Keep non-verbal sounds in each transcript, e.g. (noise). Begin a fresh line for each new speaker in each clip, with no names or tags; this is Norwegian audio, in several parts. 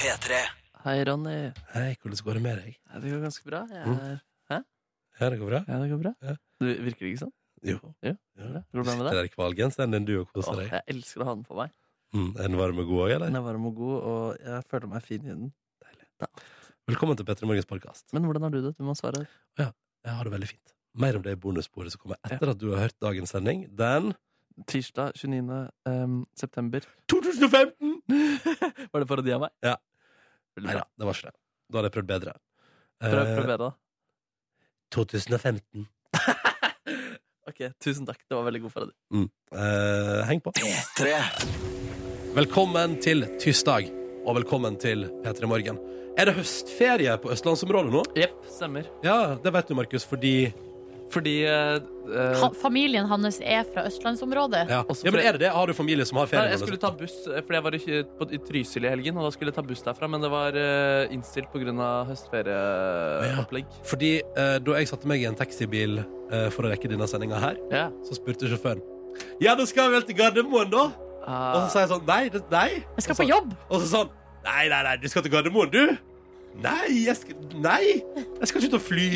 P3.
Hei, Ronny.
Hei, hvordan går det med deg?
Ja, det går ganske bra. Jeg
Mm.
er...
Ja, det går bra?
Ja, det går bra.
Ja.
Du, virker det ikke sånn?
Jo.
Ja, Bra.
Ja.
Går det bra med deg?
Sitter der i kvalgenseren din du og koser
Åh,
deg.
jeg elsker å ha den på meg.
Mm, er den varm og god òg,
Den
eller?
er varm og god, og jeg føler meg fin i den.
Velkommen til Petter Morgens podkast.
Men hvordan har du det? Du må svare.
Jeg har det veldig fint. Mer om det i bonussporet som kommer etter at du har hørt dagens sending. Den
Tirsdag 29. em, september.
2015!
(laughs) Var det parodi av meg?
Ja.
Veldig
Nei
bra.
da, det var ikke det. Da hadde jeg prøvd bedre.
Prøv, prøv
Eh,
bedre, da.
2015.
Ok, Tusen takk. Det var veldig god parodi.
Eh, heng på.
P3.
Velkommen til tirsdag, og velkommen til P3 Morgen. Er det høstferie på østlandsområdet nå?
Jepp, stemmer.
Ja, det vet du, Markus, fordi
Fordi eh, eh,
Ha, familien hans er fra østlandsområdet.
ja.
Også
ja, men
fordi-
er det det? Har du familie som har
Nei,
ferie? liksom?
jeg skulle ta buss, eh, fordi jeg var i, på, i Trysil i helgen, og da skulle jeg ta buss derfra, men det var eh, innstilt pga. høstferieopplegg.
Fordi eh, da jeg satte meg i en taxibil eh, for å rekke denne sendinga her,
Ja.
så spurte sjåføren Ja, da skal vi vel til Gardermoen, da? Og så
Ah,
sa jeg sånn Nei, det, nei.
Jeg skal på jobb!
Og så sånn Nei, nei, nei, du skal til Gardermoen, du? Nei, jeg skal Nei! Jeg skal ikke ut og fly.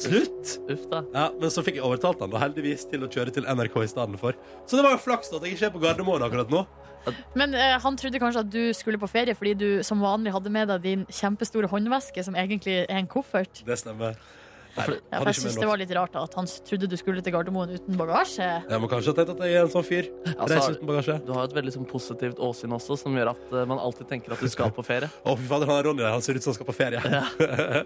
Slutt.
uff, da.
Ja, Men så fikk jeg overtalt han da heldigvis til å kjøre til NRK i stedet for. Så det var jo flaks da at jeg ikke er på Gardermoen akkurat nå.
Men eh, han trodde kanskje at du skulle på ferie fordi du som vanlig hadde med deg din kjempestore håndveske, som egentlig er en koffert.
Det stemmer. Nei,
Ja, for jeg synes det var litt rart at han trodde du skulle til Gardermoen uten bagasje.
Jeg må kanskje ha tenkt at jeg er en sånn fyr. Reise
Altså,
uten bagasje.
du har et veldig sånn, positivt åsyn også, som gjør at eh, man alltid tenker at du skal på ferie.
Å, fy fader, han Ronny der, han ser ut som han skal på ferie.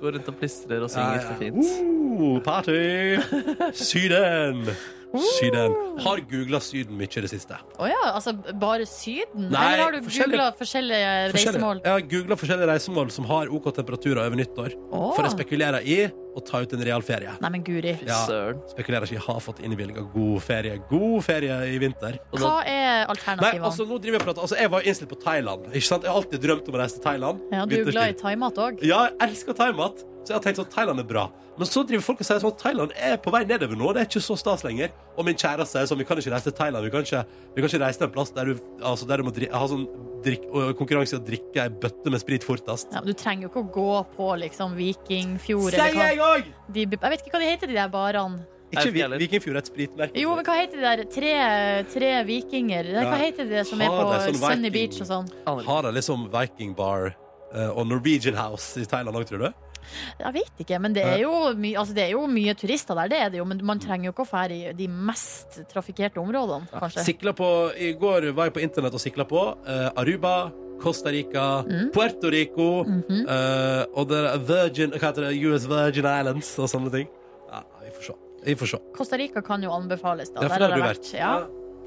Går rundt og plistrer og synger så fint.
Uh, party!
(laughs)
Syden! Syden. Har googla Syden mye i det siste.
Å ja, altså bare Syden?
Nei,
Eller har du
forskjellige-
googla forskjellige reisemål?
Forskjellige- Jeg har googla forskjellige reisemål som har OK temperaturer over nyttår.
Å.
For jeg spekulerer i å ta ut en real ferie.
Nei, men guri.
Fy
Ja.
søren.
Spekulerer ikke i har fått innvilga god ferie. God ferie i vinter.
Og
Hva
da-
er
Nei,
alternativene?
altså, nå driver jeg og prater. Altså, jeg var innstilt på Thailand. Ikke sant? Jeg har alltid drømt om å reise til Thailand.
ja, du er jo
Vinterstid.
glad i thaimat òg.
Ja, jeg elsker thaimat. Så jeg har tenkt sånn, Thailand er bra. Men så driver folk og sier sånn, Thailand er på vei nedover nå. Det er ikke så stas lenger. Og min kjæreste sier sånn, vi kan ikke reise til Thailand. Vi kan ikke, vi kan ikke reise til en plass der du, altså, der du må dri- ha sånn drikk, og konkurranse i å drikke ei bøtte med sprit fortest.
Ja, men du trenger jo ikke å gå på liksom Vikingfjord
Sier
eller hva.
jeg òg!
De, jeg vet ikke hva de heter, de der barene.
Ikke
Jeg vet
vi,
ikke heller.
Vikingfjord er et spritmerke.
Jo, men hva heter de der tre, tre vikinger? Nei,
Ja.
Hva heter de som er
Har
på
de sånn
Sunny
viking-
Beach og sånn?
aner ikke.
Har de liksom Viking Bar eh, og Norwegian House i Thailand òg, tror du?
Jeg vet ikke, men det er jo, my, altså, det er jo mye turister der, det er det jo. Men man trenger jo ikke å fære i de mest trafikkerte områdene, kanskje.
Sikla på, I går var jeg på internett og sikla på eh, Aruba, Costa Rica,
Mm.
Puerto Rico.
Mhm.
Eh, og det er Virgin Hva heter det? US Virgin Islands og sånne ting. Ja, vi får se. Vi får se.
Costa Rica kan jo anbefales, da.
Ja, for
Der har
der har
jeg
du
vært. Ja,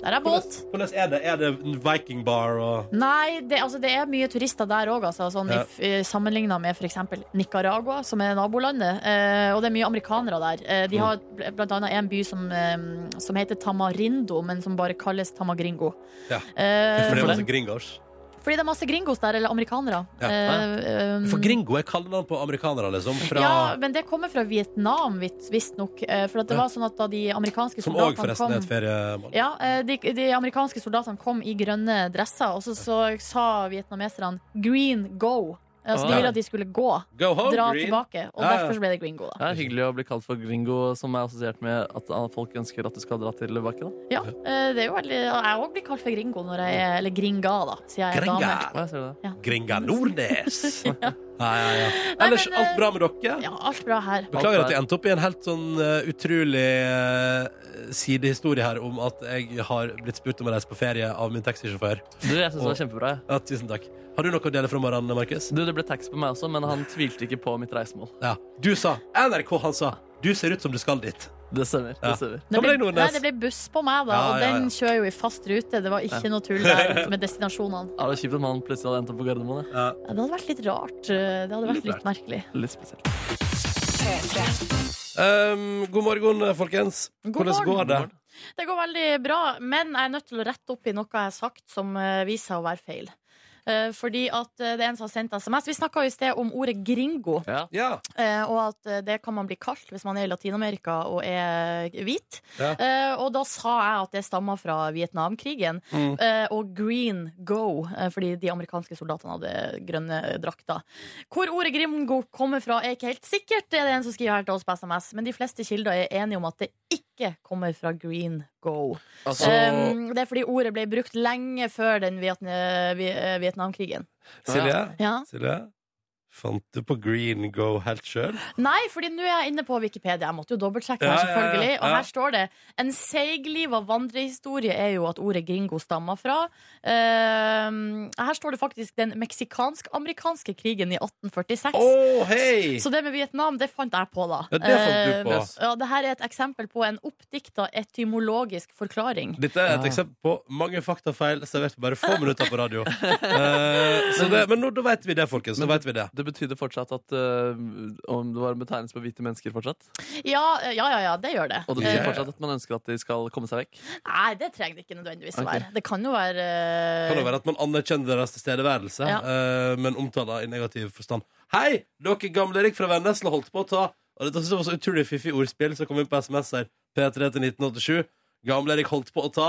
der er båt.
Hvordan, hvordan er det? Er det en Viking Bar og
Nei, det, altså, det er mye turister der òg, altså, sånn,
Ja.
ja. sammenligna med f.eks. Nicaragua, som er nabolandet. Eh, og det er mye amerikanere der. Eh, de har
Mm.
bl- blant annet en by som, eh, som heter Tamarindo, men som bare kalles Tamagringo.
Ja.
Eh,
For det er
fordi,
masse gringos.
det er masse gringos der, eller amerikanere.
Ja. Ah.
Eh, eh,
For gringo er kallenavn på amerikanere, liksom. Fra,
Ja, men det kommer fra Vietnam, visstnok. For at det
Ja.
var sånn at da de amerikanske
som
soldatene
òg forresten
kom
er et feriemål.
ja, eh, de, de amerikanske soldatene kom i grønne dresser, og så, så sa vietnameserne 'green go'. Eh, Så de
Ah.
ville at de skulle gå,
Go home,
dra
green.
tilbake. Og
Ja, ja.
derfor så ble det green go, da.
Det er hyggelig å bli kalt for gringo, som er assosiert med at ah, folk ønsker at du skal dra til bakken. Da.
Ja, eh, det er jo veldig, jeg òg blir kalt for gringo, når jeg er, eller gringa, da, siden jeg er
Gringa.
dame.
Ja, jeg ser det.
(laughs)
Gringa Nordnes. ja. Ja, ja,
Nei,
Ellers
men, eh,
alt bra med dere?
Ja, alt bra her.
Beklager
Alt
at jeg
er-
endte opp i en helt sånn eh, utrolig eh, sidehistorie her om at jeg har blitt spurt om å reise på ferie av min taxisjåfør.
Du, jeg syns det var kjempebra. jeg.
Ja, tusen takk. Har du noe å dele fra morgenen, Markus?
Du, det ble tax på meg også, men han tvilte ikke på mitt reisemål.
Ja. Du sa NRK, han sa du ser ut som du skal dit.
Det stemmer.
Ja.
det stemmer.
Hva
Det ble,
med deg, Nordnes?
nei, det ble buss på meg, da,
Ja,
og
ja, ja.
den kjører jo i fast rute. Det var ikke noe tull der med destinasjonene.
Ja, det er kjipt at man plutselig hadde endt opp på Gardermoen. ja.
Ja, Det hadde vært litt rart. eh, Det hadde vært litt merkelig.
Litt spesielt.
Um, god morgen, folkens.
God
Hvordan
morgen.
går det?
Det går veldig bra, men jeg er nødt til å rette opp i noe jeg har sagt som eh, viser seg å være feil. Eh, fordi at eh, det er en som har sendt SMS. Vi snakka i sted om ordet gringo,
Ja.
Ja.
eh, og at eh, det kan man bli kalt hvis man er i Latin-Amerika og er hvit.
Ja.
Eh, og da sa jeg at det stammer fra Vietnamkrigen.
Mm.
Eh, og green go, eh, fordi de amerikanske soldatene hadde grønne eh, drakter. Hvor ordet gringo kommer fra, er ikke helt sikkert, det er det en som skriver her til oss på SMS, men de fleste kilder er enige om at det ikke kommer fra green go.
Altså,
Um, det er fordi ordet ble brukt lenge før den Viet eh, Vi- eh, Vietnamkrigen.
Silje?
Ja.
Silje? Fant du på Green Go helt sjøl?
Nei, fordi nå er jeg inne på Wikipedia. Jeg måtte jo dobbeltsjekke her,
Ja, ja, ja,
selvfølgelig. Og
ja.
her står det En seigliva vandrehistorie er jo at ordet gringo stammer fra. Um, her står det faktisk den meksikansk-amerikanske krigen i 1846.
Å, hei!
Så det med Vietnam, det fant jeg på, da.
Ja, det fant du
Eh,
på.
ja, det her er et eksempel på en oppdikta etymologisk forklaring.
Dette er et eksempel på mange faktafeil servert på bare
(laughs)
få minutter på radio. Eh, så det, men nå, da vet vi det, folkens. Da vet vi det.
det betydde fortsatt at eh, om det var en betegnelse på hvite mennesker fortsatt.
Ja, eh, ja, ja, ja det gjør det.
Og det
Ja,
betyr
ja.
fortsatt at man ønsker at de skal komme seg vekk.
Nei, det trenger det ikke nødvendigvis å
Ok.
være. Det kan jo være eh,
Kan det være at man anerkjenner deres tilstedeværelse,
Ja.
eh, men omtaler i negativ forstand. Hei! Dere gamle Erik fra Vennesla holdt på å ta Og dette synes jeg var så utrolig fiffig ordspill, så kom vi på SMS her. P3 til 1987. Gamle Erik holdt på å ta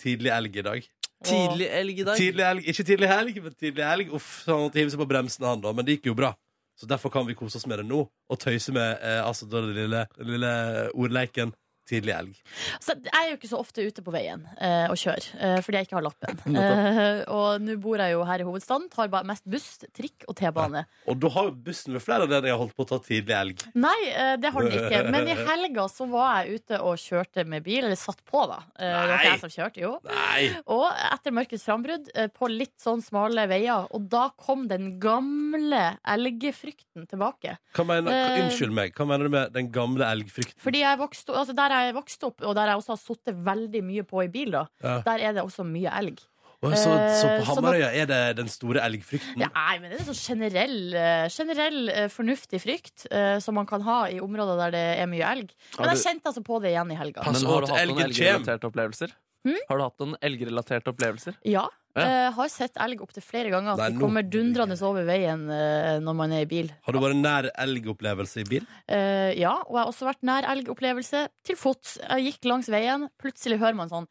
tidlig elg i dag.
Tidlig elg i dag.
Tidlig elg, Ikke tidlig helg, men tidlig elg. Uff, så han måtte hive seg på bremsen, han da. Men det gikk jo bra. Så derfor kan vi kose oss med det nå, og tøyse med eh, altså, da den lille, den lille ordleiken tidlig elg.
Så jeg er jo ikke så ofte ute på veien eh, og kjører, eh, fordi jeg ikke har
(laughs)
lappen. Eh, og nå bor jeg jo her i hovedstaden, tar bare mest buss, trikk og T-bane.
Og da har jo bussen ved flere anledninger holdt på å ta tidlig elg.
Nei, eh, det har den ikke. Men i helga så var jeg ute og kjørte med bil, eller satt på, da. Eh, det var
Nei.
ikke jeg som kjørte, jo.
Nei!
Og etter mørkets frambrudd, eh, på litt sånn smale veier, og da kom den gamle elgfrykten tilbake.
Hva mener, hva,
Eh.
unnskyld meg, hva mener du med den gamle elgfrykten?
Fordi jeg vokste, altså der jeg vokste opp, og der jeg også har sittet veldig mye på i bil, da,
Ja.
der er det også mye elg.
Å, så, så
eh,
på
så
Hamarøya er det den store elgfrykten?
Ja, nei, men det er sånn generell, eh, generell eh, fornuftig frykt eh, som man kan ha i områder der det er mye elg. Men
Har
jeg kjente altså på det igjen i helga.
Pass
Men har
på
du
at
hatt noen
elgen kjem.
elgrelaterte opplevelser? Har du hatt noen elgrelaterte opplevelser?
Ja.
Ja.
eh, har sett elg opptil flere ganger. At
Nei,
de
nå-
kommer dundrende over veien eh, når man er i bil.
Har du vært nær elgopplevelse i bil?
Eh, ja, og jeg har også vært nær elgopplevelse til fots. Jeg gikk langs veien, plutselig hører man sånn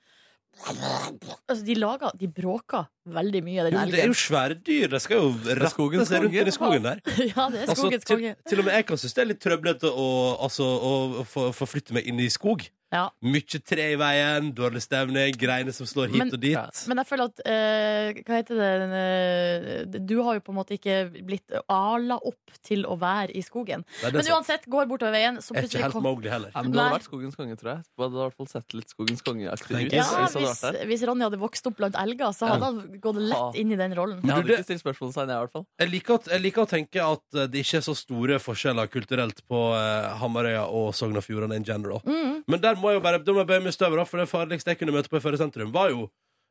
Altså, de lager De bråker veldig mye, den
Jo, men det er
elgen.
jo svære dyr, det skal jo rette
skogens
seg rundt
konge.
i skogen der.
(laughs) Ja, det er
Altså,
skogens
til,
konge.
til og med jeg kan synes det er litt trøblete å, altså, å få- forflytte meg inn i skog.
Ja.
Mye tre i veien, dårlig stemning, greiner som slår hit
Men-
og dit.
Ja.
Men jeg føler at eh, Hva heter det eh, Du har jo på en måte ikke blitt ala opp til å være i skogen.
Nei, det er
Men
sant.
uansett, går bortover veien, så
Jeg er ikke
plutselig
helt
kom
Mowgli heller.
Ja, men du hadde
Nei.
vært Skogens konge, tror jeg. Du hadde i hvert fall sett litt Skogens konge-aktig
Thank
ut.
you.
ja,
hvis du hadde
hvis,
vært der.
hvis Ronny hadde vokst opp blant elger, så hadde han gått lett inn i den rollen.
Jeg
Men du,
hadde
det-
ikke stilt spørsmålstegn, jeg, i hvert fall.
Jeg liker, at, jeg liker å tenke at eh, det ikke er så store forskjeller kulturelt på eh, Hamarøya og Sogn og Fjordane in general.
Mm.
Men der må jeg jo bare da må jeg bøye meg i støvet, da, for det farligste jeg kunne møte på i Førde sentrum, var jo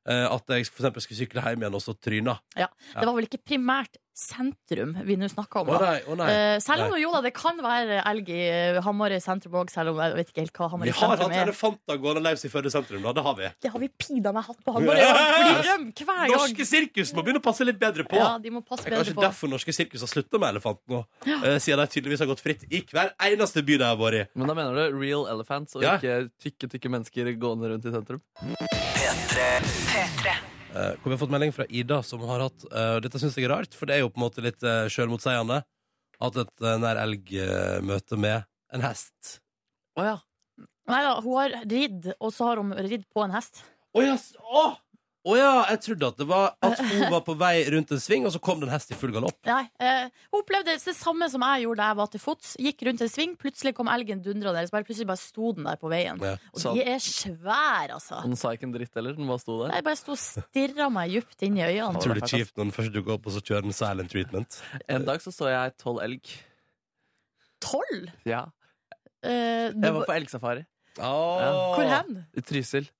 eh, at jeg for eksempel skulle sykle hjem igjen og så tryna.
Det var vel ikke primært sentrum vi nå snakka om.
Å
da.
nei, å nei.
Eh, selv om jo da, det kan være elg i eh, Hamarøy sentrum òg, selv om jeg vet ikke helt hva
Vi
Hamarøy
har hatt
sentrum er.
elefanter gående løs i Førde sentrum, da. Det har vi.
Det har vi pina meg hatt på Hamarøy! ja, For de rømmer hver gang!
Norske sirkus må begynne å passe litt bedre på.
Ja, de må passe
Det er kanskje
bedre på.
derfor norske sirkus har slutta med elefant nå. eh, Siden de tydeligvis har gått fritt i hver eneste by de har vært i.
Men da mener du real elephants og
Ja.
ikke tykke, tykke mennesker gående rundt i sentrum?
Eh, hvor vi har fått melding fra Ida, som har hatt eh, Dette syns jeg er rart, for det er jo på en måte litt uh, sjølmotseiende. Hatt et eh, nær elg-møte med en hest.
Å ja.
Nei da, hun har ridd, og så har hun ridd på en hest.
Å ja, s- å! Å ja! Jeg trodde at det var at hun var på vei rundt en sving, og så kom det en hest i full galopp.
Nei, eh, hun opplevde det samme som jeg gjorde da jeg var til fots. Gikk rundt en sving, plutselig kom elgen dundrende. så Bare, plutselig bare sto den der på veien.
Ja.
Og
Sant.
de er svære, altså.
Og Den sa ikke en dritt heller, den bare sto der.
Jeg bare sto og stirra meg djupt inn i øynene.
Utrolig kjipt når den først dukker opp, og så kjører den silent treatment.
En dag så så jeg tolv elg.
Tolv!
Ja.
Eh, du,
Jeg var på elgsafari
Åh.
hvor hen?
i Trysil.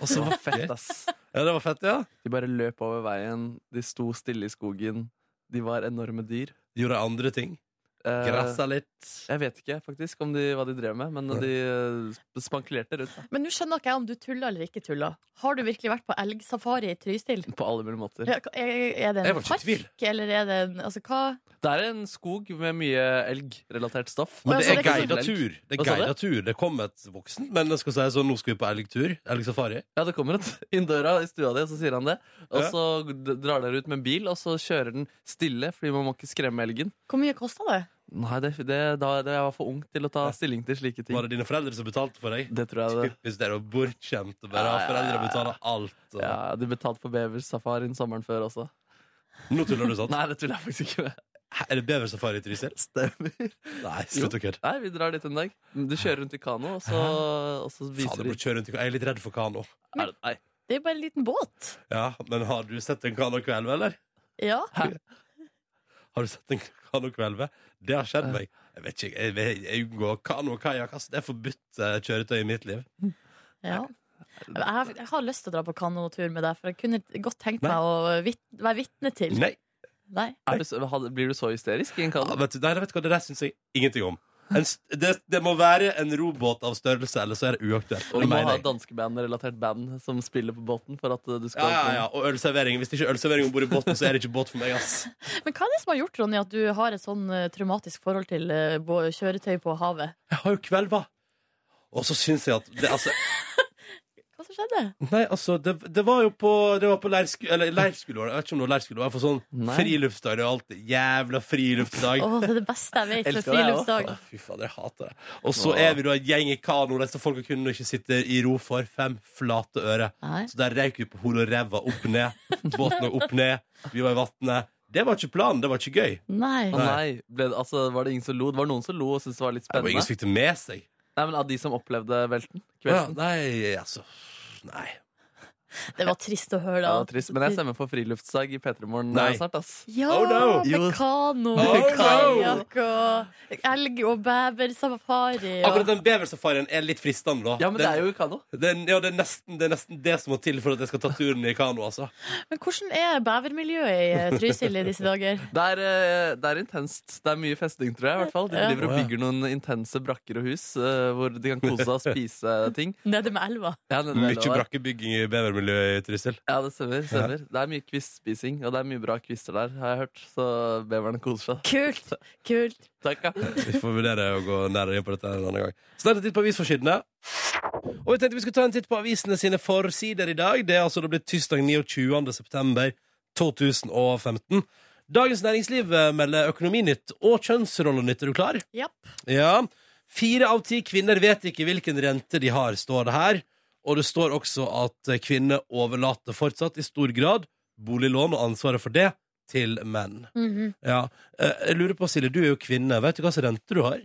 Og så
Det var
vakkert.
fett, ass.
Ja, det var fett, ja.
De bare løp over veien, de sto stille i skogen. De var enorme dyr.
Gjorde andre ting.
Eh,
Grassa litt.
jeg vet ikke faktisk om de, hva de drev med, men de eh, sp- spankulerte rundt (laughs) da,
Men nå skjønner ikke jeg om du tuller eller ikke tuller. Har du virkelig vært på elgsafari i Trysil?
på alle mulige måter.
Er er det
Jeg var
en
ikke i tvil.
park, eller er det en altså, hva?
Det er en skog med mye elgrelatert stoff.
Men Å,
Men
ja,
det
så det er
er
ikke
guidet
sånn-
tur. Det er
Hva sa du?
guidet tur. Det kom et voksen, men jeg skal si sånn, nå skal vi på elgtur. Elgsafari.
Ja, det kommer et (laughs) inn døra i stua di, og så sier han det. Og
Ja.
så d- drar dere ut med en bil, og så kjører den stille, fordi man må ikke skremme elgen.
Hvor mye kosta det?
Nei, det, det, da det, jeg var for ung til å ta stilling til slike ting.
Var det dine foreldre som betalte for deg?
Det tror jeg det.
Typisk dere å bortskjemte
Ja,
bare. Ja,
ja,
foreldre
ja, ja.
betaler alt. Og...
Ja, du betalte for beversafarien sommeren før også.
Nå tuller du sånn.
Nei, det tuller jeg faktisk ikke med.
Hæ, Er det beversafari i Trysil?
Stemmer.
Nei, slutt å kødde.
Nei, vi drar dit en dag. Du kjører rundt i kano, og så, og så
Faen,
viser
jeg
de
må kjøre rundt i Jeg er litt redd for kano.
Er det- Nei.
Det er jo bare en liten båt.
Ja, men har du sett en kanokvelv, eller?
Ja.
Har du sett en kanokvelv? Det har skjedd meg. Jeg vet ikke, jeg, jeg, jeg unngår kano og kajakk. ass. Det er forbudt eh, kjøretøy i mitt liv.
ja. Jeg har, jeg har lyst til å dra på kanotur med deg, for jeg kunne godt tenkt meg å vit, være vitne til.
Nei,
Nei.
Er du, så- hadde- blir du så hysterisk i en
ja,
kano?
vet du, nei vet du hva, det der syns jeg ingenting om. En, st- det, det må være en robåt av størrelse, eller så er det uaktuelt.
Og du
Det
må
mener
ha
jeg.
danskeband-relatert band som spiller på båten for at uh, du
ja,
skal
ja, ja, Og ølservering. Hvis det ikke er ølservering om bord i båten, så er det ikke båt for meg,
(laughs)
ass.
Men hva er det som har gjort, Ronny, at du har et sånn eh, traumatisk forhold til eh, bå- kjøretøy på havet?
Jeg har jo kvelva. Og så syns jeg at det, altså,
Hva som skjedde?
Nei, altså, det, det var jo på, det var på leirsk eller, leirskole. Jeg vet ikke om det var leirskole. Det var for sånn
Nei.
friluftsdag. Det var alltid jævla friluftsdag.
Å, det er det beste jeg vet
Elsker
med
det, jeg
friluftsdag.
Å, Fy fader, jeg hater det. Og så er vi da en gjeng i kano. Disse folka kunne ikke sitte i ro for fem flate øre.
Nei.
Så der røyk vi på hodet og ræva opp og ned. Båten var opp og ned. Vi var i vannet. Det var ikke planen. Det var ikke gøy.
Å
Nei.
nei, ble, det- altså, var det ingen som lo? Det var noen som lo og syntes det var litt
Det var
spennende.
ingen som fikk det med seg.
Nei, men Av de som opplevde velten?
Ja,
Kvelden?
nei, altså. Nei.
Det var trist å høre,
Ja,
da.
det var trist. Men jeg stemmer for friluftsdag i P3 Morgen eh,
Nei.
snart. ass
Ja,
Oh, no.
Jo.
med kano,
Oh, no.
kajakk og elg og bever, safari
Akkurat
og
den beversafarien er litt fristende, da.
Ja, men det er jo i kano.
Det er, ja, det, er nesten, det er nesten det som må til for at jeg skal ta turen i kano, altså.
Men hvordan er bevermiljøet i eh, Trysil i disse dager?
Det er, eh, det er intenst. Det er mye festing, tror jeg. i hvert fall De
Ja.
driver og
Å, ja.
bygger noen intense brakker og hus eh, hvor de kan kose seg og spise ting.
Nede med elva.
Ja, det,
Mye
det, var-
brakkebygging i bevermiljøet i Trysil.
ja, det stemmer. stemmer. Det er mye kvistspising, og det er mye bra kvister der, har jeg hørt. Så beverne koser seg. (laughs)
Kult! Kult.
Takk, ja.
Vi får vurdere å gå nærmere inn på dette en annen gang. Snart en titt på avisforsidene. Og jeg tenkte vi skulle ta en titt på avisene sine forsider i dag. Det er altså det blir tirsdag 29. september 2015. Dagens Næringsliv eh, melder Økonominytt og Kjønnsrollenytt. Er du klar?
Japp.
Ja. Fire av ti kvinner vet ikke hvilken rente de har, står det her. Og det står også at kvinner overlater fortsatt i stor grad boliglån og ansvaret for det til menn.
Mhm.
Ja. Eh, Jeg lurer på, Silje, du er jo kvinne. Vet du hva slags rente du har?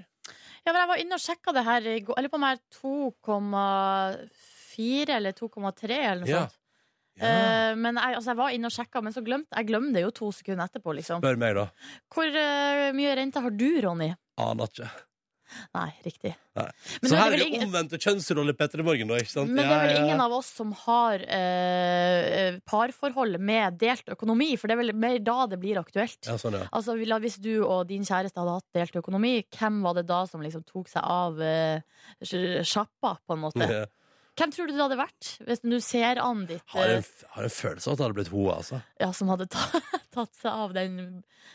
Ja, men jeg var inne og sjekka det her i går. Jeg lurer på om jeg er 2,4 eller 2,3 eller noe
Ja.
sånt. Eh, men jeg, altså, jeg var inne og sjekka, men så glemte jeg glemte det jo to sekunder etterpå. Liksom.
Spør meg, da.
Hvor eh, mye rente har du, Ronny?
Aner ikke.
Nei, riktig.
Nei.
Men,
Så
nå er
her er
det
det
vel ingen,
omvendte kjønnsroller, Petter i morgen, da. Ikke sant?
men det er
Ja,
vel
ja, ja.
ingen av oss som har eh, parforhold med delt økonomi, for det er vel mer da det blir aktuelt.
Ja, sånn, ja.
Altså, la- Hvis du og din kjæreste hadde hatt delt økonomi, hvem var det da som liksom tok seg av eh, sj- sjappa, på en
(laughs)
måte?
Ja.
Hvem tror du det hadde vært, hvis du ser an ditt
Har
eh,
en, har en følelse av at det hadde blitt hun, altså.
ja, som hadde ta, (laughs) tatt seg av den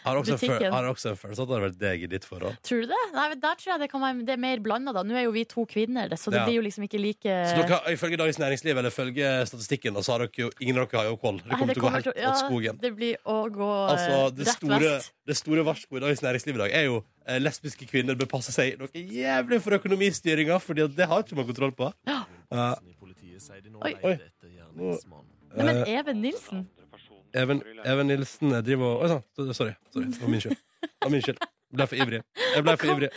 Har også, en føl
Butikken.
har også en følelse av at det hadde vært deg i ditt forhold.
Tror du det? Nei, men der tror jeg det kan være Det er mer blanda, da. Nå er jo vi to kvinner, så det
Ja.
blir jo liksom ikke like
Så dere, har- ifølge Dagens Næringsliv eller ifølge statistikken, da, så har dere jo, ingen av dere har jo koll. Det
Nei,
kommer til å gå helt
til-
åt skogen.
Det blir å gå eh,
Altså, det
rett
store,
vest.
det store varsko i Dagens Næringsliv i dag er jo eh, lesbiske kvinner bør passe seg noe jævlig for økonomistyringa, Fordi at det har ikke man kontroll på.
Ja.
Eh,
Oi.
Oi. eh,
Nei, men Even Nilsen?
Even, Even Nilsen driver og Oi sann, så- sorry. sorry. Det var min skyld. Det var min skyld. Jeg ble for ivrig. Jeg ble for
Kom.
ivrig.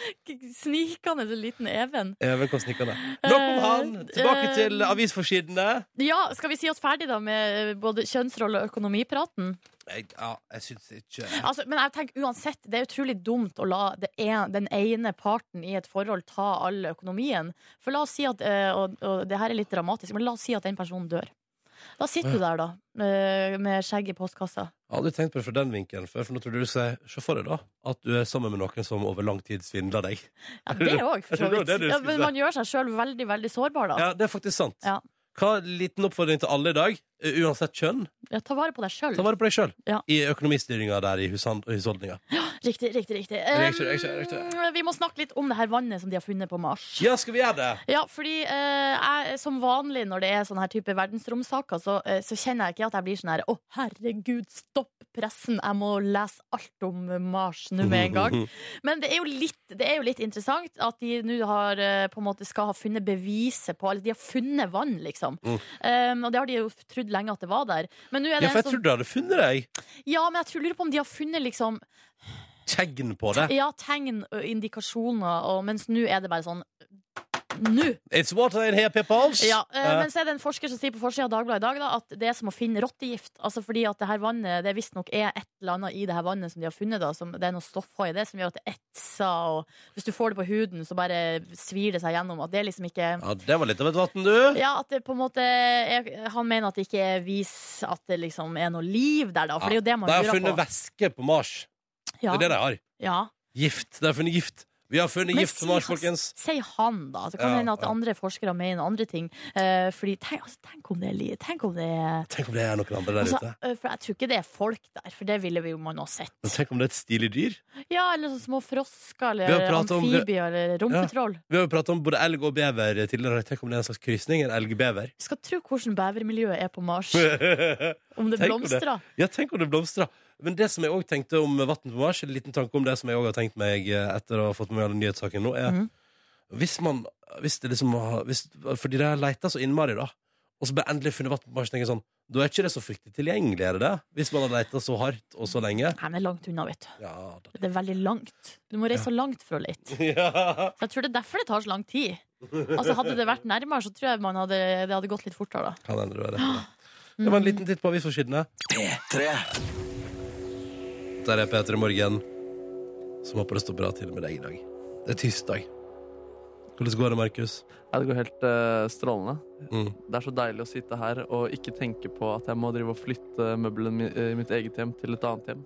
Snikende så liten Even.
Even kom snikkende. Nok om han! Tilbake
Eh,
til avisforsidene.
Ja, skal vi si oss ferdig da med eh, både kjønnsrolle og økonomipraten?
Jeg, ja, jeg syns ikke
Altså, men jeg tenker uansett, det er utrolig dumt å la det en, den ene parten i et forhold ta all økonomien. For la oss si at, eh, og, og det her er litt dramatisk, men la oss si at den personen dør. Da sitter du der, da, eh, med skjegg i postkassa.
Jeg har aldri tenkt på det fra den vinkelen før, for nå trodde du sier Se for deg, da, at du er sammen med noen som over lang tid svindler deg.
Ja, det
(laughs)
òg, for så
Jeg tror det var
vidt.
det du
Ja,
skulle
men
si.
man gjør seg sjøl veldig, veldig sårbar, da.
Ja, det er faktisk sant.
Ja.
Hva liten oppfordring til alle i dag, eh, uansett kjønn,
Ja, ta vare på deg sjøl.
ta vare på deg sjøl
Mm. Ja.
i økonomistyringa der i hushan- og husholdninga.
Riktig, riktig, riktig.
Riktig, riktig, riktig.
Eh, vi må snakke litt om det her vannet som de har funnet på Mars.
Ja, skal vi gjøre det?
Ja, fordi eh, jeg, som vanlig når det er sånne her type verdensromsaker, så, eh, så kjenner jeg ikke at jeg blir sånn her Å, herregud, stopp pressen! Jeg må lese alt om Mars nå med en
Mhm. (laughs)
gang. Men det er jo litt, det er jo litt interessant at de nå har eh, på en måte skal ha funnet beviset på Eller de har funnet vann, liksom.
Mm.
Um, og det har de jo trodd lenge at det var der. Men nå er sånn-
Ja,
det
for
en
jeg
som
trodde jeg hadde funnet deg.
Ja, men jeg tror, lurer på om de har funnet liksom
Tegn på det.
Ja, tegn og indikasjoner, og, mens nå er det bare sånn Nå!
It's water in here, peoples.
Ja, eh,
Eh,
men så er det en forsker som sier på forsida av Dagbladet i dag da, at det er som å finne rottegift. Altså fordi at det her vannet, det visstnok er et eller annet i det her vannet som de har funnet, da, som det er noe stoffer i det som gjør at det etser, og hvis du får det på huden, så bare svir det seg gjennom. At det liksom ikke
ja, det var litt av et vann, du.
ja, at det på en måte er, Han mener at det ikke viser at det liksom er noe liv der, da. For det er jo det man
De har funnet
lurer på.
væske på Mars.
Ja,
Det er det de har.
ja.
Gift. De har funnet gift. Vi har funnet
Men altså-
gift på Mars,
sier-
folkens.
Sier han, da. Så kan det
Ja,
hende at
ja.
andre forskere mener andre ting. Eh, fordi tenk, altså, tenk om det er liv. Tenk om det er
Tenk om det er noen andre der
Altså,
ute.
ø, for jeg tror ikke det er folk der, for det ville vi jo man ha
Men
sett.
tenk om det er et stilig dyr.
Ja, eller sånne små frosker,
Vi har
eller
pratet om-
amfibier, eller rumpetroll.
Vi har jo pratet om både elg og bever tidligere. Tenk om det er en slags krysning? En elg-bever?
Vi skal tro hvordan bevermiljøet er på Mars. Om det
(laughs) Tenk om det.
blomstrer.
ja, tenk om det blomstrer. Men det som jeg òg tenkte om vann på Mars, en liten tanke om det som jeg òg har tenkt meg eh, etter å ha fått med meg alle nyhetssakene nå, er
Mhm.
hvis man hvis det liksom, har- hvis, Fordi de har leita så innmari, da, og så ble endelig funnet vann på Mars, tenker jeg sånn da er ikke det så fryktelig tilgjengelig, er det det? Hvis man har leita så hardt og så lenge.
Nei, men det er langt unna, vet du.
Ja, da. (laughs)
Det er veldig langt. Du må reise så langt for å lete.
ja.
Så jeg tror det er derfor det tar så lang tid. Altså Hadde det vært nærmere, så tror jeg man hadde, det hadde gått litt fortere. da
Kan hende det var rett. i det. Det var en liten titt på avisforsidene. Der er Peter i morgen, som håper det står bra til med deg i dag. Det er tirsdag. Hvordan går det, Markus?
Ja, det går helt eh, strålende.
Mm.
Det er så deilig å sitte her og ikke tenke på at jeg må drive og flytte møblene mi- eh, i mitt eget hjem til et annet hjem.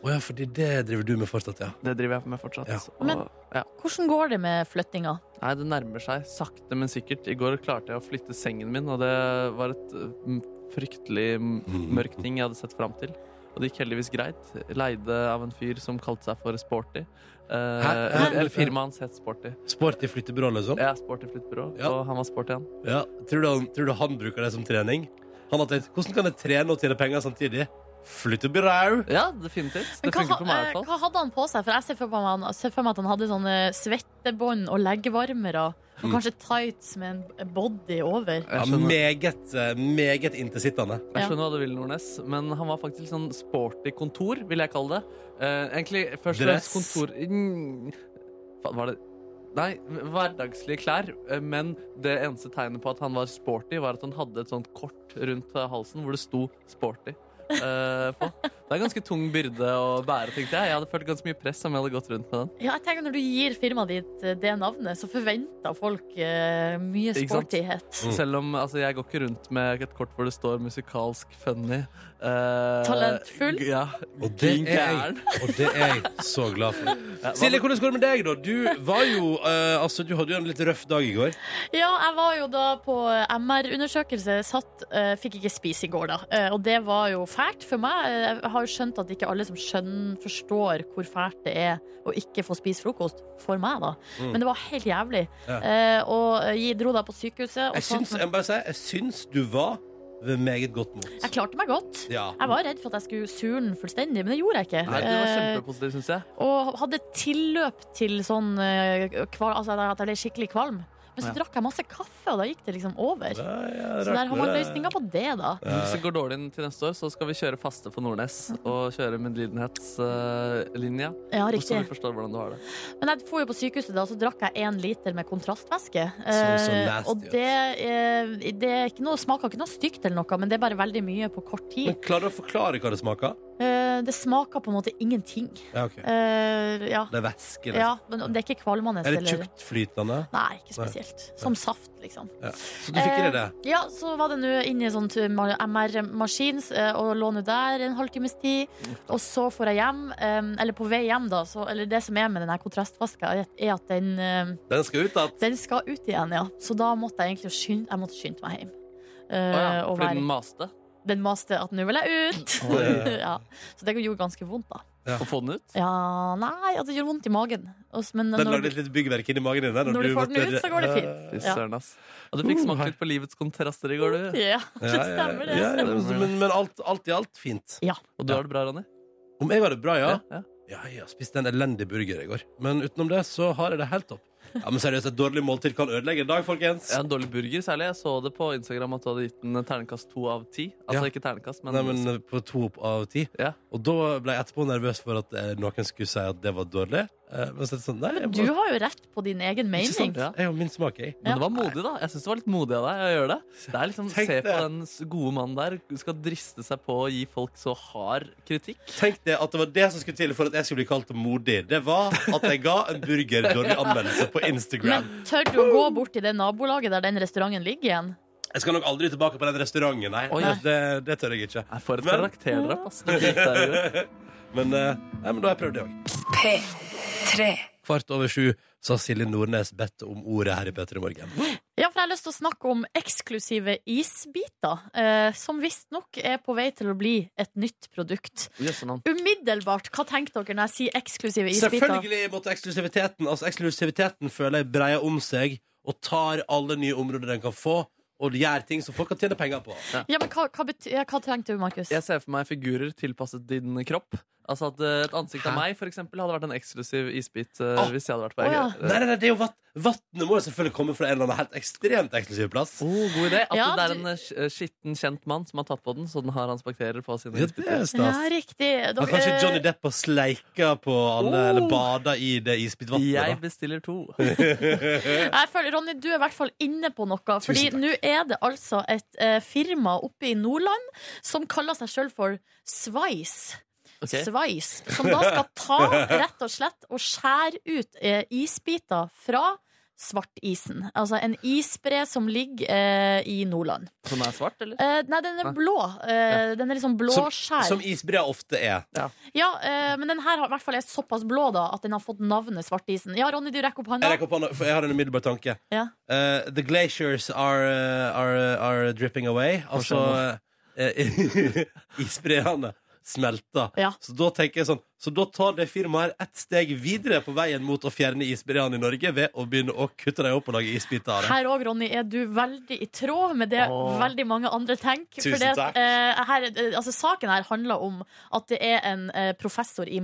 Å ja, fordi det driver du med fortsatt, ja.
Det driver jeg med fortsatt.
Ja.
Og,
Men-
ja.
Hvordan går det med flyttinga?
Nei, det nærmer seg sakte, men sikkert. I går klarte jeg å flytte sengen min, og det var et mm, fryktelig mm, mørk ting jeg hadde sett fram til. Og det gikk heldigvis greit. Leide av en fyr som kalte seg for Sporty. Eh, eller- eller firmaet hans het Sporty.
Sporty flyttebyrå, liksom?
Jeg er Sporty flyttebyrå,
Ja.
og han var Sporty, han.
Ja. Tror, du han, tror du han bruker det som trening? Han har tenkt hvordan kan jeg trene og tjene penger samtidig? Flyttebyrå!
Ja, definitivt.
Men
Det
hva,
funker på meg i
eh,
hvert fall.
hva hadde han på seg? For jeg ser for meg, han- ser for meg at han hadde sånne svettebånd og leggevarmere.
Mm.
Og kanskje tights med en body over.
Ja,
Jeg skjønner,
meget, eh, meget inntilsittende.
jeg skjønner hva du vil, Nordnes, men han var faktisk litt sånn sporty kontor, vil jeg kalle det. Eh, egentlig først og fremst
Dress?
kontor Mm, Faen, var det Nei, hverdagslige klær, eh, men det eneste tegnet på at han var sporty, var at han hadde et sånt kort rundt eh, halsen hvor det sto 'sporty'. eh, på. Det er en ganske tung byrde å bære, tenkte jeg. Jeg hadde følt ganske mye press om jeg hadde gått rundt med den.
Ja, jeg tenker Når du gir firmaet ditt eh, det navnet, så forventer folk eh, mye
Ikke sant?
sportighet.
Mm.
Selv om altså, jeg går ikke rundt med et kort hvor det står musikalsk funny. eh,
Talentfull?
Ja.
Og det
Klin
er jeg,
gæren.
og det er jeg så
(laughs)
glad for.
Ja, hva-
Silje, hvordan går det med deg, da? Du var jo eh, Altså, du hadde jo en litt røff dag i går.
Ja, jeg var jo da på MR-undersøkelse. Satt, eh, fikk ikke spise i går, da. Eh, og det var jo fælt for meg. Eh, Jeg har jo skjønt at ikke alle som skjønner, forstår hvor fælt det er å ikke få spise frokost. For meg, da.
Mm.
Men det var helt jævlig.
Ja.
Eh, og jeg dro da på sykehuset. Og
Jeg
så-
syns, jeg må bare si, jeg syns du var ved meget godt
jeg
mot.
klarte meg godt.
Ja.
Jeg var redd for at jeg skulle surne fullstendig, men det gjorde jeg ikke.
Nei, du var
Eh,
kjempepositiv, syns jeg.
Og hadde tilløp til sånn eh, kval, altså at jeg ble skikkelig kvalm. Men så
Ja.
drakk jeg masse kaffe, og da gikk det liksom over.
Ja, ja, eh.
Så der har man løsninga på det, da.
Hvis det går dårlig inn til neste år, så skal vi kjøre faste for Nordnes. Og kjøre medlidenhetslinja.
Ja,
og så
riktig.
vi forstår hvordan du har det.
Men jeg får jo på sykehuset, da, så drakk jeg én liter med kontrastvæske.
Så- så
Eh,
nasty,
og det, eh, det er ikke noe, smaker ikke noe stygt eller noe, men det er bare veldig mye på kort tid.
Men klarer du å forklare hva det smaker?
Eh, Eh, det smaker på en måte ingenting.
Ja, ok.
Eh, ja.
Det er væske, liksom.
ja, men det er ikke kvalmende.
Er det
eller-
tjuktflytende?
Nei, ikke spesielt. Som saft, liksom.
Så du fikk i deg det?
Eh, Ja, så var det nå inne i sånn MR-maskin eh, og lå nå der en halvtimes tid. Og så får jeg hjem, eh, eller på vei hjem, da, så, eller det som er med den her kontrastvaska, er at- er at den, eh,
Den skal
(laughs)
ut, da.
den skal ut igjen, ja. Så da måtte jeg egentlig skynde, jeg måtte skynde meg hjem. Eh,
Å ja,
og
fordi den
være,
maste?
den maste at 'nå vil jeg
Eh,
ut'. (laughs) ja. Så det gjorde ganske vondt, da.
Å få den ut?
Ja, nei, at det gjør vondt i magen. Og s- Men
Den
når,
lagde et lite byggverk inni magen din. der,
Når du får
måtte-
den ut, så går det fint.
Fy
Ja.
søren, ass. Og
Uh,
du fikk smake litt på livets kontraster i går, du.
ja,
Ja,
det (laughs) stemmer, det.
Ja, ja, men men, men alt, alt i alt fint.
Og du har det bra, Ronny?
Om jeg har det bra, ja?
ja.
Ja, jeg har spist en elendig burger i går. Men utenom det så har jeg det helt topp. Ja, men seriøst, Et dårlig måltid kan ødelegge en dag, folkens.
Ja, En dårlig burger særlig. Jeg så det på Instagram at du hadde gitt den ternekast to av ti. Altså
Ja.
ikke ternekast, men,
Nei, men eh, På to av ti.
Ja.
Og da ble jeg etterpå nervøs for at eh, noen skulle si at det var dårlig. Eh, Men så er det sånn, nei, jeg
Du
bare-
har jo rett på din egen
Ikke sant?
mening.
Ja.
Jeg har min smak, jeg.
Men det var modig, da. Jeg synes det var litt modig av deg å gjøre det. Det er liksom,
Tenk
Se på
det.
den s- gode mannen der. Du skal driste seg på å gi folk så hard kritikk.
Tenk det at det var det som skulle til for at jeg skulle bli kalt modig. Det var at jeg ga en burger dårlig anmeldelse på Instagram.
Men tør du å gå bort til det nabolaget der den restauranten ligger igjen?
Jeg skal nok aldri tilbake på den restauranten. Nei,
Oi.
det, det tør jeg ikke.
Nei, For et
Men-
karakterdrap, ass. Det gikk der, jo.
Men, eh, nei, men da har jeg prøvd det òg. Kvart over sju så har Silje Nordnes bedt om ordet her i P3 Morgen.
Ja, for jeg har lyst til å snakke om eksklusive isbiter, eh, som visstnok er på vei til å bli et nytt produkt.
Jøsse navn.
Umiddelbart, hva tenker dere når jeg sier eksklusive isbiter?
Selvfølgelig måtte eksklusiviteten Altså eksklusiviteten føler jeg breier om seg og tar alle nye områder den kan få, og gjør ting som folk kan tjene penger på.
Ja, men hva, hva, bety- ja, hva tenkte du, Markus?
Jeg ser for meg figurer tilpasset din kropp. Altså at eh, Et ansikt av
Hæ?
meg for eksempel, hadde vært en eksklusiv isbit eh,
Ah.
hvis jeg hadde vært på
Å,
EG.
ja.
Nei, nei, nei, det er jo vatt Vannet må jo selvfølgelig komme fra en eller annen helt ekstremt eksklusiv plass.
Oh, god idé. At
Ja,
det er
du-
en eh, sk- eh, skitten, kjent mann som har tatt på den, så den har hans bakterier på sine
Ja, det
isbiter.
er
Ja, Eh.
stas.
riktig. Dere-
Og kanskje Johnny Depp har sleika på alle,
Oh.
eller bada i det
Jeg
isbitvannet.
bestiller to.
Jeg føler, Ronny, du er i hvert fall inne på noe. Fordi
Tusen takk.
nå er det altså et eh, firma oppe i Nordland som kaller seg sjøl for Svice.
Ok.
Svice, som da skal
(laughs)
ta rett og slett og skjære ut eh, isbiter fra svartisen. Altså en isbre som ligger eh, i Nordland.
Som er svart, eller?
Eh, nei, den er
Nei.
blå. Eh, Den er liksom
Da.
blåskjær.
Som isbreer ofte er.
Ja, eh, men den her har, i hvert fall er såpass blå da at den har fått navnet svartisen. Ja, Ronny, du rekker opp
Jeg
hånda.
rekker opp hånda, for jeg har en umiddelbar tanke.
Ja.
Eh, the glaciers are, uh, are, are dripping away. Altså eh, (laughs) Isbreene smelter.
Ja.
Så da tenker jeg sånn Så da tar det firmaet her ett steg videre på veien mot å fjerne isbreene i Norge ved å begynne å kutte dem opp og lage isbiter av dem.
Her òg, Ronny, er du veldig i tråd med det
Åh.
veldig mange andre tenker.
Tusen
For det,
takk.
eh, her, eh, altså, saken her handler om at det er en eh, professor i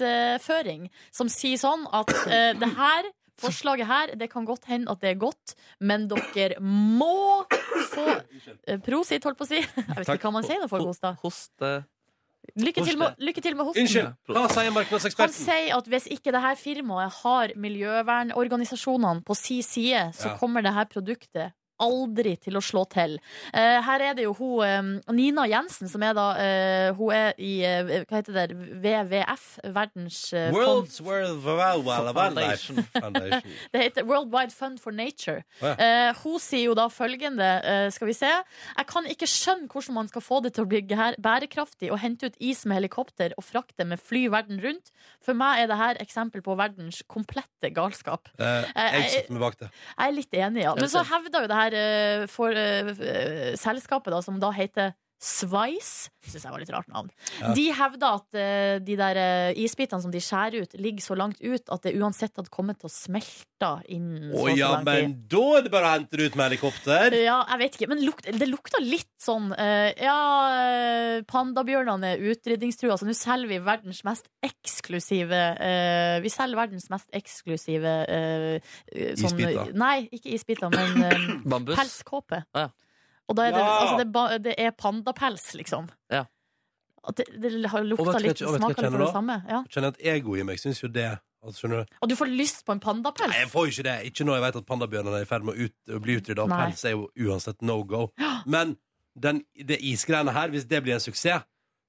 markedsføring som sier sånn at eh, det her Forslaget her, det kan godt hende at det er godt, men dere må få eh, Prosit, holdt på å si. (laughs) Jeg vet
Takk.
ikke hva man sier når folk hoster.
Hoste.
Lykke til med, lykke til med hosten.
Unnskyld! Hva sier
Han
markedseksperten?
sier at hvis ikke det her firmaet har miljøvernorganisasjonene på si side, så
Ja.
kommer det her produktet aldri til å slå til. Eh, her er det jo hun eh, Nina Jensen, som er da eh, Hun er i eh, hva heter det, WWF, Verdens eh, fond
World's World World World Foundation. Foundation.
det heter World Wide Fund for Nature.
Å ja.
Eh, hun sier jo da følgende, eh, skal vi se Jeg kan ikke skjønne hvordan man skal få det til å bli gær- bærekraftig å hente ut is med helikopter og frakte med fly verden rundt. For meg er det her eksempel på verdens komplette galskap.
Eh, jeg stiller meg bak det.
Jeg er litt enig, ja. Men så hevda jo det her eh, for eh, eh, selskapet, da, som da heter Svice, syns jeg var litt rart navn.
Ja.
De hevda at eh, de der eh, isbitene som de skjærer ut, ligger så langt ut at det uansett hadde kommet til å smelte innen
Å
så og så
ja,
lang tid.
men da er det bare å hente det ut med helikopter.
Ja, jeg vet ikke, men lukt, det lukta litt sånn eh, Ja, eh, pandabjørnene er utrydningstrua, så nå selger vi verdens mest eksklusive eh, Vi selger verdens mest eksklusive eh, eh, sånn-
Isbiter.
Nei, ikke isbiter, men
(clears throat)
eh,
Bambus.
Pelskåpe.
Ah, ja.
Og da er det,
Ja!
altså det, er ba- det er pandapels, liksom.
Ja.
At det, det har
Og vet
lukta
du hva
litt,
jeg- og vet du hva jeg
smaker litt
kjenner
av det
da?
samme. Ja.
Kjenner at egoet i meg syns jo det. Altså, skjønner du?
Og du får lyst på en
Nei, jeg
pandapels.
får jo ikke det. Ikke når jeg vet at pandabjørnene er i ferd med å, ut, å bli utrydda. Og
Nei.
pels er jo uansett no go. Men den, det isgreiene her, hvis det blir en suksess,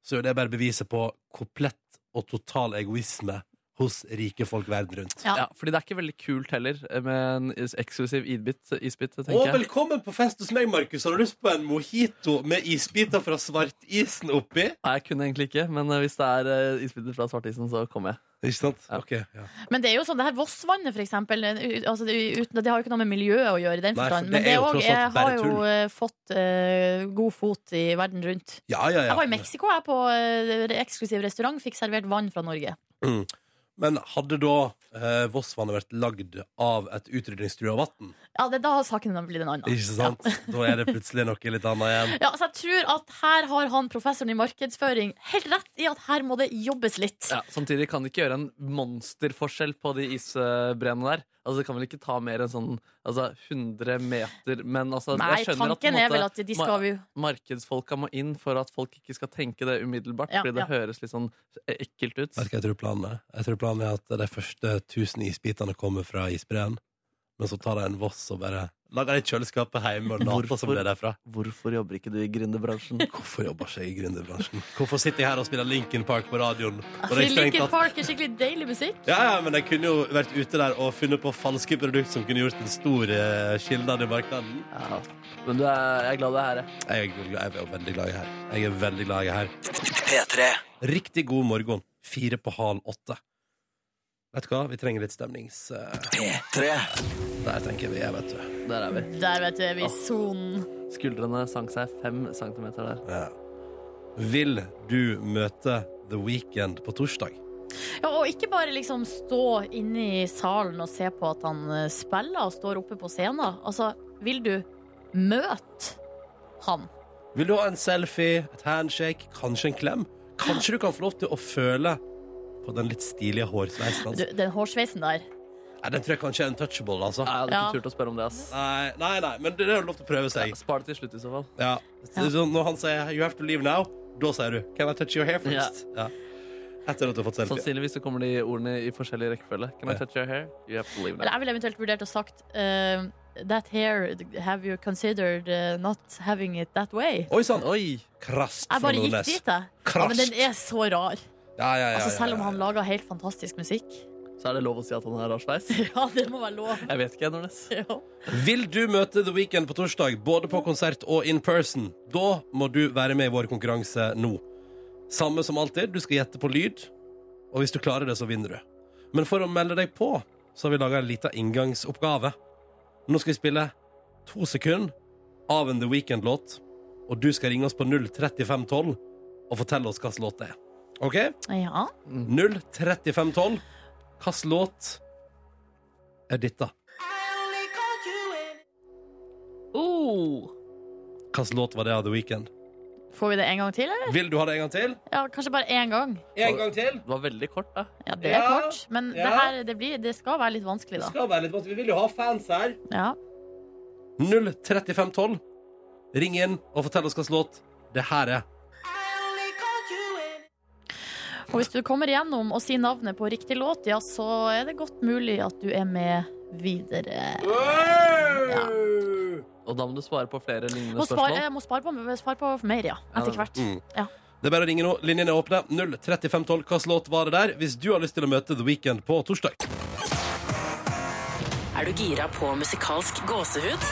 så er jo det bare beviset på komplett og total egoisme hos rike folk verden rundt.
Ja.
Ja, fordi det er ikke veldig kult heller eh, med en eksklusiv isbit, isbit
Og
tenker jeg.
velkommen på fest hos meg, Markus. Har du lyst på en mojito med isbiter fra svartisen oppi?
Nei, jeg kunne egentlig ikke, men eh, hvis det er eh, isbiter fra svartisen, så kommer jeg.
Ikke sant?
Ja.
Ok, ja.
Men det er jo sånn, det her Vossvannet, for eksempel, u- altså det, er jo uten, det har jo ikke noe med miljøet å gjøre i den
Nei, for
forstand.
det
Men
er
det
jo
òg
tross alt bare
har jo
tull.
eh, fått eh, god fot i verden rundt.
Ja, ja, ja.
Jeg var i Mexico, jeg, på eh, eksklusiv restaurant, fikk servert vann fra Norge.
Men hadde da eh, Vossvannet vært lagd av et utrydningstrua vann?
Ja, det, da har saken blitt en annen.
Ikke sant? Da er det plutselig noe litt annet igjen.
Ja, så jeg tror at her har han professoren i markedsføring helt rett i at her må det jobbes litt.
Ja, samtidig kan det ikke gjøre en monsterforskjell på de isbreene der. Altså, Det kan vel ikke ta mer enn sånn altså, 100 meter, men altså,
Nei,
jeg skjønner at, på en
tanken er vel
måte,
at de skal jo
markedsfolka må inn for at folk ikke skal tenke det umiddelbart,
Ja,
fordi det
ja.
høres litt sånn ekkelt ut.
Vet du hva jeg tror planen er? Jeg tror planen er at de første 1000 isbitene kommer fra isbreen, men så tar de en Voss og bare lager det i kjøleskapet hjemme og later som
Hvorfor?
det er derfra.
Hvorfor jobber ikke du i gründerbransjen?
Hvorfor jobber ikke jeg i gründerbransjen? Hvorfor sitter jeg her og spiller Linkin Park på radioen? Og
Fordi
det er strengt
Altså, Linkin
tatt-
Park er skikkelig deilig musikk.
Ja, ja, men jeg kunne jo vært ute der og funnet på falske produkt som kunne gjort en stor eh, skilnad i markedet.
(laughs) Ja. Men du er, jeg er glad du er her. jeg.
Jeg er, glad- jeg er veldig glad i her. Jeg er veldig glad i her. Riktig god morgen. Fire på halv åtte. Vet du hva, vi trenger litt stemnings... eh, Der tenker vi er, vet du.
Der er vi.
Der, vet du, er vi i sonen.
Skuldrene sank seg fem centimeter der.
Ja. Eh, Vil du møte The Weekend på torsdag?
Ja, og ikke bare liksom stå inne i salen og se på at han eh, spiller og står oppe på scenen. Altså, vil du møte han?
Vil du ha en selfie, et handshake, kanskje en klem? Kanskje du kan få lov til å føle på den litt stilige hårsveisen hans?
Du, den hårsveisen der.
Nei, den tror jeg kanskje er untouchable, altså.
Nei, Jeg hadde
Ja.
ikke turt å spørre om det, ass.
Nei, nei, nei, men det er jo lov til å prøve seg.
Spar det til slutt, i så fall.
Ja. Så så når han sier 'you have to leave now', da sier du 'can I touch your hair first'? Ja. Etter at du
Sånn
har fått selfie.
Sannsynligvis så kommer de ordene i forskjellig rekkefølge. Can I
Ja.
touch your hair? You have to leave
Eller
now.
jeg ville eventuelt vurdert og sagt eh, That hair, have you considered eh, not having it that way?
Oi sann!
Oi!
Krast
Jeg
fra
bare gikk
Nordnes.
dit, jeg. Ja, men
Krast.
den er så rar.
Ja, ja, ja,
Altså, selv om
ja,
han
ja.
lager helt fantastisk musikk. (laughs)
Så er det lov å si at han har rar sveis?
Ja, det må være lov. (laughs)
Jeg vet ikke, jeg, Nordnes.
Ja.
Vil du møte The Weekend på torsdag, både på konsert og in person? Da må du være med i vår konkurranse nå. Samme som alltid, du skal gjette på lyd, og hvis du klarer det, så vinner du. Men for å melde deg på, så har vi laga en lita inngangsoppgave. Nå skal vi spille to sekunder av en The Weekend-låt, og du skal ringe oss på 03512 og fortelle oss hvilken låt det er. OK?
ja.
03512. Hvilken låt er dette?
Oh.
Hvilken låt var det av The Weekend?
Får vi det en gang til, eller?
Vil du ha det en gang til?
Ja, kanskje bare én gang.
En gang til.
Det var veldig kort, da.
Ja, det er
Ja,
kort, men det,
ja.
her, det, blir, det skal være litt vanskelig, da.
skal være litt Vi vil jo ha fans her.
Ja.
03512. Ring inn og fortell oss hvilken låt det her er.
Og hvis du kommer igjennom og sier navnet på riktig låt, ja, så er det godt mulig at du er med videre. Ja.
Og da må du svare på flere lignende
Må spare,
spørsmål.
jeg må spare, på, spare på mer, ja. Etter hvert.
Mm.
Ja.
Det er bare å ringe nå. Linjene er åpne. 03512. Hvilken låt var det der? Hvis du har lyst til å møte The Weekend på torsdag.
Er du gira på musikalsk gåsehud?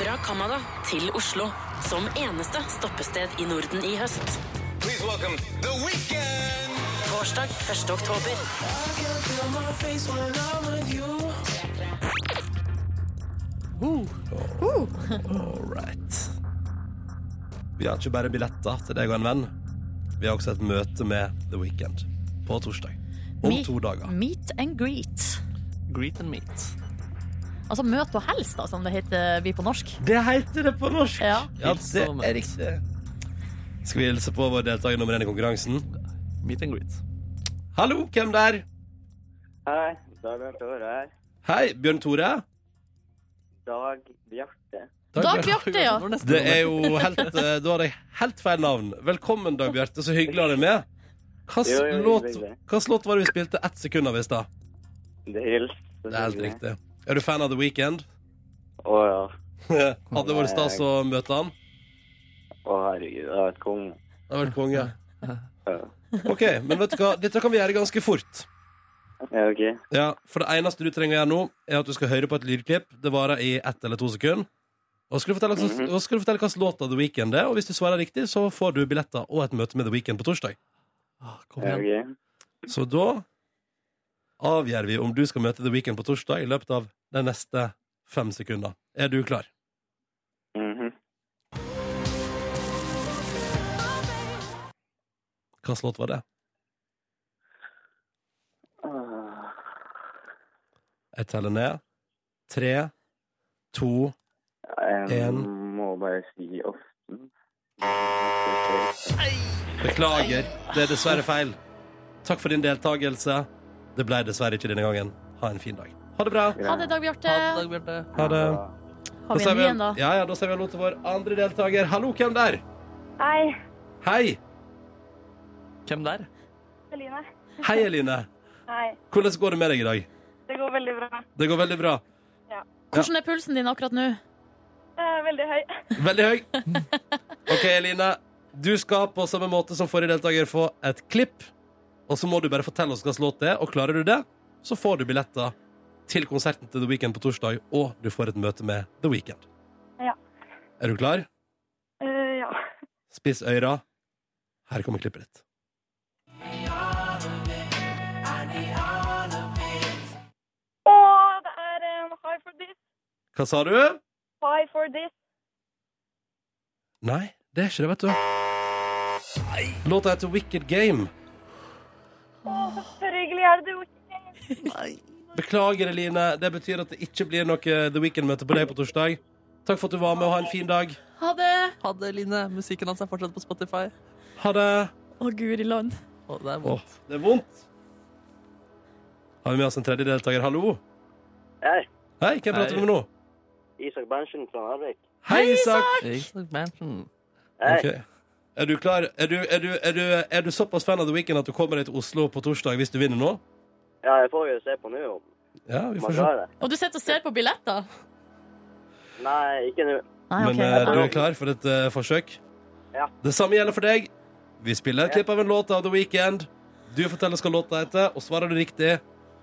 Fra Canada til Oslo, som eneste stoppested i Norden i høst.
Please welcome The Weekend.
Torsdag 1. oktober.
All right. Vi har ikke bare billetter til deg og en venn. Vi har også et møte med The Weekend på torsdag. Om
Meet-
to dager.
Meet and greet.
Greet and meet.
Altså møt og hils, da, som det heter vi på norsk.
Det heter det på norsk.
Ja.
Ja,
Hils
det
og
er
møt.
riktig. Skal vi hilse på vår deltaker nummer én i konkurransen?
Meet and greet.
Hallo, hvem der?
Hei, Dag Bjarte Aare her.
Hei, Bjørn Tore.
Dag Bjarte.
Dag
(laughs)
Bjarte, ja.
Det var nesten
Det er jo helt, eh, da har jeg helt feil navn. Velkommen, Dag Bjarte. Så hyggelig å ha deg med.
Jo, jo,
Hvilken
jo,
låt,
hyggelig.
hvilken låt var det vi spilte ett sekund av i stad?
Det er Hils.
Det er helt riktig. Er du (laughs) fan av The Weekend?
Å ja.
Hadde det vært stas å møte han?
Å, herregud, det har vært konge.
Det har vært konge.
Ja.
OK, men vet du hva? Dette kan vi gjøre ganske fort.
Ja, ok.
Ja, For det eneste du trenger å gjøre nå, er at du skal høre på et lydklipp. Det varer i ett eller to sekunder. Og så skal du fortelle hva
Mhm.
slags- og så skal du fortelle hva slags låt av The Weeknd er, og hvis du svarer riktig, så får du billetter og et møte med The Weeknd på torsdag.
Ah, kom
Ja,
igjen.
ok.
Så da avgjør vi om du skal møte The Weeknd på torsdag i løpet av de neste fem sekunder. Er du klar?
Mhm.
Hva slags låt var det?
Ah.
Jeg teller ned. Tre, to
Jeg
En.
må bare si Often.
Beklager, det er dessverre feil. Takk for din deltakelse. Det ble dessverre ikke denne gangen. Ha en fin dag. Ha det bra.
Ha det, Dag Bjarte.
Ha det, Dag Bjarte.
Ha det.
Har vi
sier
en ny en, da?
ja, ja, da sier vi hallo til vår andre deltaker. Hallo, hvem der?
Hei,
Hei.
Hvem der?
Eline.
Hei, Eline.
Hei.
Hvordan går det med deg i dag?
Det går veldig bra.
Det går veldig bra.
Hvordan er pulsen din akkurat nå?
Jeg er veldig høy.
Veldig høy. OK, Eline. Du skal på samme måte som forrige deltaker få et klipp. Og så må du bare fortelle oss hva slags låt det er, og klarer du det, så får du billetter til konserten til The Weeknd på torsdag, og du får et møte med The Weeknd.
Ja.
Er du klar?
Eh, ja.
Spiss øyra. Her kommer klippet ditt.
Å, det er um, High for this,
Hva sa du?
high for this.
Nei, det er ikke det, vet du. Låta heter Wicked Game.
Å, så sørgelig er det jo ikke.
Beklager, Eline. Det betyr at det ikke blir noe The Weeknd-møte på deg på torsdag. Takk for at du var med, og ha en fin dag.
Ha det!
Ha det, Line. Musikken hans er fortsatt på Spotify.
Ha det.
Å, guri land.
Å, det er
Åh,
vondt.
det er vondt. Har vi med oss en tredje deltaker. Hallo.
Hei,
Hei, hvem prater
Hei.
vi med nå?
Isak Berntsen fra Narvik.
Hei, Isak.
Ikke sant, Manson.
Hei.
Ok. Er du klar? Er du, er, du, er, du, er du såpass fan av The Weeknd at du kommer deg til Oslo på torsdag hvis du vinner nå?
Ja, jeg får jo se på nå om
Ja, vi
man
får se.
klarer det.
Og du sitter og ser på billetter?
Nei, ikke nå.
Nei,
Men
Ah, ok.
eh, du er klar for et eh, forsøk?
Ja.
Det samme gjelder for deg. Vi spiller et klipp av en låt av The Weeknd. Du forteller oss hva låta heter, og svarer du riktig,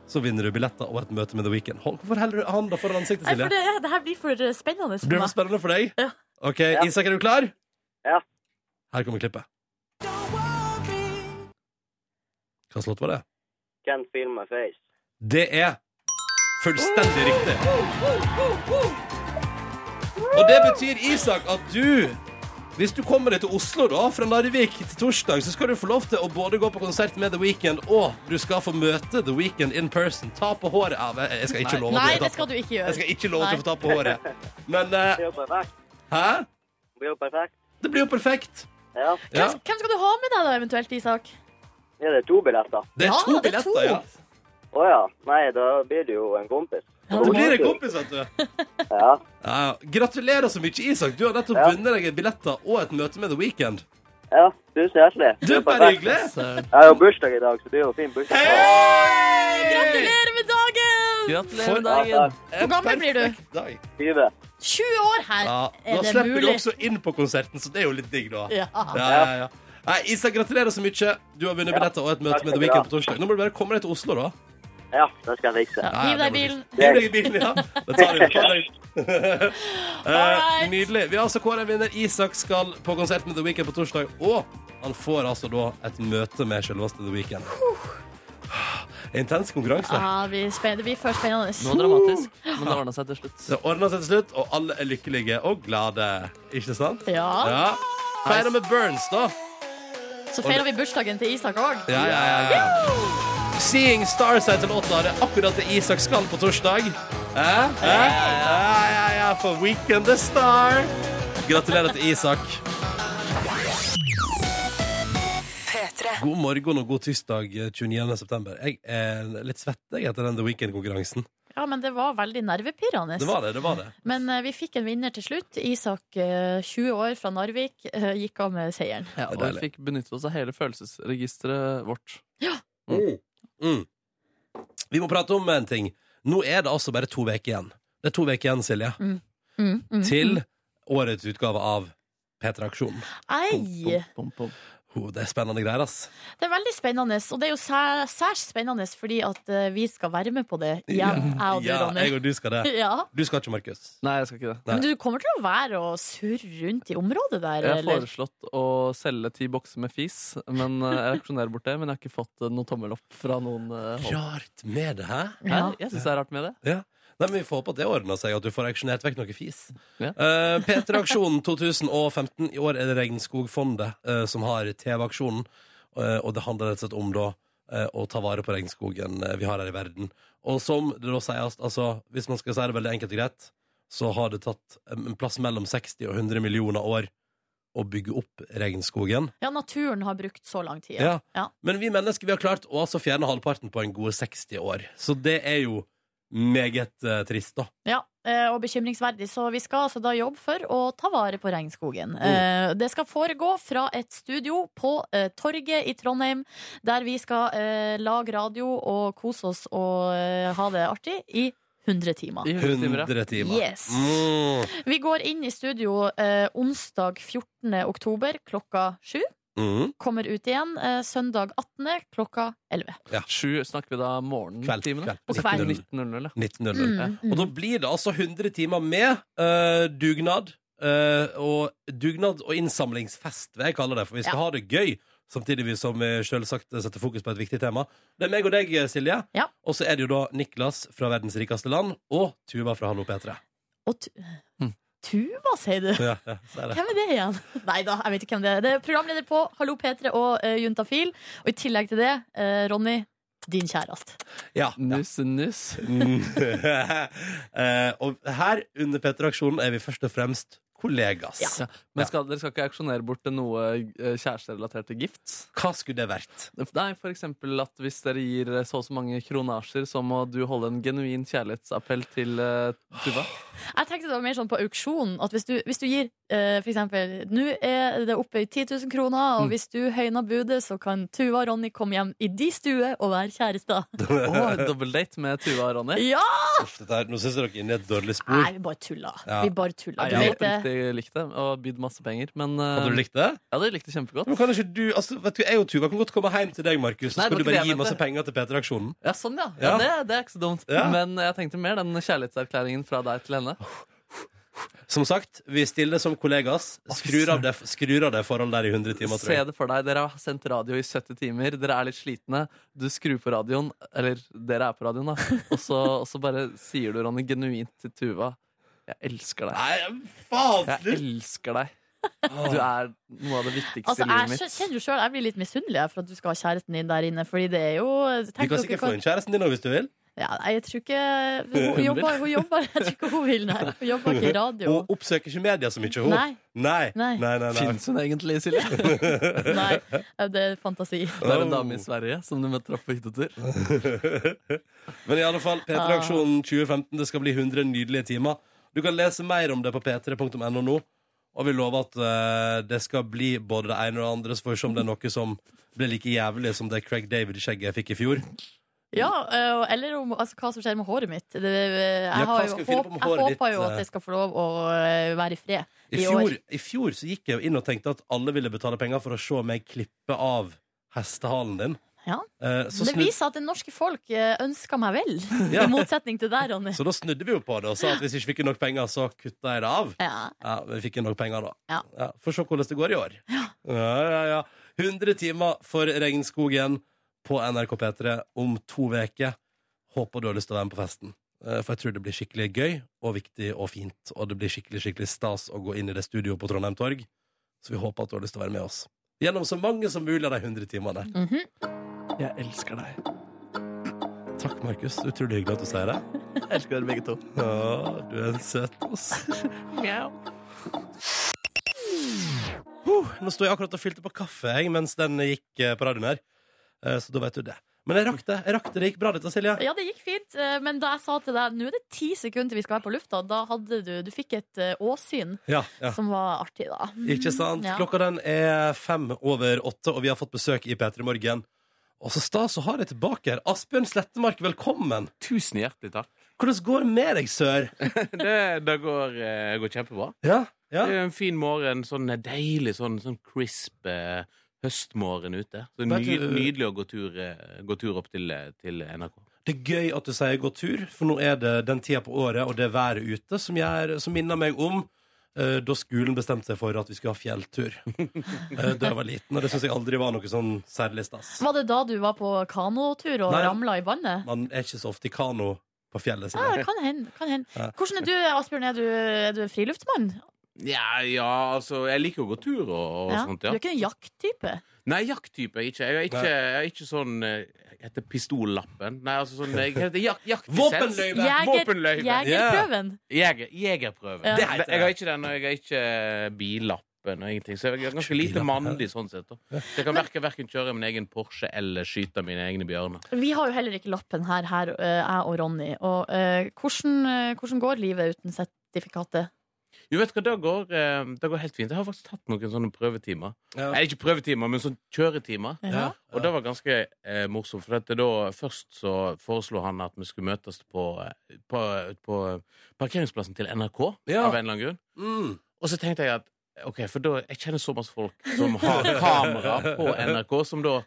så vinner du billetter og et møte med The Weeknd. Hold- Hvorfor heller du handa foran ansiktet,
Nei, for
Silje?
det, ja, det her blir for eh, spennende
Blir
for
det
meg.
spennende for deg?
Ja.
OK, Isak, er du klar?
Ja.
Her kommer klippet. Hva slags låt var det?
Can't feel my face.
Det er fullstendig riktig. Og det betyr, Isak, at du hvis du kommer deg til Oslo da, fra Narvik til torsdag, så skal du få lov til å både gå på konsert med The Weeknd, og du skal få møte The Weeknd in person. Ta på håret av Jeg skal ikke love
Nei,
at
det
ta
skal
på-
du ikke
Jeg
gjøre.
skal ikke love at du
Nei.
får ta på håret. Men eh,
(laughs)
Det er jo perfekt.
hæ?
Det er jo perfekt.
Det blir jo perfekt.
Ja.
Ja.
Hvem skal du ha med deg, da, eventuelt, Isak?
ja, det er to billetter.
Det er
Ja,
to
det er to.
billetter, ja.
Å ja. Nei, da blir det jo en kompis.
Ja,
Det blir en kompis, vet du.
Ja.
Ja, gratulerer så mye, Isak. Du har nettopp
Ja.
vunnet deg billetter og et møte med The Weeknd.
ja. Tusen hjertelig.
Du,
Det er
bare
perfekt.
hyggelig.
Søren.
Jeg har jo bursdag i dag, så det er jo en fin bursdag.
Gratulerer!
Gratulerer med dagen!
Gratulerer med
Ja,
dagen.
takk.
Hvor gammel blir du?
20.
20 år her!
Ja,
Er
da
det
slipper du
mulig?
også inn på konserten, så det er jo litt digg, da. Ja,
Ja.
ja, ja. Nei, Isak, gratulerer så mye. Du har vunnet
Ja.
billetter og et møte
Takk skal
med The
du ha.
Weeknd på torsdag. Nå må du bare komme deg til Oslo, da.
Ja, det skal jeg fikse.
Ja,
Ja,
Hiv
det
deg i
må
bilen.
Hiv deg i bilen, ja. Det tar vi. Ta deg.
(laughs)
Eh,
Alright.
Nydelig. Vi har altså kåret en vinner. Isak skal på konsert med The Weeknd på torsdag, og han får altså da et møte med selveste The Weeknd. (sighs) Intens konkurranse.
Ja, vi spen- det blir for spennende.
Noe dramatisk, men det ordna seg til slutt.
Det ordner seg til slutt, og alle er lykkelige og glade. Ikke sant?
Ja,
Ja. Feire med Burns, da.
Så feirer vi bursdagen til Isak òg.
Ja, ja, ja, ja. Seeing Stars heter låta. Det er akkurat det Isak skal på torsdag. Eh? Eh? Ja, ja, ja, for Weekend the Star. Gratulerer til Isak. God morgen og god tirsdag eh, 29. september. Jeg er litt svett jeg, etter den The Weekend-konkurransen.
Ja, men det var veldig nervepirrende.
Det var det, det var det.
Men eh, vi fikk en vinner til slutt. Isak, eh, 20 år fra Narvik, eh, gikk av med seieren.
Ja, og vi
Deilig.
fikk benyttet oss av hele følelsesregisteret vårt.
Mm. Vi må prate om en ting. Nå er det altså bare to uker igjen. Det er to uker igjen, Silje,
Mm, mm,
til årets utgave av P3-aksjonen.
Ei!
Pom, pom, pom.
Ho, det er spennende greier, ass.
Det er veldig spennende, og det er jo sæ- særs spennende fordi at eh, vi skal være med på det igjen, jeg og du,
Ja, jeg
Ronny.
og du skal det.
(laughs) Ja.
Du skal ikke, Markus.
Nei, jeg skal ikke det.
Men du kommer til å være og surre rundt i området der,
Jeg har
eller?
foreslått å selge ti bokser med fis, men eh, jeg aksjonerer bort det. Men jeg har ikke fått eh, noen tommel opp fra noen eh, hold.
Rart med det, hæ?
Ja.
Her, jeg syns det er rart med det.
Nei, men Vi får håpe at det ordner seg, at du får auksjonert vekk noe fis.
Ja.
Eh, P3-aksjonen 2015. I år er det Regnskogfondet eh, som har TV-aksjonen. eh, og det handler rett og slett om da eh, å ta vare på regnskogen eh, vi har her i verden. Og som det da sies, altså hvis man skal si det veldig enkelt og greit, så har det tatt eh, en plass mellom 60 og 100 millioner år å bygge opp regnskogen.
Ja, naturen har brukt så lang tid.
Ja.
Ja.
Men vi mennesker vi har klart å altså fjerne halvparten på en god 60 år. Så det er jo meget eh, trist, da.
Ja, eh, og bekymringsverdig. Så vi skal altså da jobbe for å ta vare på regnskogen.
Oh.
Eh, Det skal foregå fra et studio på eh, Torget i Trondheim, der vi skal eh, lage radio og kose oss og eh, ha det artig i 100 timer.
I 100 timer, ja.
100 timer.
Yes.
Mm.
Vi går inn i studio eh, onsdag 14. oktober klokka sju.
Mm.
Kommer ut igjen eh, søndag 18. klokka 11.
Sju snakker vi da
Kveld,
morgentimene.
kveld.
Og kveld.
19.00. ja.
1900.
Mm,
Og
mm.
da blir det altså 100 timer med eh, dugnad. eh, og dugnad og innsamlingsfest, vil jeg kalle det. For vi skal
Ja.
ha det gøy, samtidig som vi selvsagt setter fokus på et viktig tema. Det er meg og deg, Silje.
Ja.
Og så er det jo da Niklas fra verdens rikeste land og Tuva fra Hallo P3.
Og tu
Mm.
Tuva, sier du?
Ja, ja, så er det.
Hvem er det igjen? (laughs) Nei da, jeg vet ikke hvem det er. Det er programleder på Hallo P3 og eh, Juntafil. Og i tillegg til det, eh, Ronny, din kjæreste.
Ja, ja.
Nuss, nuss.
Mm. (laughs) Eh, og her under P3-aksjonen er vi først og fremst kollegas.
Ja. Men skal, dere skal ikke auksjonere bort til noe eh, kjæresterelaterte gifts?
Hva skulle det vært?
Nei, for eksempel at hvis dere gir eh, så og så mange kronasjer, så må du holde en genuin kjærlighetsappell til eh, Tuva.
Jeg tenkte det var mer sånn på auksjonen. At hvis du, hvis du gir eh, for eksempel Nå er det oppe i 10 000 kroner, og
Mm.
hvis du høyner budet, så kan Tuva og Ronny komme hjem i de stue og være kjærester.
Oh, (laughs) Double date med Tuva og Ronny.
Ja!
Uff, dette her, nå syns jeg dere er inne i et dårlig spor.
Nei, vi bare tulla.
Ja.
Vi bare tulla.
Mm. Nei,
Du
jeg
vet
hadde
det.
riktig likt det og bydd masse penger. Men eh,
Hadde du likt det?
jeg hadde likt det kjempegodt.
Men kan ikke du, altså, vet du, Jeg og Tuva kan godt komme hjem til deg, Markus, så
Nei, det var
skal du
ikke
bare
det jeg
gi
mente.
masse penger til P3-aksjonen.
Ja, sånn, ja. ja.
Ja.
det, det er ikke så dumt.
Ja.
Men jeg tenkte mer den kjærlighetserklæringen fra deg til henne.
Som sagt, vi stiller som kollegas. Skrur av det, skrur av det forholdet der i 100 timer, tror
Se
jeg.
det for deg. Dere har sendt radio i 70 timer. Dere er litt slitne. Du skrur på radioen, eller dere er på radioen, da.
(laughs)
Og så, og så bare sier du, Ronny, genuint til Tuva Jeg elsker deg.
Nei, faen!
Jeg
slutt!
elsker deg. Du er noe av det viktigste
Altså,
i livet
jeg
mitt.
skjø- kjenner jo selv, jeg blir litt misunnelig jeg, for at du skal ha kjæresten din der inne. Fordi det er jo
Du
tenk
kan
dere
sikkert
hva-
få inn kjæresten din nå, hvis du vil.
Ja, nei, jeg tror ikke Hun
(laughs)
vil.
jobber, hun jobber. Jeg tror ikke hun vil, nei. Hun jobber ikke i radio.
Hun oppsøker ikke media så mye, hun.
Nei.
Nei. Nei,
Nei.
nei, nei.
Fins hun egentlig, Silje? Det
nei. Det er fantasi.
er en
Oh.
dame i Sverige som du møtte opp på hyttetur.
Men i alle fall,
Ah.
P3-aksjonen 2015, det skal bli 100 nydelige timer. Du kan lese mer om det på p3.no nå. Og vi lover at eh, det skal bli både det ene og det andre, så får vi se om det er noe som blir like jævlig som det Craig David-skjegget jeg fikk i fjor.
Ja, øh, eller om, altså, hva som skjer med håret mitt. Det, eh, jeg
hva
har jo,
skal vi finne
håp,
på med
jeg
håret ditt,
håper jo
eh?
at jeg skal få lov å øh, være i fred i
I fjor,
år.
I fjor så gikk jeg jo inn og tenkte at alle ville betale penger for å se meg klippe av hestehalen din.
Ja.
Eh, så,
Det
snu,
viser at det norske folk øh, ønsker meg vel,
(laughs) Ja.
i motsetning til deg, Ronny.
så da snudde vi jo på det og sa at hvis ikke vi fikk nok penger, så kutta jeg det av.
Ja.
Ja, vi fikk inn nok penger da.
Ja.
Får se hvordan det går i år. Ja. Ja, ja, 100 timer for Regnskogen på NRK P3 om to uker. Håper du har lyst til å være med på festen. Eh, For jeg tror det blir skikkelig gøy og viktig og fint. Og det blir skikkelig skikkelig stas å gå inn i det studioet på Trondheim Torg. Så vi håper at du har lyst til å være med oss. Gjennom så mange som mulig av de 100 timene.
Mhm.
Jeg elsker deg.
Takk, Markus. Utrolig hyggelig at du sier det.
Jeg elsker dere begge to.
Ja, du er en søt ass. Huh, nå sto jeg akkurat og fylte på kaffe jeg, mens den gikk eh, på radioen her. Eh, Så da vet du det. Men jeg rakk det. jeg rakk Det Det gikk bra, dette, Silje.
Ja, det gikk fint, øh, men da jeg sa til deg nå er det ti sekunder til vi skal være på lufta, da hadde du Du fikk et øh, åsyn
Ja, ja.
som var artig, da.
Ikke sant?
Ja.
Klokka den er fem over åtte, og vi har fått besøk i P3 Morgen. Og så stas å ha deg tilbake her. Asbjørn Slettemark, velkommen.
Tusen hjertelig takk.
Hvordan går det med deg, sør?
Det, det går, eh, går kjempebra.
Ja, Ja.
Det er jo en fin morgen, sånn deilig, sånn, sånn crisp eh, høstmorgen ute. Så
Vet
ny,
du-
nydelig å gå tur, eh, gå tur opp til, eh, til NRK.
Det er gøy at du sier gå tur, for nå er det den tida på året og det været ute som, gjør, som minner meg om eh, da skolen bestemte seg for at vi skulle ha (laughs) fjelltur. Eh, da jeg var liten, og det syns jeg aldri var noe sånn særlig stas.
Var det da du var på kanotur og
Nei.
ramla i vannet?
Man er ikke så ofte i kano på fjellet
Ja,
sine.
det kan hende. Kan hende.
Ja.
Hvordan er du, Asbjørn? Er du, er du en friluftsmann?
Ja, ja, altså Jeg liker å gå tur og, og
Ja.
sånt,
Du
ja.
er ikke en jakttype?
Nei, jakttype er jeg ikke. Jeg er ikke, jeg er ikke sånn eh, Jeg heter Pistollappen. Nei, altså sånn Jeg heter jak jaktlisens.
Våpenløyve!
Våpenløyve.
Jegerprøven.
Jeger, jegerprøven.
Ja.
Det heter det. Jeg har ikke den, og jeg har ikke eh, billappen og ingenting. Så jeg er ganske lite
billappen,
mandig sånn sett. Da. Så jeg kan verken, verken kjøre min egen Porsche eller skyte mine egne bjørner.
Vi har jo heller ikke lappen her, her eh, jeg og Ronny. Og eh, hvordan, eh, hvordan går livet uten sertifikatet?
Jo, vet du hva, det går, eh, det går helt fint. Jeg har faktisk tatt noen sånne prøvetimer.
Ja.
Nei, ikke prøvetimer, men sånn kjøretimer.
Ja.
Og det var ganske eh, morsomt, for at det da, først så foreslo han at vi skulle møtes på, eh, på, på eh, parkeringsplassen til NRK,
Ja.
av en eller annen grunn.
Mm.
Og så tenkte jeg at Ok, for da, jeg kjenner så masse folk som
(laughs)
har kamera på NRK, som da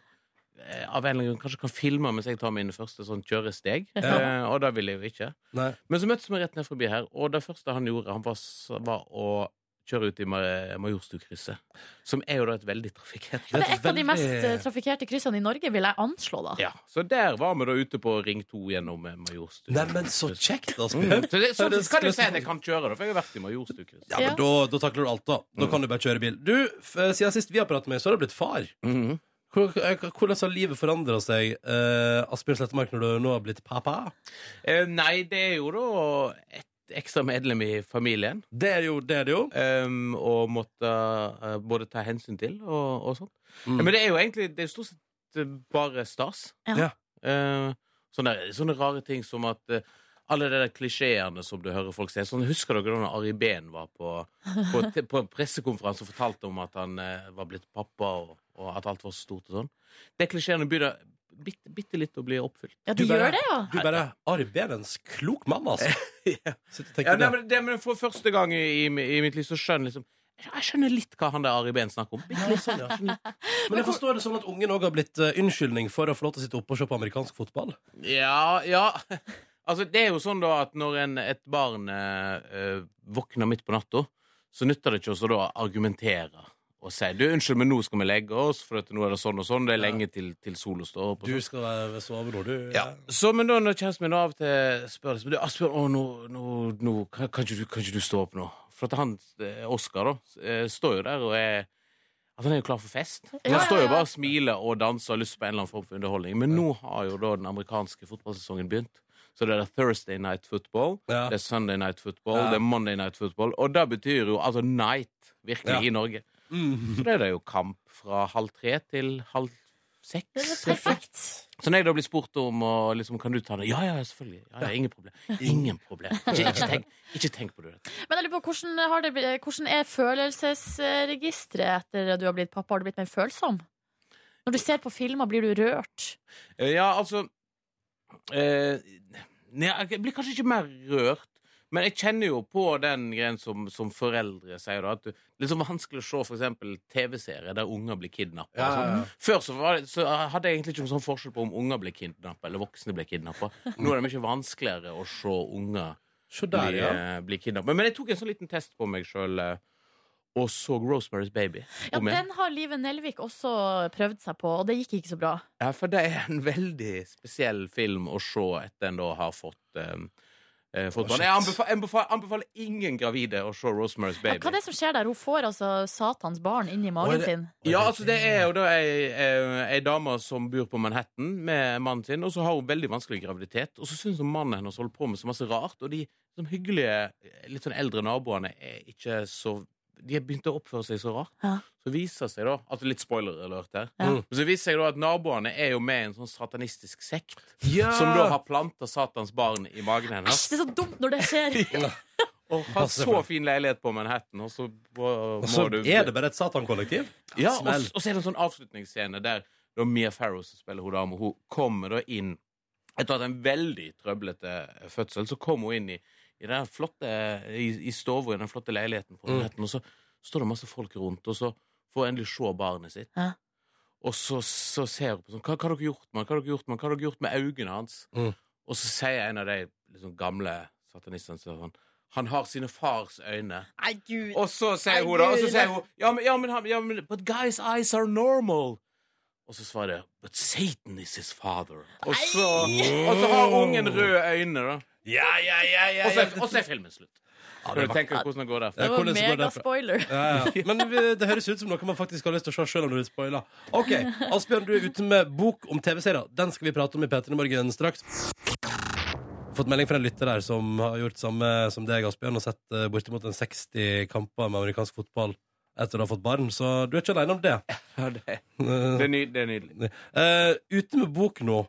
eh, av en eller annen grunn kanskje kan filme mens jeg tar mine første sånn kjøresteg. Eh, og det ville jeg jo ikke.
Nei.
Men så møttes vi rett ned forbi her, og det første han gjorde, han var, s- var å kjøre ut i Ma- Majorstukrysset. Som er jo da et veldig trafikkert
Det
kryss.
er et av de mest eh, trafikkerte kryssene i Norge, vil jeg anslå, da.
Ja, så der var vi da ute på Ring 2 gjennom eh, Majorstukrysset. (laughs)
Neimen, så kjekt, Asbjørn.
Mm. Så, det, så, så kan du si at jeg kan kjøre, da, for jeg har vært i Majorstukrysset.
Ja, men da, da takler du alt, da. Da kan du bare kjøre bil. Du, f Siden sist vi har pratet med deg, så har du blitt far.
Mhm.
Hvor- eh, Hvordan har livet forandra seg, eh, Asbjørn Slettemark, når du nå har blitt pappa?
Eh, nei, det er jo da et ekstra medlem i familien.
Det er jo det, er det jo.
Um, og måtte eh, både ta hensyn til og, og sånt.
Mm.
Men det er jo egentlig Det er stort sett eh, bare stas.
Ja.
Ja.
Eh, sånne, sånne rare ting som at eh, alle de der klisjeene som du hører folk si. Sånn, husker dere da Ari Behn var på, på, på pressekonferanse og fortalte om at han eh, var blitt pappa, og, og at alt var så stort og sånn? De klisjeene begynner bitte, bitte litt å bli oppfylt.
Ja,
Du
de
bare-
gjør det, ja.
Du bare Ari Behrens, klok mann, (laughs) altså. Sitter og tenker
Ja, nei,
det.
men, det, men For første gang i, i, i mitt liv så skjønner jeg liksom jeg skjønner litt hva han der Ari Behn snakker om. Bitte
Ja, sånn, ja. Men jeg forstår det sånn at ungen òg har blitt eh, unnskyldning for å få lov til å sitte oppe og se på amerikansk fotball.
Ja, ja. Altså, det er jo sånn da at når en, et barn eh, eh, våkner midt på natta, så nytter det ikke også da å argumentere og si du, 'Unnskyld, men nå skal vi legge oss, for at nå er det sånn og sånn.' Det er lenge til, til sola står opp. og
Du
sånn.»
skal være- sove når du
Ja. Så, men da når kjæresten min av og til spør liksom, du, Asbjørn, å, nå, nå, nå, kan, kan, ikke du, kan ikke du stå opp nå? For at han, eh, Oskar, da, eh, står jo der og er at Han er jo klar for fest.
Ja,
Han
ja,
står jo
ja.
bare og smiler og danser og har lyst på en eller annen form for underholdning. Men nå har jo da den amerikanske fotballsesongen begynt. Så det er Thursday night football,
Ja.
det er Sunday night football,
Ja.
det er Monday night football. Og det betyr jo altså night, virkelig,
Ja.
i Norge.
Mm.
Så det er det jo kamp fra halv tre til halv seks.
Det er perfekt.
Så når jeg da blir spurt om og liksom, kan du ta det, ja, ja, selvfølgelig. Ja, ja, ingen problem. Ingen problem. Ikke, ikke, tenk, ikke tenk på det.
Men jeg lurer på, hvordan, har det, bli- hvordan er følelsesregisteret etter at du har blitt pappa? Har du blitt mer følsom? Når du ser på filmer, blir du rørt?
Eh, Ja, altså eh, nei, Jeg blir kanskje ikke mer rørt, men jeg kjenner jo på den greien som, som foreldre sier, da. At du, det er så vanskelig å se for eksempel TV-serier der unger blir kidnappa.
Ja, ja, ja.
Før så, var, det- så hadde jeg egentlig ikke noen sånn forskjell på om unger ble kidnappa eller voksne ble kidnappa. Nå er det mye vanskeligere å se unger
Se der,
bli,
ja.
eh, bli kidnappet. Men jeg tok en sånn liten test på meg sjøl og så Rosemary's Baby.
Ja,
om igjen.
den har Live Nelvik også prøvd seg på, og det gikk ikke så bra.
ja, for det er en veldig spesiell film å se etter en da har fått eh, eh, fått
Å,
barn.
shit.
Jeg anbefaler, anbefaler, anbefaler ingen gravide å se Rosemary's
Ja,
Baby.
hva er det som skjer der? Hun får altså Satans barn inn i magen
det-
sin.
Ja, altså det er jo da ei, eh, ei dame som bor på Manhattan med mannen sin, og så har hun veldig vanskelig graviditet, og så syns hun mannen hennes holder på med så masse rart, og de som hyggelige, litt sånn eldre naboene er ikke så De har begynt å oppføre seg så rart.
Ja.
Så viser det seg da altså Litt spoiler-alert her.
Ja.
Men Så viser det seg da at naboene er jo med i en sånn satanistisk sekt,
Ja!
som da har planta Satans barn i magen hennes.
Æsj, det er så dumt når det
(laughs)
skjer!
Og har
Passe for
så
det.
fin leilighet på Manhattan, og så må,
Og så
må du
er det bare et satankollektiv.
ja, og,
Smell.
og så er det en sånn avslutningsscene der da Mia Farrow som spiller hun dame, hun kommer da inn etter at en veldig trøblete fødsel, eh, så kommer hun inn i, i den flotte i, i stoven, i den flotte leiligheten på
Mm.
Manhattan, og så står det masse folk rundt, og så får hun endelig se barnet sitt.
Ja.
Og så, så ser hun på sånn Hva hva har dere gjort med han? Hva har dere gjort med han? Hva har dere gjort med øynene hans?
Mm.
Og så sier en av de liksom, gamle satanistene sånn Han har sine fars øyne.
Nei, gud.
Og så sier
Nei,
hun da, og så
Gud.
sier hun ja men, ja, men, han- ja, men But guys' eyes are normal. Og så svarer jeg But Satan is his father. Og så, og så har ungen røde øyne, da.
Ja, ja, ja, ja,
Og så
ja.
er, og så er filmen slutt. Ja, du tenker hvordan det går derfra.
Ja,
Det var
hvordan går det derfra?
megaspoiler.
Ja, ja. Men vi- det høres ut som noe man faktisk har lyst til å se selv om du spoiler. Ok, Asbjørn, du er ute med bok om TV-serier. Den skal vi prate om i P3 Morgen straks. Fått melding fra en lytter her som har gjort samme som deg, Asbjørn, og sett eh, bortimot en 60 kamper med amerikansk fotball etter å ha fått barn, så du er ikke alene om det.
Ja, det,
Eh,
er ny, det er nydelig.
(laughs) eh, ute med bok nå.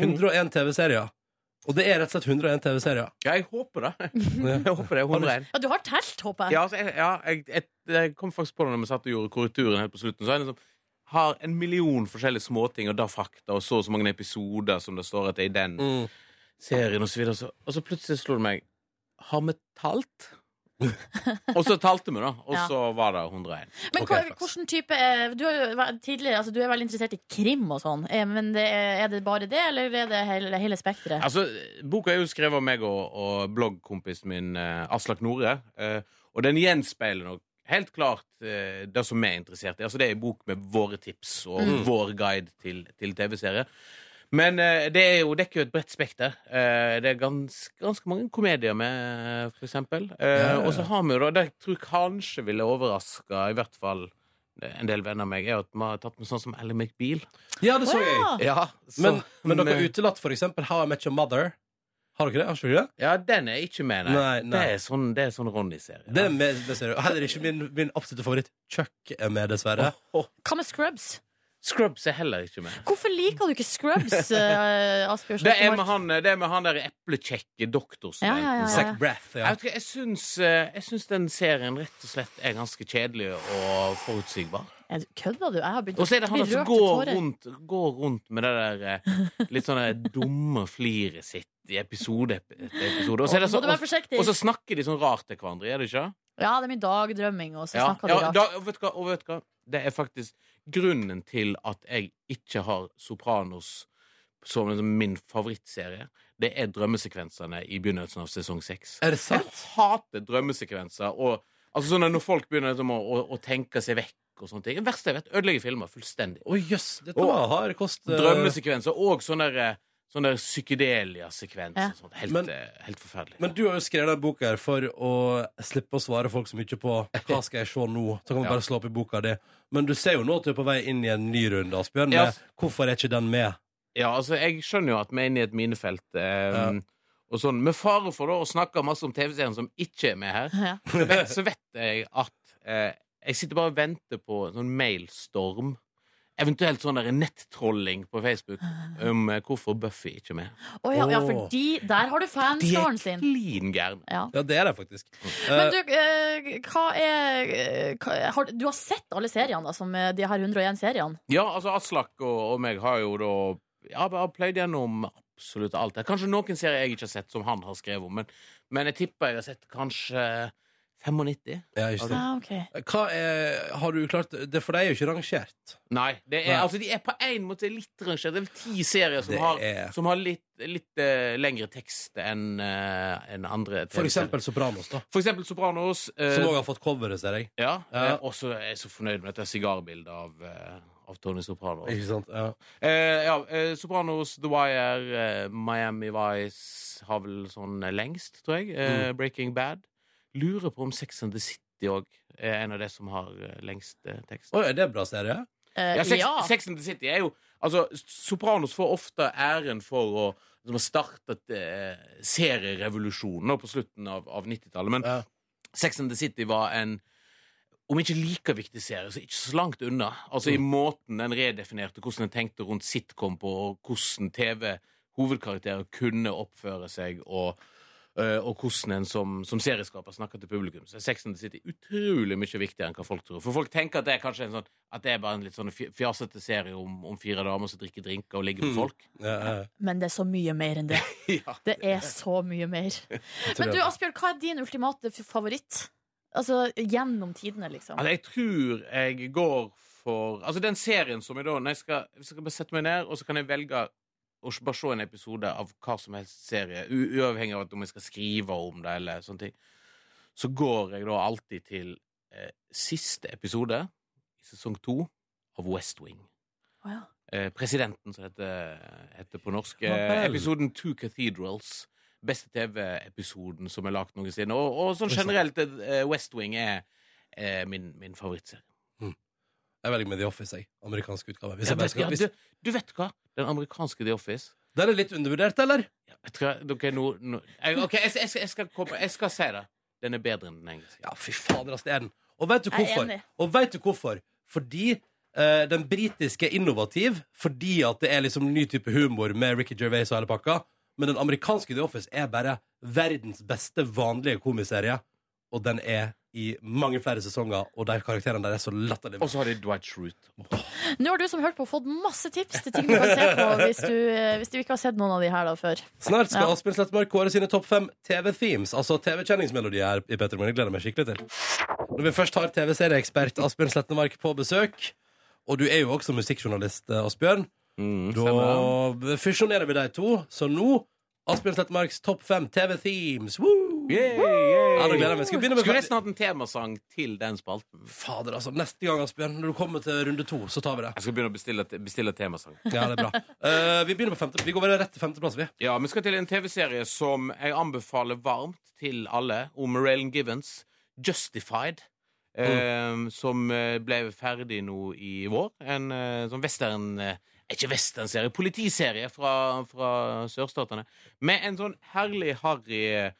101 TV-serier. Og det er rett og slett 101 (laughs) TV-serier. Mm.
Ja, jeg håper det. Jeg håper det er 101.
Ja, du har telt, håper jeg.
Ja, altså, jeg, ja jeg, jeg, jeg kom faktisk på det når vi satt og gjorde korrekturen helt på slutten. Så er det liksom, har en million forskjellige småting og da fakta og så og så mange episoder som det står at det er i den
Mm.
serien og så videre. Og så, og så plutselig slo det meg Har vi talt? og så talte vi, da. Og
Ja.
så var det 101.
Men
Ok,
hva-
flaks.
hvordan type eh, Du, har jo vært tidligere, altså, du er veldig interessert i krim og sånn, eh, men det, er er det bare det, eller er det hele, hele spekteret?
Altså, boka er jo skrevet av meg og, og bloggkompisen min eh, Aslak Nore. eh, og den gjenspeiler nok helt klart eh, det som vi er interessert i. Altså, det er en bok med våre tips og
Mm.
vår guide til, til TV-serier. Men eh, det er jo, dekker jo et bredt spekter. Eh, det er ganske, ganske mange komedier med, eh, for eksempel. Eh,
Ja, ja, ja.
Og så har vi jo da Det jeg tror kanskje ville overraska i hvert fall en del venner av meg, er at vi har tatt med sånn som Ally McBeal.
Ja, Mm. det så
Å,
jeg.
ja.
Ja, så,
Men, men dere har
eh,
utelatt for eksempel How I Met Your Mother. Har dere det? Har ikke dere det?
Ja, den er ikke med, nei.
Nei, nei.
Det er sånn, det er sånn Ronny-serie.
Det er med, det ser du. Og Heller ikke min, min absolutte favoritt. Chuck er med, dessverre.
Hva med Scrubs?
Scrubs er heller ikke med.
Hvorfor liker du ikke
(laughs)
Scrubs, eh, Asbjørn?
Det er
Stokmark?
med han, det er med han der eplekjekke doktorstudenten.
Ja, ja, ja, ja.
Zac
Zac Braff. Ja.
Jeg, vet ikke, jeg, syns, eh, jeg syns den serien rett og slett er ganske kjedelig og forutsigbar.
Er du- Kødder du? Jeg har begynt
Og så er det han
bli
der som
rørt til
går
tårer.
rundt, går rundt med det der eh, litt sånn der dumme fliret sitt i episode etter episode. Og så, er det
Må
så,
du være
og,
forsiktig?
og så snakker de sånn rart til hverandre, er det ikke?
Ja, det er mye dagdrømming, og så
Ja,
snakker
ja
du rart.
da, og, vet du hva, og vet du hva? Det er faktisk grunnen til at jeg ikke har Sopranos som liksom min favorittserie. Det er drømmesekvensene i begynnelsen av sesong seks.
Er det
Jeg
sant?
hater drømmesekvenser. Og, altså sånn at Når folk begynner liksom, å, å, å tenke seg vekk og sånne ting. Det verste jeg vet, ødelegger filmer fullstendig.
Å jøss, dette
Og-
var hard kost. eh,
Drømmesekvenser og sånne, der, sånne der psykedelia-sekvenser.
Ja.
og sånt. Helt,
Men-
eh, helt forferdelig.
Men du har jo skrevet denne boka her for å slippe å svare folk så mye på hva skal jeg se nå. Så kan man
Ja.
bare slå opp i boka di. Men du ser jo nå at du er på vei inn i en ny runde, Asbjørn.
Ja.
med Hvorfor er ikke den med?
Ja, altså, jeg skjønner jo at vi er inne i et minefelt. Eh, Og sånn, Med fare for da å snakke masse om TV-serien som ikke er med her,
(laughs) (laughs) Ja.
så vet, så vet jeg at eh, jeg sitter bare og venter på en sånn mailstorm. Eventuelt sånn der nettrolling på Facebook om eh, hvorfor Buffy ikke er med.
Å ja, ja,
Åh.
for de, der har du
De er
fanskaren sin.
klin gærne.
Ja.
Ja, det er det faktisk.
Men
Eh,
du, eh, hva er eh, hva, har, Du har sett alle seriene, da, som eh, de her 101 seriene?
Ja, altså Aslak og, og meg har jo da ja, bare pløyd gjennom absolutt alt. her. Kanskje noen serier jeg ikke har sett, som han har skrevet om, men, men jeg tipper jeg har sett kanskje 95.
ja, ikke sant.
Ja, ok.
Hva er Har du klart Det for deg er jo ikke rangert.
Nei. Det er,
Nei.
Altså, de er på en måte litt rangert. Det er vel ti serier som
Det
har,
er-
som har litt, litt eh, lengre tekst enn eh, enn andre.
For
TV-serier.
eksempel Sopranos, da.
For eksempel Sopranos. eh,
Som òg har fått coveret, ser jeg.
ja,
Ja.
eh, Og så er jeg så fornøyd med dette sigarbildet av, eh, av Tony Soprano.
Ikke sant? Ja.
Eh, ja, eh, Sopranos, The Wire, eh, Miami Vice har vel sånn eh, lengst, tror jeg. Eh,
Mm.
Breaking Bad. Lurer på om Sex and the City òg er en av de som har eh, lengst eh, tekst.
Oi, er det en bra serie?
Eh,
Ja, Sex,
ja.
Sex and the City er jo Altså, Sopranos får ofte æren for å liksom, ha startet eh, serierevolusjonen nå på slutten av, av 90-tallet. Men
Ja.
Sex and the City var en om ikke like viktig serie, så ikke så langt unna. Altså I måten den redefinerte hvordan den tenkte rundt sitcom på, og hvordan TV-hovedkarakterer kunne oppføre seg og eh, og hvordan en som, som serieskaper snakker til publikum. Så er Sex and the City utrolig mye viktigere enn hva folk tror. For folk tenker at det er kanskje en sånn At det er bare en litt sånn fj- fjasete serie om, om fire damer som drikker drinker og ligger med folk.
Ja, ja, ja.
Men det er så mye mer enn det.
Ja.
Det er så mye mer. Men du, Asbjørn, hva er din ultimate f- favoritt? Altså gjennom tidene, liksom.
Altså, jeg tror jeg går for Altså, den serien som jeg da når jeg skal, Hvis jeg skal bare sette meg ned, og så kan jeg velge å s- bare se en episode av hva som helst serie, u uavhengig av at om jeg skal skrive om det eller sånne ting, så går jeg da alltid til eh, siste episode i sesong to av West Wing.
Å, ja.
Eh, presidenten, som heter, heter på norsk.
Ja
Eh,
vel.
episoden Two Cathedrals. Beste TV-episoden som er lagd noensinne. Og, og sånn generelt, eh, West Wing er eh, min, min favorittserie.
Jeg velger med The Office, jeg. Amerikansk utgave. Hvis
Ja,
jeg bare
vet,
skal,
ja,
hvis,
du, du vet hva? Den amerikanske The Office
den er litt undervurdert, eller?
ja, jeg tror, jeg- dere, nå, nå, jeg, OK, jeg, jeg, skal- jeg, skal komme, jeg skal si det. Den er bedre enn den engelske.
Ja, fy fader, ass, det er den. Og vet du
Jeg er
hvorfor?
enig.
Og vet du hvorfor? Fordi eh, den britiske er innovativ, fordi at det er liksom ny type humor med Ricky Gervais og hele pakka, men den amerikanske The Office er bare verdens beste vanlige komiserie, og den er i mange flere sesonger, og de karakterene der er så latterlige.
Og så har de Dwight Schrute.
Nå har du som hørt på fått masse tips til ting du kan se på hvis du, eh, hvis du ikke har sett noen av de her da før.
Snart skal
Ja.
Asbjørn Slettmark kåre sine topp fem TV-themes, altså TV-kjenningsmelodier her i Petter Morgen. Jeg gleder meg skikkelig til. Når vi først har TV-serieekspert Asbjørn Slettemark på besøk, og du er jo også musikkjournalist, eh, Asbjørn,
Mm,
da fusjonerer vi de to. Så nå Asbjørn Slettemarks topp fem TV-themes. Woo! Ja, nå gleder jeg meg. Skal vi begynne med
Skulle nesten hatt en temasang til den spalten.
Fader, altså. Neste gang, Asbjørn, når du kommer til runde to, så tar vi det.
Jeg skal begynne å bestille, bestille temasang.
Ja, det er
(laughs)
bra. Eh, vi begynner på femte. Vi går bare rett til femteplass, vi.
Ja, vi skal til en TV-serie som jeg anbefaler varmt til alle, om Raylan Givens, Justified, eh, som eh, ble ferdig nå i vår. En eh, sånn western... Eh, ikke westernserie, politiserie fra, fra sørstatene. Med en sånn herlig, harry eh,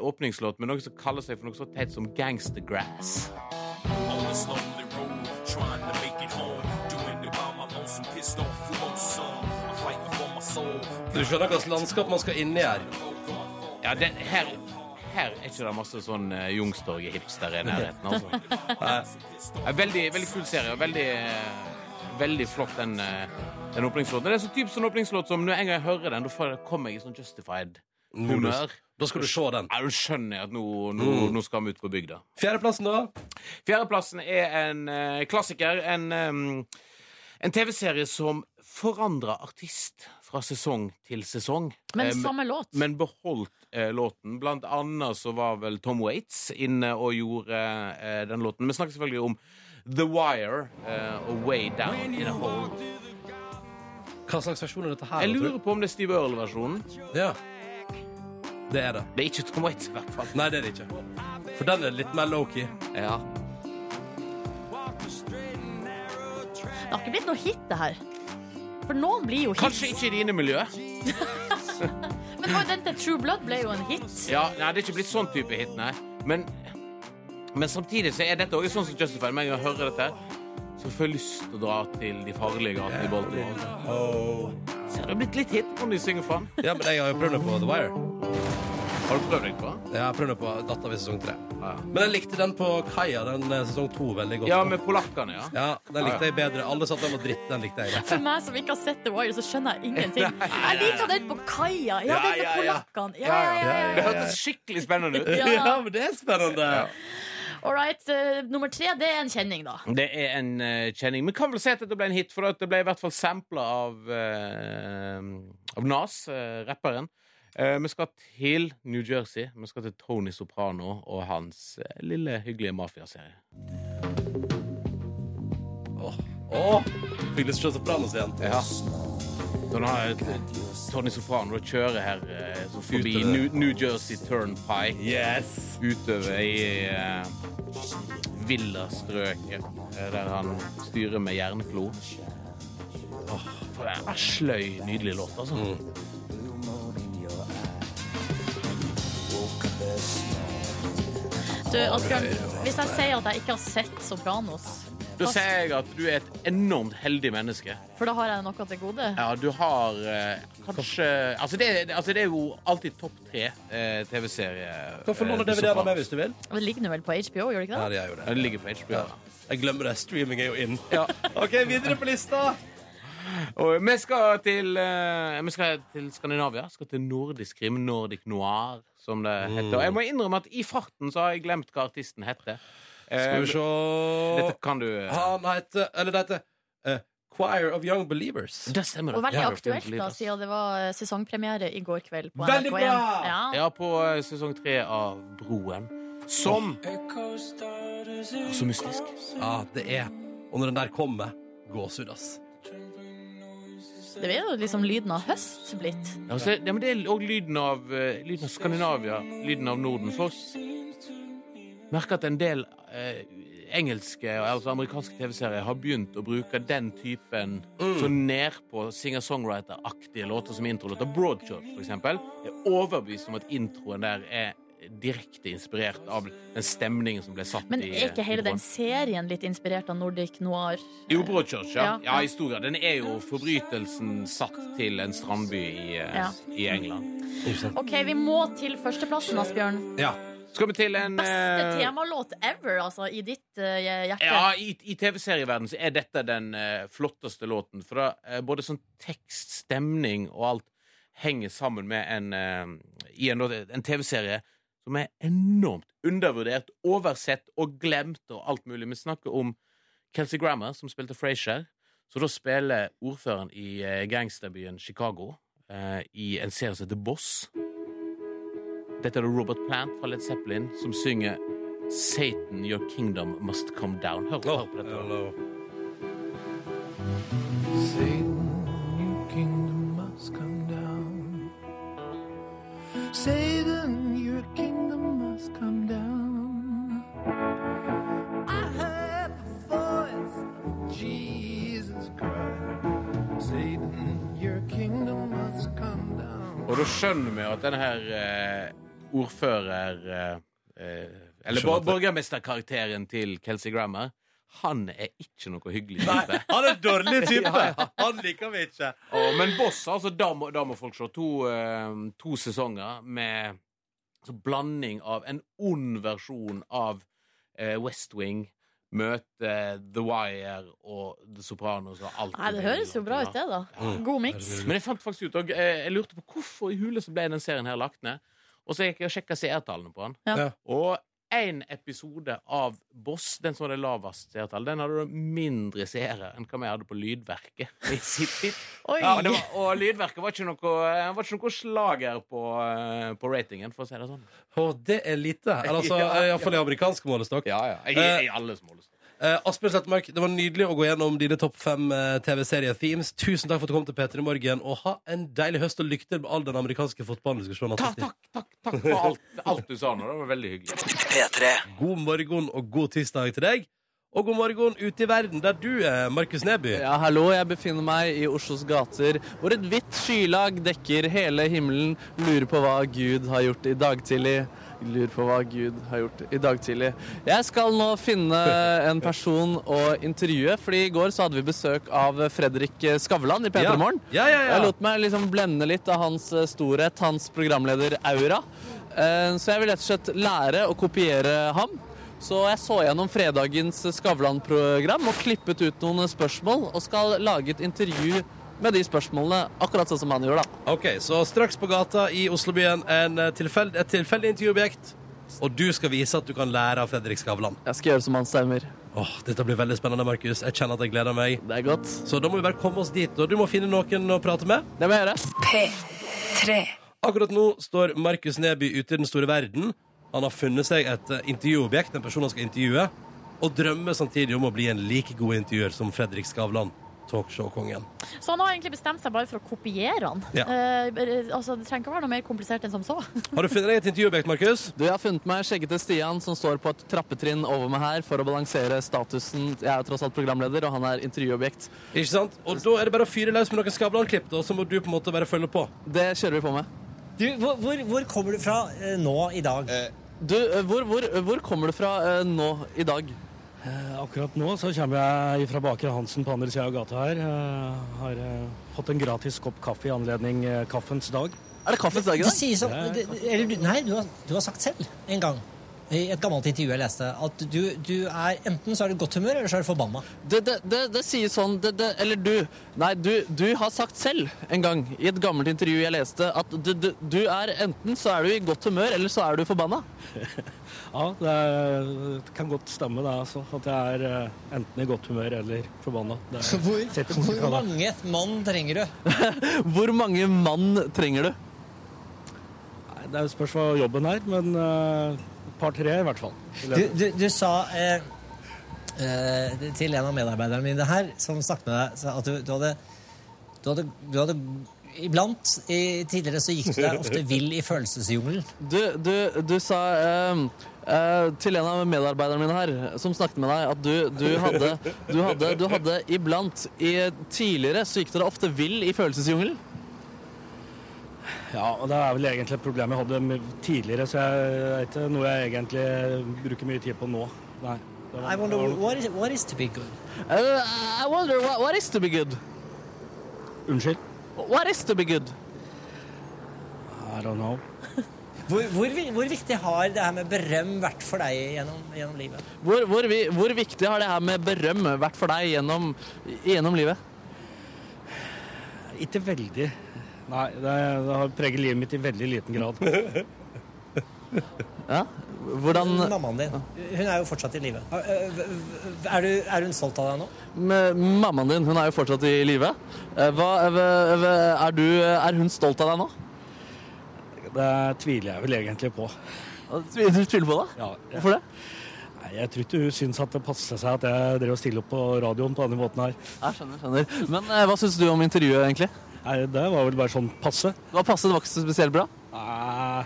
åpningslåt med noe som kaller seg for noe så teit som Gangstergrass.
on this lonely road, trying to make it home. Doing it by my lonesome, pissed off, who wants some? I'm fighting for my soul.
Du skjønner hva slags landskap man skal inn i her.
Ja, den, her, her er ikke det masse sånn eh, Youngstorget-hipster i nærheten, altså. Eh, veldig, veldig kul serie, og veldig, eh, veldig flott den, eh, den åpningslåten. Det er så typisk sånn åpningslåt som når en gang jeg hører den, da får- kommer jeg i sånn justified humør.
Da skal du se den.
Ja, da skjønner jeg at nå, nå, nå skal vi ut på bygda.
Fjerdeplassen, da?
Fjerdeplassen er en eh, klassiker. En, em, en TV-serie som forandrer artist fra sesong til sesong.
Men
Em,
samme låt.
men beholdt eh, låten. Blant annet så var vel Tom Waits inne og gjorde eh, den låten. Vi snakker selvfølgelig om The Wire eh, og Way Down in a Hole.
Hva slags versjon er dette her?
Jeg
da,
lurer
tror
på om det er Steve Earle-versjonen.
du? Ja. Det er det.
Det er ikke Tom Waits, i hvert fall.
Nei, det er det ikke. For den er litt mer low-key.
Ja.
Det har ikke blitt noe hit, det her. For noen blir jo hits.
Kanskje ikke i dine miljø.
Men det var jo den til True Blood ble jo en hit.
Ja, nei, Det er ikke blitt sånn type hit, nei. Men, men samtidig så er dette også sånn som Justified. Med en gang jeg hører dette, her, så får jeg lyst til å dra til de farlige gatene i Baltimore. Så det har blitt litt hit om de synger for den.
Ja, men jeg har jo prøvd det på The Wire.
Har du prøvd deg på?
Jeg har prøvd det på Datta ved sesong tre.
Ja.
Men jeg likte den på kaia, den eh, sesong to, veldig godt.
Ja, med polakkene, ja.
Ja, den likte jeg bedre. Alle satt der og dritt, den likte jeg.
For meg som ikke har sett The Wire, så skjønner jeg ingenting. Jeg liker den på kaia. Ja,
Ja,
den med
ja, ja.
polakkene. Ja, ja, ja, ja,
Det hørtes skikkelig spennende (laughs) ut.
(laughs) Ja.
men det er spennende.
All right, eh, nummer tre, det er en kjenning, da.
Det er en eh, kjenning. Men kan vel si at det ble en hit, for at det ble i hvert fall sampla av, eh, av Nas, eh, rapperen. Eh, vi skal til New Jersey. Vi skal til Tony Soprano og hans eh, lille hyggelige mafiaserie.
Åh, Fikk lyst til å se Sopranos igjen.
Ja. Når han har- Tony Soprano kjører her eh, så forbi
Utover.
New, New Jersey Turnpike
Yes!
utover i eh, villastrøket, eh, der han styrer med jernklo. Åh, for det er en sløy, nydelig låt, altså.
Mm.
Du, Asbjørn, hvis jeg sier at jeg ikke har sett Sopranos,
Da sier jeg at du er et enormt heldig menneske.
For da har jeg noe til gode.
Ja, du har eh, kanskje altså det, det- altså, det er jo alltid topp tre eh, TV-serie.
Kan få låne
eh,
DVD-en av
Sopranos.
meg hvis du vil.
Det ligger nå vel på HBO, gjør det ikke
Ja,
det?
det gjør jo
Ja,
det.
det ligger på HBO. Ja.
Jeg glemmer det. Streaming er jo inn. (laughs) OK, videre på lista.
Og vi skal til, eh, vi skal til Skandinavia. Skal til nordisk krim. Nordic noir, som det
Mm.
heter. Og jeg må innrømme at i farten så har jeg glemt hva artisten heter.
Skal vi se
Eh, Dette kan du eh,
Han heter Eller det heter eh, Choir of Young Believers.
Det stemmer,
Og
det.
veldig
Ja,
aktuelt, da, siden det var eh, sesongpremiere i går kveld på NRK1.
Veldig bra!
Ja.
Ja, på eh, sesong tre av Broen. Som Og Så mystisk.
Ja, det er Og når den der kommer, gåsehud, ass.
Det er jo liksom lyden av høst blitt.
Ja, så, ja, men det er òg lyden, av, eh, lyden av Skandinavia, lyden av Norden. Folk merker at en del eh, engelske og altså amerikanske TV-serier har begynt å bruke den typen sånn nedpå singer-songwriter-aktige låter som introlåter. Broadchurch, for eksempel, er overbevist om at introen der er direkte inspirert av den stemningen som ble satt
Men
i
er ikke hele
introen.
den serien litt inspirert av Nordic Noir?
Jo, Broadchurch, ja.
Ja,
ja.
ja.
i stor grad. Den er jo forbrytelsen satt til en strandby i, eh,
Ja.
i England.
OK, vi må til førsteplassen, Asbjørn.
Ja.
Skal vi til en
Beste
eh,
temalåt ever, altså, i ditt eh, hjerte.
Ja, i, i TV-serieverden så er dette den eh, flotteste låten. For da, eh, både sånn tekst, stemning og alt henger sammen med en, eh, i en, en TV-serie som er enormt undervurdert, oversett og glemt og alt mulig. Vi snakker om Kelsey Grammer, som spilte Frasier. Så da spiller ordføreren i eh, gangsterbyen Chicago eh, i en serie som heter Boss. Dette er det Robert Plant fra Led Zeppelin som synger Satan, your kingdom must come down. Hør, hør på dette.
Hello.
Og da skjønner vi jo at denne her eh, ordfører... Eh, eh, eller bor- borgermesterkarakteren til Kelsey Grammer, han er ikke noe hyggelig type.
Han er en dårlig (laughs) type! Han liker vi ikke.
Å, men Boss, altså, da må, da må folk se to, eh, to sesonger med så blanding av en ond versjon av eh, West Wing møte The Wire og The Sopranos og alt.
Nei, det høres jo bra ut, det, da. God miks.
Men jeg fant faktisk ut, og eh, jeg lurte på hvorfor i hule så ble den serien her lagt ned. Og så gikk jeg og sjekka seertallene på den.
Ja.
Ja.
Og én episode av Boss, den som hadde lavest seertall, den hadde mindre seere enn hva vi hadde på Lydverket i sitt tid.
Oi.
Ja, og, det var, og Lydverket var ikke noe, eh, var ikke noe slager på, eh, på ratingen, for å si det sånn.
Og det er lite. Eller, Altså,
Ja,
eh, i hvert fall i amerikansk målestokk.
I, i alle smålest.
Eh, Asbjørn Slettemark, det var nydelig å gå gjennom dine topp fem eh, TV-serie-themes. Tusen takk for at du kom til P3 Morgen, og ha en deilig høst og lykke til med all den amerikanske fotballdiskusjonen.
Takk, takk, takk, takk for alt, alt du sa nå. Det var veldig hyggelig.
God morgen og god tirsdag til deg. Og god morgen ute i verden, der du er, Markus Neby.
Ja, hallo, jeg befinner meg i Oslos gater, hvor et hvitt skylag dekker hele himmelen. Lurer på hva Gud har gjort i dag tidlig. Lurer på hva Gud har gjort i dag tidlig. Jeg skal nå finne en person å intervjue, fordi i går så hadde vi besøk av Fredrik Skavlan i P3 Morgen.
Ja, ja, ja.
Jeg lot meg liksom blende litt av hans eh, storhet, hans programleder-aura. Eh, Så jeg vil rett og slett lære å kopiere ham. Så jeg så gjennom fredagens Skavlan-program og klippet ut noen spørsmål, og skal lage et intervju med de spørsmålene, akkurat sånn som han gjorde, da.
Ok, så straks på gata i Oslobyen en eh, tilfeld, et tilfeldig intervjuobjekt. Og du skal vise at du kan lære av Fredrik Skavlan.
Jeg skal gjøre som han stemmer.
Åh, dette blir veldig spennende, Markus. Jeg kjenner at jeg gleder meg.
Det er godt.
Så da må vi bare komme oss dit. Og du må finne noen å prate med.
Det må jeg gjøre.
Akkurat nå står Markus Neby ute i den store verden. Han har funnet seg et eh, intervjuobjekt, en person han skal intervjue, og drømmer samtidig om å bli en like god intervjuer som Fredrik Skavlan, talkshow-kongen.
Så han har egentlig bestemt seg bare for å kopiere han.
Ja.
Eh, altså, det trenger ikke å være noe mer komplisert enn som så.
Har du funnet deg et intervjuobjekt, Markus?
Du, Jeg har funnet meg skjeggete Stian, som står på et trappetrinn over meg her for å balansere statusen. Jeg er tross alt programleder, og han er intervjuobjekt.
Ikke sant? Og da er det bare å fyre løs med noen Skavlan-klipp, da, så må du på en måte bare følge på.
Det kjører vi på med.
Du, hvor, hvor, hvor kommer du fra eh, nå i dag?
Du, eh, hvor, hvor, hvor kommer du fra eh, nå i dag?
Eh, Akkurat nå så kommer jeg fra Baker Hansen på andre sida av gata her. Eh, Har eh, fått en gratis kopp kaffe i anledning eh, kaffens dag.
Er det kaffens dag
Du sier som, du, eller, du- nei, du har, du har sagt selv en gang i et gammelt intervju jeg leste, at du, du er enten så er du i godt humør, eller så er du forbanna.
Det, det, det, det sier sånn det, det, Eller du. Nei, du, du har sagt selv en gang i et gammelt intervju jeg leste, at du, du, du er enten så er du i godt humør, eller så er du forbanna.
Ja, det, er, det kan godt stemme det, altså. At jeg er eh, enten i godt humør eller forbanna. Det er-
Hvor,
setter bort
hvor
ifra det.
mange mann trenger du?
Hvor mange mann trenger du?
Nei, Det er jo spørs hva jobben er, men eh, et par-tre i hvert fall.
Du, du, du sa eh, eh, til en av medarbeiderne mine her, som snakket med deg, sa at du, du hadde du hadde, du hadde Iblant i, tidligere så gikk du deg
(laughs)
ofte vill i følelsesjungelen.
Du, du, du sa eh, eh, til en av medarbeiderne mine her, som snakket med deg, at du, du, hadde, du, hadde, du hadde iblant i Tidligere så gikk dere ofte vill i følelsesjungelen.
Ja, og det er vel egentlig et problem jeg hadde med- tidligere, så jeg det er ikke noe jeg egentlig eh, bruker mye tid på nå. Nei. det var-
I wonder
det var-
what is, what is to be good?
Eh, I wonder what, what is to be good?
Unnskyld?
What is to be good?
I don't know.
Hvor, hvor, vi- hvor viktig har det her med berøm vært for deg gjennom, gjennom livet?
Hvor, hvor, vi- hvor viktig har det her med berøm vært for deg gjennom, gjennom livet?
Ikke veldig. Nei, det, det har preget livet mitt i veldig liten grad.
(laughs)
ja, hvordan
Mammaen din, hun er jo fortsatt i live. Eh, Er, du- er hun stolt av deg nå?
Med mammaen din, hun er jo fortsatt i live. Eh, Hva, hva- hva- er, du, er hun stolt av deg nå?
Det tviler jeg vel egentlig på.
Du tviler på det?
Ja.
Hvorfor det?
Nei, Jeg tror ikke hun syns at det passer seg at jeg drev og stiller opp på radioen på denne måten her.
Jeg skjønner, skjønner. Men eh, hva syns du om intervjuet, egentlig?
Nei, Det var vel bare sånn passe.
Det var passe, det var ikke så spesielt bra?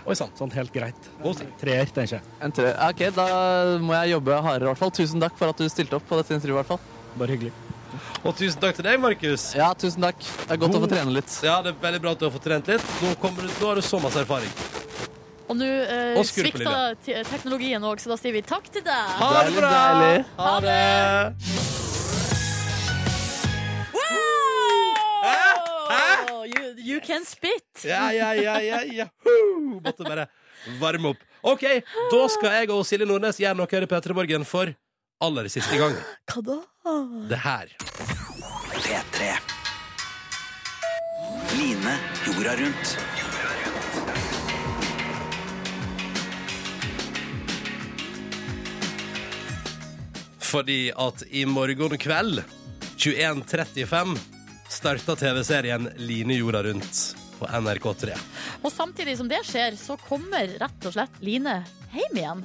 Oi sann. Sånn helt greit. Treer, tenker jeg.
En tre. Ok, da må jeg jobbe hardere, i hvert fall. Tusen takk for at du stilte opp på dette intervjuet, i hvert fall.
Bare hyggelig.
Og tusen takk til deg, Markus.
Ja, tusen takk. Det er godt å få trene litt.
Ja, det er veldig bra at du har fått trent litt. Nå, kommer du, nå har du så masse erfaring.
Og nå eh,
Og skurpe,
svikta te- teknologien òg, så da sier vi takk til deg.
Ha det bra!
Deilig.
Ha det!
Oh, you, you can spit.
Ja, ja, ja, ja, ja. Hoo! Måtte bare varme opp. OK, da skal jeg og Silje Nordnes gjøre noe her i P3 Morgen for aller siste gang.
Hva da?
Det her.
P3. Line jorda rundt.
Fordi at i morgen kveld 21.35 starter TV-serien Line jorda rundt på NRK3.
Og samtidig som det skjer, så kommer rett og slett Line hjem igjen.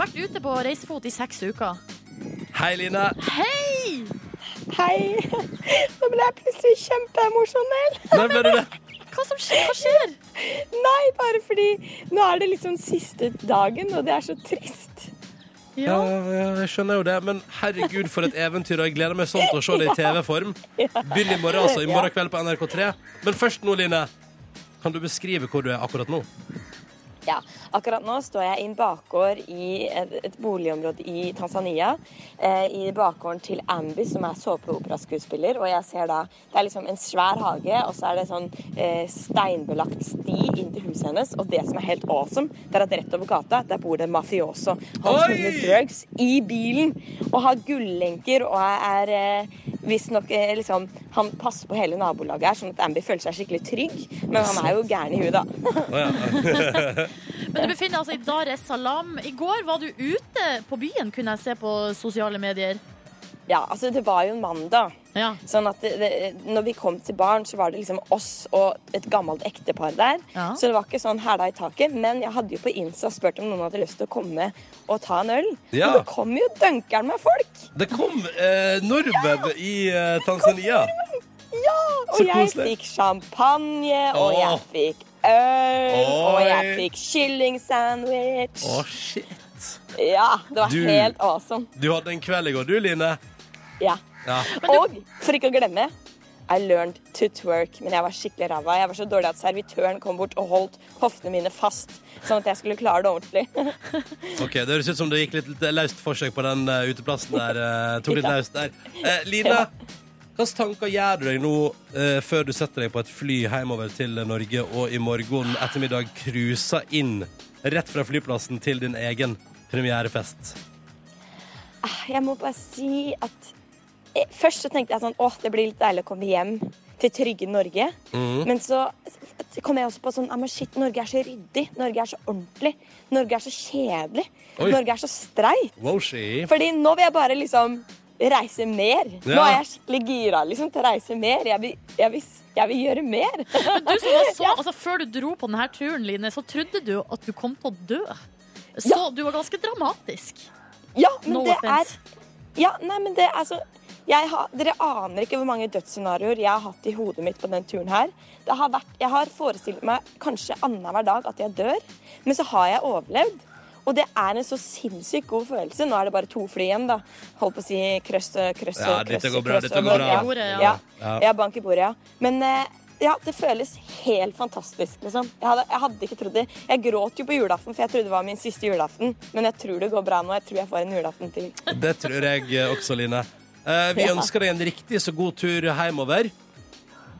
Vært ute på reisefot i seks uker.
Hei, Line.
Hei!
Hei! Nå ble jeg plutselig kjempeemosjonell.
Nei, ble du det?
Hva som skjer? Hva skjer?
Nei, bare fordi nå er det liksom siste dagen, og det er så trist.
Ja. jeg skjønner jo det, men herregud for et eventyr, og jeg gleder meg sånn til å se det i TV-form. Begynn i morgen, altså. I morgen kveld på NRK3. Men først nå, Line, kan du beskrive hvor du er akkurat nå?
Ja, akkurat nå står jeg i en bakgård i et, et boligområde i Tanzania. Eh, I bakgården til Ambi, som er såpeoperaskuespiller. Og jeg ser da Det er liksom en svær hage, og så er det sånn eh, steinbelagt sti inn til huset hennes. Og det som er helt awesome, det er at rett over gata der bor det en mafioso. Han
Oi!
smuler drugs i bilen og har gullenker og er eh, visstnok eh, liksom Han passer på hele nabolaget her, sånn at Ambi føler seg skikkelig trygg. Men han er jo gæren i huet, da.
Men du befinner deg altså i Dar es Salaam. I går var du ute på byen, kunne jeg se på sosiale medier.
Ja, altså det var jo en mandag. Sånn at det, det, når vi kom til baren, så var det liksom oss og et gammelt ektepar der.
Ja.
Så det var ikke sånn hæla i taket. Men jeg hadde jo på Insta spurt om noen hadde lyst til å komme og ta en øl.
Ja.
Men det kom jo dønkeren med folk!
Det kom eh, nordmenn i eh, Tanzania.
Ja! Og
Så
jeg
koselig.
fikk champagne, og
Åh.
jeg fikk øl, og
Oi.
jeg fikk kyllingsandwich.
Å, shit.
Ja, det var
Du-
helt awesome.
Du hadde en kveld i går, du, Line.
Ja.
Ja.
Og for ikke å glemme I learned to twerk, men jeg var skikkelig ræva. Jeg var så dårlig at servitøren kom bort og holdt hoftene mine fast, sånn at jeg skulle klare det ordentlig. (laughs)
Ok, Det høres ut som det gikk litt litt løst forsøk på den eh, uteplassen der. eh, tok
(laughs)
litt
Ja.
løst der. Eh, Line, hvilke tanker gjør du deg nå eh, før du setter deg på et fly hjemover til Norge og i morgen ettermiddag cruiser inn rett fra flyplassen til din egen premierefest?
Ah, Jeg må bare si at eh, Først så tenkte jeg sånn Åh, det blir litt deilig å komme hjem til trygge Norge.
Mhm.
Men så kom jeg også på sånn «Ah, men shit, Norge er så ryddig. Norge er så ordentlig. Norge er så kjedelig.
Oi.
Norge er så streit.
Wow, she.
Fordi nå vil jeg bare liksom reise mer. Nå
Ja.
er jeg skikkelig gira liksom, til å reise mer. Jeg vil, jeg vil, jeg vil gjøre mer.
Men du som var så, altså, før du dro på denne turen, Line, så trodde du at du kom til å dø. Så du var ganske dramatisk.
Ja, men
No
det
offense.
er Ja, nei, men det er så jeg har, Dere aner ikke hvor mange dødsscenarioer jeg har hatt i hodet mitt på den turen her. Det har vært, jeg har forestilt meg kanskje annenhver dag at jeg dør, men så har jeg overlevd. Og det er en så sinnssykt god følelse. Nå er det bare to fly igjen, da. Holdt på å si krøss, krøss,
Ja, dette
krøss,
går bra,
krøss,
dette
og
går
Norge, ja.
bra. Bank i bordet, ja.
Ja.
Ja.
ja, bank i bordet, ja. Men eh, ja, det føles helt fantastisk, liksom. Jeg hadde, jeg hadde ikke trodd det. Jeg gråt jo på julaften, for jeg trodde det var min siste julaften. Men jeg tror det går bra nå. Jeg tror jeg får en julaften til.
Det tror jeg eh, også, Line. Eh, vi
Ja.
ønsker deg en riktig så god tur hjemover.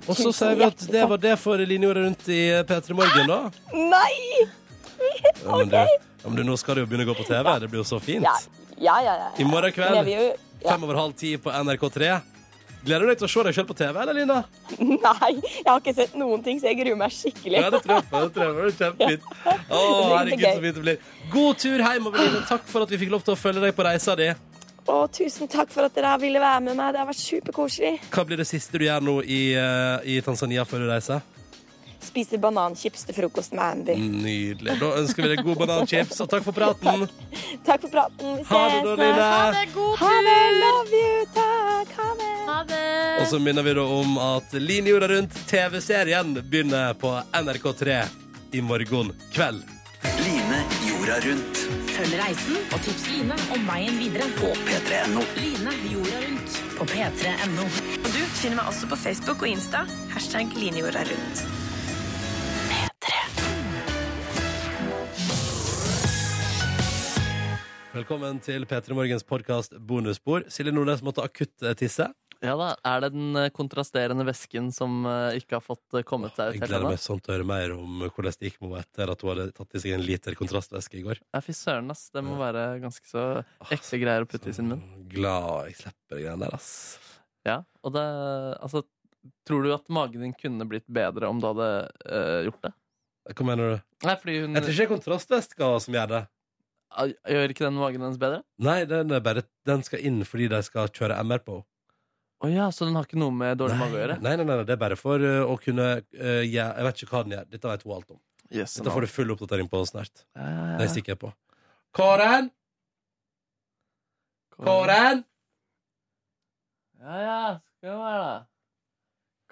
Og så
Tusen
sier vi at
hjertelig
det
takk.
var det for linjeordet rundt i P3 Morgen, da.
Nei!
Ja, men, du, ja, men du, nå skal du jo begynne å gå på TV. Det blir jo så fint.
Ja, ja, ja. ja.
I morgen
Men
kveld,
jeg vil jo- (laughs)
fem over halv ti på NRK3. Gleder du deg til å se deg selv på TV, eller, Lina?
Nei, jeg har ikke sett noen ting, så jeg gruer meg skikkelig.
Ja, det tror jeg på. Det tror jeg på. Det er kjempefint. Å,
Det
herregud,
blir gøy.
så fint det blir. God tur hjemover, Line. Takk for at vi fikk lov til å følge deg på reisa di.
Å, tusen takk for at dere ville være med meg. Det har vært superkoselig.
Hva blir det siste du gjør nå i, eh, i Tanzania før du reiser?
Spise bananchips til frokost med Andy.
Nydelig. Da ønsker vi deg god bananchips, og takk for praten.
Takk for praten. Vi ses.
Ha det da, Line. Ha
det, god
tur. Ha det, love you. Takk. Ha det.
Ha det.
Og så minner vi da om at Line jorda rundt TV-serien begynner på NRK3 i morgen kveld.
Line jorda rundt.
Følg reisen og tips Line om veien videre på p3.no. Line jorda rundt på p3.no.
Og du finner meg også på Facebook og Insta. Hashtag linjorda rundt.
Velkommen til P3 Morgens podkast Bonusspor. Silje Nordnes måtte akutt eh, tisse.
Ja da, Er det den eh, kontrasterende væsken som eh, ikke har fått eh, kommet seg ut?
Jeg
helt
gleder
ennå?
meg sånn til å høre mer om hvordan det gikk med henne etter at hun hadde tatt i seg en liter kontrastvæske i går. Altså,
Ja, Fy søren, ass. Det må være ganske Ah, så ekle greier å putte i sin munn.
sånn Glad jeg slipper de greiene der, ass.
Ja, og det Altså, tror du at magen din kunne blitt bedre om du hadde eh, gjort det?
altså. Hva mener du?
Nei, fordi hun
Jeg tror ikke det er kontrastvæska som gjør det.
Ah, Gjør ikke den magen hennes bedre?
Nei, den, er bare, den skal inn fordi de skal kjøre MR på henne.
Å ja, så den har ikke noe med dårlig mage å gjøre?
Nei, nei, nei, nei, det er bare for eh, å kunne eh, ja, Jeg vet ikke hva den gjør. Dette vet hun alt om.
Yes,
Dette
nå.
får du full oppdatering på snart.
Ja, ja, ja.
Det er jeg sikker på. Kåren! Kåren!
Ja ja, skal vi være det.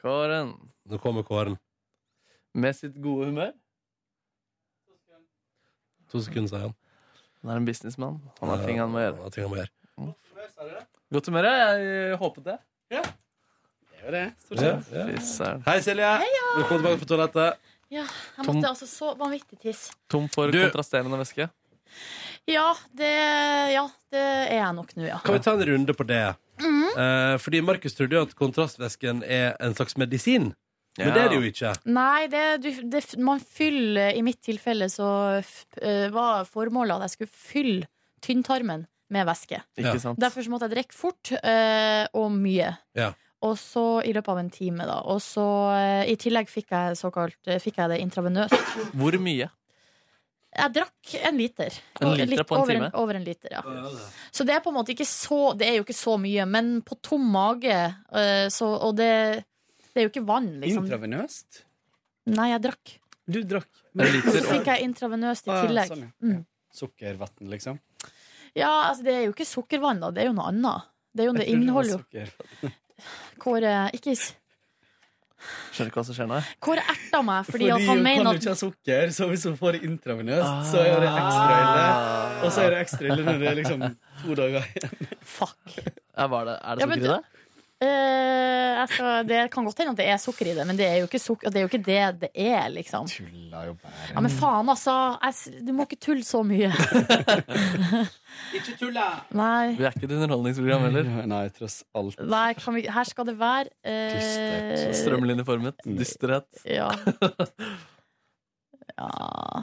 Kåren.
Nå kommer Kåren.
Med sitt gode humør.
To sekunder, sier han.
Han er en businessmann. Han har
Ja,
ting han må
han
gjøre.
har ting han må gjøre.
Godt humør, ja. Jeg håpet det.
Ja.
Det er jo det,
Ja, ja. Hei, Silje. Velkommen tilbake på toalettet.
Ja, jeg
Tom-
måtte altså så vanvittig tisse.
Tom for kontrasterende væske.
Ja, det, ja, det er jeg nok nå, ja.
Kan vi ta en runde på det?
Mhm.
Eh, fordi Markus trodde jo at kontrastvæsken er en slags medisin. Men
Ja.
det er det jo ikke.
Nei, det, du, det, man fyller I mitt tilfelle så f, eh, var formålet at jeg skulle fylle tynntarmen med væske.
Ikke sant.
Derfor så måtte jeg drikke fort eh, og mye.
Ja.
Og så i løpet av en time, da. Og så eh, i tillegg fikk jeg såkalt eh, Fikk jeg det intravenøst.
Hvor mye?
Jeg drakk en liter.
En
Og-
liter på en
over
time?
En, over en liter, ja. Så det er på en måte ikke så Det er jo ikke så mye, men på tom mage eh, så, Og det, det er jo ikke vann, liksom.
Intravenøst?
Nei, jeg drakk.
Du drakk
Så fikk jeg intravenøst i
Ah,
tillegg.
sånn, ja.
Mm.
Sukkervann, liksom?
Ja, altså det er jo ikke sukkervann, da. Det er jo noe annet. Det, er jo, (laughs) det inneholder jo Kåre Ikke s-
Skjønner ikke hva som skjer nå. jeg.
Kåre erta meg fordi,
Fordi
at
hun
han
kan
mener
jo
at
ikke ha sukker, så hvis hun får det intravenøst, så er
Ah.
det ekstra ille. Og så er det ekstra ille når det er liksom to dager igjen.
Fuck.
Ja, var det, er det
Ja, men
sukker i det?
Eh, jeg skal, det kan godt hende at det er sukker i det, men det er jo ikke, suk det, er jo ikke det det er, liksom. Ja, men faen, altså. Jeg, s- du må ikke tulle så mye.
(laughs) Ikke tulla!
Nei.
Vi er ikke et underholdningsprogram heller.
Nei, tross alt.
Nei kan vi, her skal det være eh,
Strømlinjeformet. Dysterhet.
Ja. ja.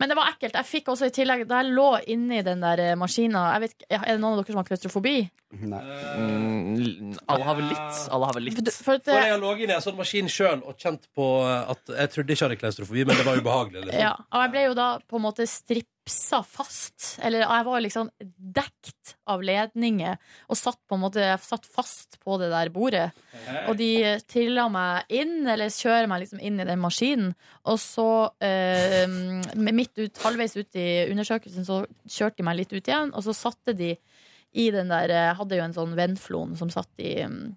Men det var ekkelt. Jeg fikk også i tillegg Da jeg lå inni den der eh, maskina jeg vet, ikke- Er det noen av dere som har klaustrofobi?
Mm, alle har vel litt. Alle har vel litt.
For at, eh,
For jeg har ligget i en sånn maskin sjøl og kjent på at jeg trodde ikke jeg hadde klaustrofobi, men det var ubehagelig. Liksom.
Ja, og jeg ble jo da på en måte stripsa fast. Eller jeg var liksom dekt av ledninger og satt på en måte jeg satt fast på det der bordet. Og de eh, trilla meg inn, eller kjører meg liksom inn i den maskinen. Og så, eh, med midt ut, halvveis ut i undersøkelsen, så kjørte de meg litt ut igjen. Og så satte de i den der Jeg hadde jo en sånn vennflon som satt i mm,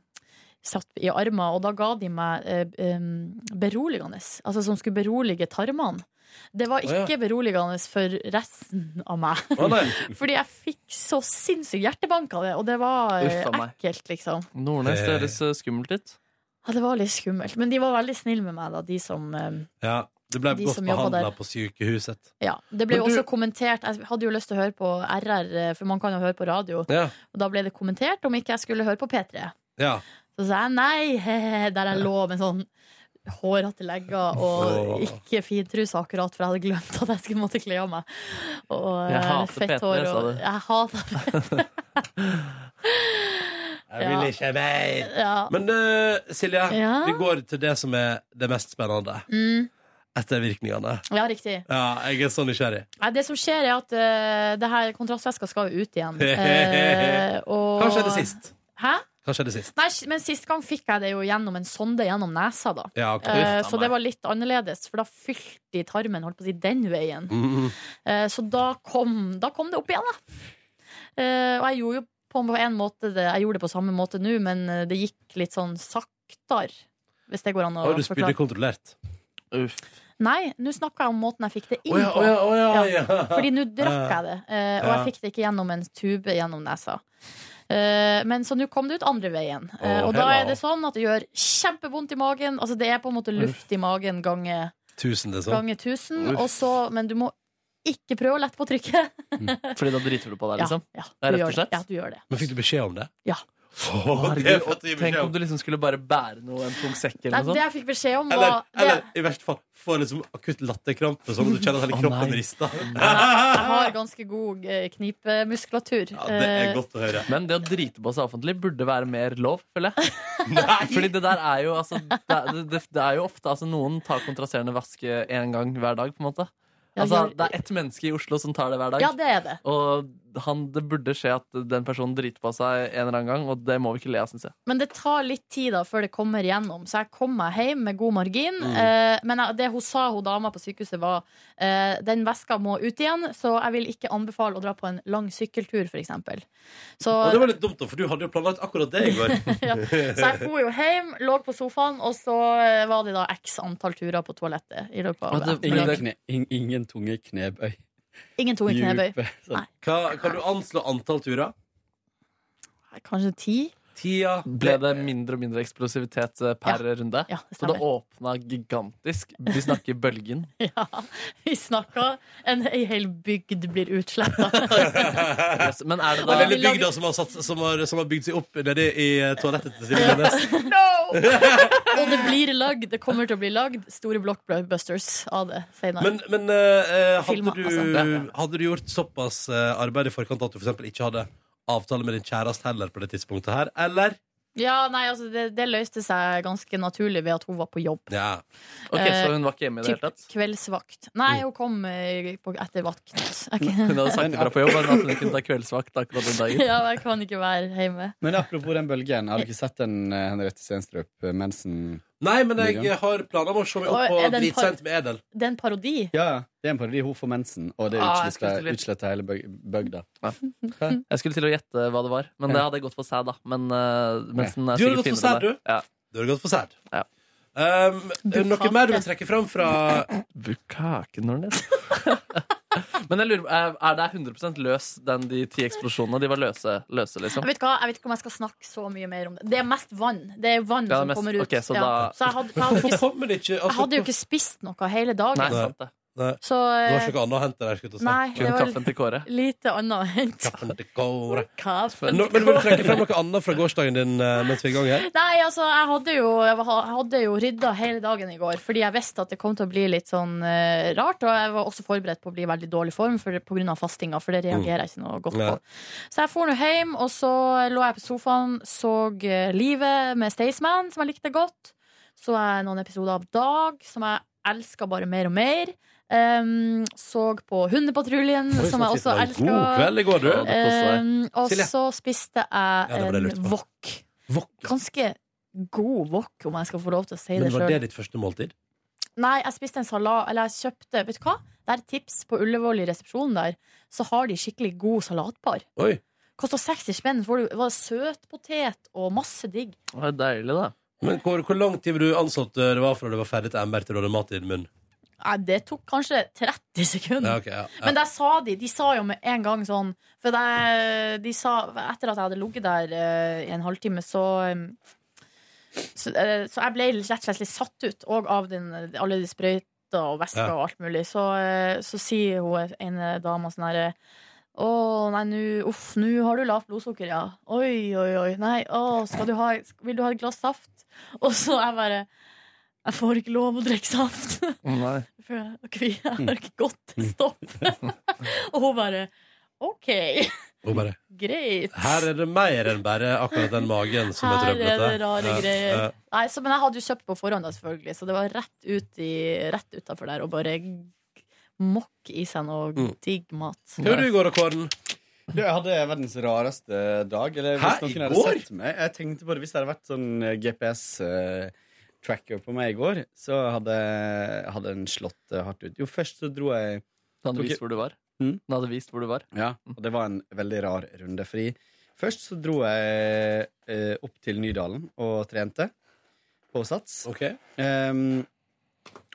Satt i armer, og da ga de meg eh, em, beroligende. Altså som skulle berolige tarmene. Det var
Å, ja.
ikke beroligende for resten av meg. (laughs)
Å, nei.
Fordi jeg fikk så sinnssykt hjertebank av det, og det var eh,
Uff a meg.
ekkelt, liksom.
Nordnes, det høres eh, skummelt ut.
Ja, det var litt skummelt. Men de var veldig snille med meg, da, de som eh,
Ja, det ble
De
godt
som jobber
behandla
der.
på sykehuset.
Ja. Det ble
Men
jo
du-
også kommentert Jeg hadde jo lyst til å høre på RR, eh, for man kan jo høre på radio.
Ja.
Og da ble det kommentert om ikke jeg skulle høre på P3.
ja.
Så sa jeg nei, (laughs) hehe, der jeg lå med sånn hårete legger og
Åh.
ikke fintruse akkurat, for jeg hadde glemt at jeg skulle måtte kle av meg. Og
Jeg hater
eh, fett
P3,
hår
sa
og
du.
Jeg hater
Jeg vil ikke mer.
Ja.
Men eh, Silje,
Ja.
vi går til det som er det mest spennende.
Mm.
Ettervirkningene.
Ja, riktig.
Ja, jeg er så nysgjerrig.
Nei, det som skjer, er at eh, det her kontrastveska skal jo ut
(laughs)
igjen. Eh, og...
Kanskje det sist.
Hæ?
Kanskje det sist.
Nei, s- men sist gang fikk jeg det jo gjennom en sonde gjennom nesa, da.
Ja, ok.
Eh,
Uff, da
så det var litt annerledes, for da fylte de tarmen holdt på å si, den veien.
Mm.
Eh, så da kom, da kom det opp igjen, da. Eh, og jeg gjorde jo på en måte det, jeg gjorde det på samme måte nå, men eh, det gikk litt sånn saktere. Hvis det går an å
Oi, du spydde kontrollert.
Uff.
Nei, nå snakker jeg om måten jeg fikk det inn
Å ja,
på.
å ja, å ja, ja.
Fordi nå drakk jeg det, eh, og
Ja.
jeg fikk det ikke gjennom en tube gjennom nesa. Eh, Men så nå kom det ut andre veien. Eh,
Å,
Og da
hello.
er det sånn at det gjør kjempevondt i magen. Altså det er på en måte luft i magen ganger
Tusen, liksom.
gange tusen.
Uff.
Og så, men du må ikke prøve å lette på
(laughs)
trykket.
Fordi da driter du på
Ja,
deg, liksom?
ja,
Det
du
er rett
gjør
og
det.
slett?
Ja, du gjør det.
Men fikk du beskjed om det?
Ja.
det fikk vi
tenk
beskjed
om du liksom skulle bare bære noe, en tung sekk
Nei,
eller
det
noe
jeg fikk beskjed om,
Eller,
var
eller
det,
i verste fall får liksom akutt latterkrampe, sånn at du kjenner at hele
Å,
kroppen
nei.
rister. (laughs)
Jeg har ganske god eh, knipemuskulatur. Eh,
å høre.
Men det å drite på seg offentlig burde være mer lov, føler
(laughs)
jeg. Fordi det der er jo altså Det, er- det, det er jo ofte altså, Noen tar kontrasterende vaske én gang hver dag, på en måte.
Ja,
Altså,
gjør-
det er ett menneske i Oslo som tar det hver dag.
Ja, det er det.
Og han, det burde skje at den personen driter på seg en eller annen gang, og det må vi ikke le av, syns jeg.
Men det tar litt tid da før det kommer gjennom, så jeg kom meg hjem med god margin.
Mm.
Eh, men jeg- det hun sa, hun dama på sykehuset, var eh, den veska må ut igjen, så jeg vil ikke anbefale å dra på en lang sykkeltur, f.eks.
Og det
Så,
var litt dumt, da, for du hadde jo planlagt akkurat det i går.
så jeg for jo hjem, lå på sofaen, og så eh, var det da x antall turer på toalettet. I løpet av et
Ingen,
dag.
kne, ing- ingen tunge knebøy.
Ingen tunge knebøy.
Djupe, sånn.
Hva- Kan du anslå antall turer?
Kanskje ti? (laughs)
Tida
Ble det mindre og mindre eksplosivitet eh, per runde? så det åpna gigantisk. Vi snakker bølgen.
Ja, vi snakka En ei hel bygd blir utsletta.
Yes, men er det
Den
da
lille bygda som har, satt, som har, som har bygd seg opp nede i eh, toalettet til Silje Nordnes.
Og det blir lagd, det kommer til å bli lagd store blockbusters av det senere.
Men, men eh,
Filma,
hadde, du,
altså.
hadde du gjort såpass eh, arbeid i forkant at du for eksempel ikke hadde avtale med din kjæreste heller på det tidspunktet her, eller?
Ja, nei, altså det, det løste seg ganske naturlig ved at hun var på jobb.
Ja.
Ok,
Eh,
Så hun var ikke hjemme i det
Typ
hele tatt? Mm.
kveldsvakt. Nei, hun kom eh, på, etter vakt. (laughs) Jeg kan-
Hun hadde sagt ifra på jobb at hun kunne ta kveldsvakt akkurat den dagen.
ja, jeg kan ikke være hjemme.
(laughs) Men apropos den bølgen, har du ikke sett den eh, Henriette Stenstrup eh, mensen...
Nei, men jeg har planer om å se meg
Og
opp
er
på
det en par-
Dritsent med Edel.
Det er en parodi.
Ja, ja. det er en parodi. Hun får mensen, og det
Ah, jeg
utsletter
skulle til å-
utsletter hele bøg- bygda.
Jeg skulle til å gjette hva det var, men det hadde jeg gått for sæd, da. Men eh, mens den
Ja.
er
Du hadde
sikkert
gått for
finere
sæd,
der.
du? Du har gått for Ehm, sæd.
Ja.
Um, er det noe mer du vil trekke fram fra
Bukake, Nordnes. (laughs) Men jeg lurer, på, er er det 100 løs, den, de ti eksplosjonene? De var løse, løse liksom?
Jeg vet, hva, jeg vet ikke om jeg skal snakke så mye mer om det. Det er mest vann. Det er vann
Ja, det er
som
mest-
kommer ut.
ok, så
ja.
da-
så jeg, hadde, jeg, hadde ikke,
Kommer det ikke Altså,
jeg hadde jo ikke spist noe hele dagen.
Nei, sant
det.
Nei.
Så,
det var
eh,
ikke noe annet å hente der. skulle jeg til å si.
nei, det Kun var- kaffen til
Kåre.
Lite annet å hente.
Kaffen til Kåre.
Kaffen
Nå, men Vil du trekke frem noe annet fra gårsdagen din eh, mens vi er i gang her?
Nei, altså, jeg hadde jo, jeg hadde jo rydda hele dagen i går, fordi jeg visste at det kom til å bli litt sånn eh, rart. Og jeg var også forberedt på å bli i veldig dårlig form for, pga. fastinga, for det
Mm.
reagerer jeg ikke noe godt
Nei.
på. Så jeg for nå hjem, og så lå jeg på sofaen, så eh, Livet med Staysman, som jeg likte godt. Så jeg noen episoder av Dag, som jeg elska bare mer og mer. Um, så på Hundepatruljen,
Oi,
som
så
jeg
sitter
også
det en
elska.
god kveld i går, du.
Um, og
Silje.
så spiste
Ja, det
jeg
var det jeg lurte
en
på.
wok. Ganske god wok, om jeg skal få lov til å si det
Men var det
sjøl.
ditt første måltid?
Nei, jeg spiste en salat Eller jeg kjøpte Vet du hva? Det er et tips på Ullevål i resepsjonen der. Så har de skikkelig god salatbar.
Oi.
Kosta 60 spenn. Får du var det søtpotet og masse digg.
Det var deilig, da.
Men hvor, hvor lang tid var du ansatt eh, det var fra du var ferdig til MR til du hadde mat i din munn?
Nei, det tok kanskje 30 sekunder.
Ja, ok, ja, ja.
Men der sa de De sa jo med en gang sånn For det, de sa Etter at jeg hadde ligget der eh, i en halvtime, så eh, så, eh, så jeg ble rett og slett litt satt ut, og av den, alle de sprøyta og væska
Ja.
og alt mulig. Så, eh, så sier hun ene dama sånn herre å, nei, nu, uff, nå har du lavt blodsukker, ja. Oi, oi, oi. Nei, å, skal du ha, vil du ha et glass saft? Og så jeg bare Jeg får ikke lov å drikke saft.
Nei.
For jeg var kvi- jeg
Mm.
har ikke gått stopp. (laughs) Og hun bare OK,
Hun bare
greit.
Her er det mer enn bare akkurat den magen som er
Her
trøblete.
er det rare
Ja,
greier.
ja.
Nei, så, men jeg hadde jo kjøpt på forhånd, da, selvfølgelig, så det var rett, ut i, rett utenfor der og bare g- mokk i seg noe
Mm.
digg mat.
går, Kåren?
Du, jeg hadde verdens rareste dag. Eller
Hæ?
hvis
I
noen hadde
går?
sett meg Jeg tenkte på det Hvis det hadde vært sånn GPS-tracker på meg i går, så hadde, hadde den slått eh, hardt ut. Jo, først så dro jeg
Den hadde
tok-
vist hvor du var. Den hadde vist hvor du var.
Ja, og det var en veldig rar runde. Fordi først så dro jeg eh, opp til Nydalen og trente på Sats. Ehm,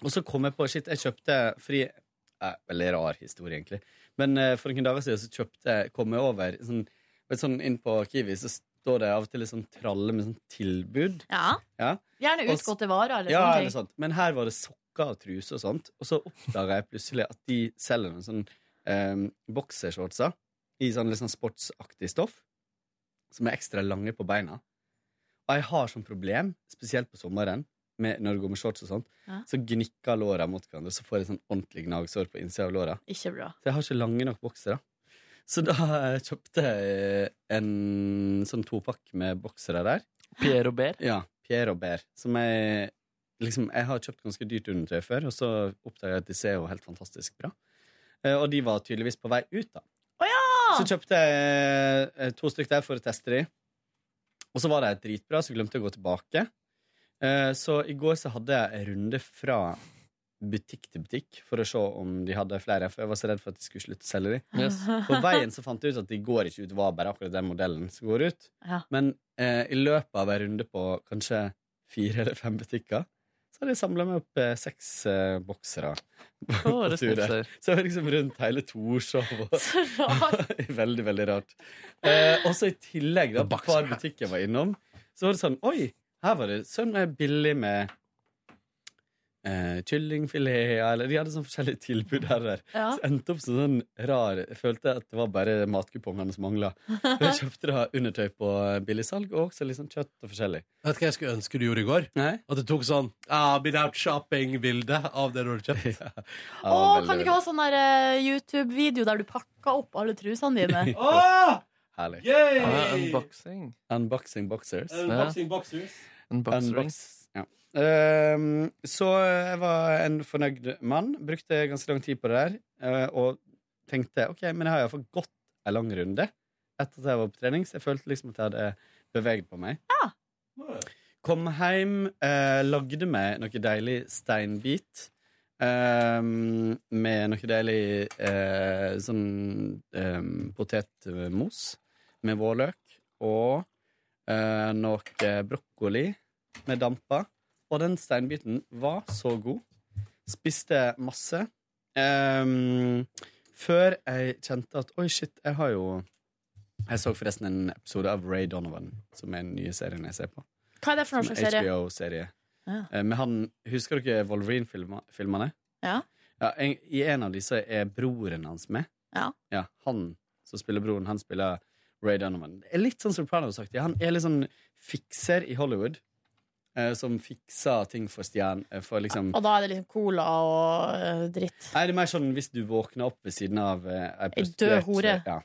og så kom jeg på Shit, jeg kjøpte Fordi eh, Veldig rar historie, egentlig. Men eh, for noen dager siden så kjøpte jeg kom jeg over sånn, vet, du, sånn inn på Kiwi, så står det av og til en sånn tralle med sånn tilbud.
Ja.
Ja.
Gjerne
Og s-
utgåtte varer eller
ja,
sånne
eller sånn.
ting.
sånt. Men her var det sokker og truser og sånt. Og så oppdaga jeg plutselig at de selger noen sånn um, boksershortser i sånn litt sånn sportsaktig stoff, som er ekstra lange på beina. Og jeg har sånn problem, spesielt på sommeren, med, når det går med shorts og sånt,
Ja.
så gnikker låra mot hverandre, så får jeg sånn ordentlig gnagsår på innsida av låra.
Ikke bra.
Så jeg har ikke lange nok boksere. Så da eh, kjøpte jeg en sånn topakk med boksere der.
Pierre og Ber?
Ja. Pierre og Ber. Som jeg liksom Jeg har kjøpt ganske dyrt undertøy før, og så oppdaga jeg at de ser jo helt fantastisk bra. Eh, Og de var tydeligvis på vei ut, da. Så kjøpte jeg eh, to stykk der for å teste de. Og så var de dritbra, så glemte jeg å gå tilbake. Eh, Så i går så hadde jeg en runde fra butikk til butikk for å se om de hadde flere, for jeg var så redd for at de skulle slutte å selge de.
Yes.
På veien så fant jeg ut at de går ikke ut, det var bare akkurat den modellen som går ut.
Ja.
Men eh, i løpet av en runde på kanskje fire eller fem butikker, så hadde jeg samla meg opp eh, seks eh, boksere.
Å, det
på tur der.
sniffer.
så jeg var liksom rundt hele Torshov og
(laughs) Så
(laughs)
rart.
Veldig, veldig rart. Eh, og så i tillegg, da, på hver butikk jeg var innom, så var det sånn Oi, her var det sånn eh, billig med eh, kyllingfilet Eller de hadde sånn forskjellige tilbud her og der.
Ja.
Så jeg endte opp som sånn rar Jeg følte at det var bare matkupongene som mangla. Jeg kjøpte da undertøy på eh, billigsalg, og også litt sånn kjøtt og forskjellig.
Vet du hva jeg skulle ønske du gjorde i går? At du tok sånn ah, been out shopping-bilde av det du hadde
(laughs)
kjøpt.
Å, kan du ikke ha sånn der eh, YouTube-video der du pakker opp alle trusene dine?
(laughs)
Åh!
Herlig.
Yay!
Ja, Ah, unboxing.
Unboxing boxers.
Unboxing boxers.
Unboxing.
Unbox- Ja. Ehm, så jeg var en fornøyd mann. Brukte ganske lang tid på det der. eh, og tenkte ok, men jeg har iallfall gått en lang runde etter at jeg var på trening, så jeg følte liksom at jeg hadde beveget på meg. Kom hjem, eh, lagde meg noe deilig steinbit. ehm, med noe deilig eh, sånn ehm, potetmos med vårløk og eh, noe brokkoli med dampa. Og den steinbiten var så god. Spiste masse. Um, Før jeg kjente at Oi, shit, jeg har jo Jeg så forresten en episode av Ray Donovan, som er den nye serien jeg ser på.
Hva er det for noen
Som
slags serie?
HBO-serie.
Ja.
Eh, Men han, Husker dere Wolverine-filmene?
Ja.
Ja, en, I en av disse er broren hans med.
Ja.
Han som spiller broren, han spiller Ray Donovan. Det er litt sånn Sopranos-aktig. Han er litt sånn fikser i Hollywood. eh, som fikser ting for stjern... eh, For liksom
Og da er det liksom cola og eh, dritt.
Nei, det er mer sånn hvis du våkner opp ved siden av eh, ei
død hore.
Ja.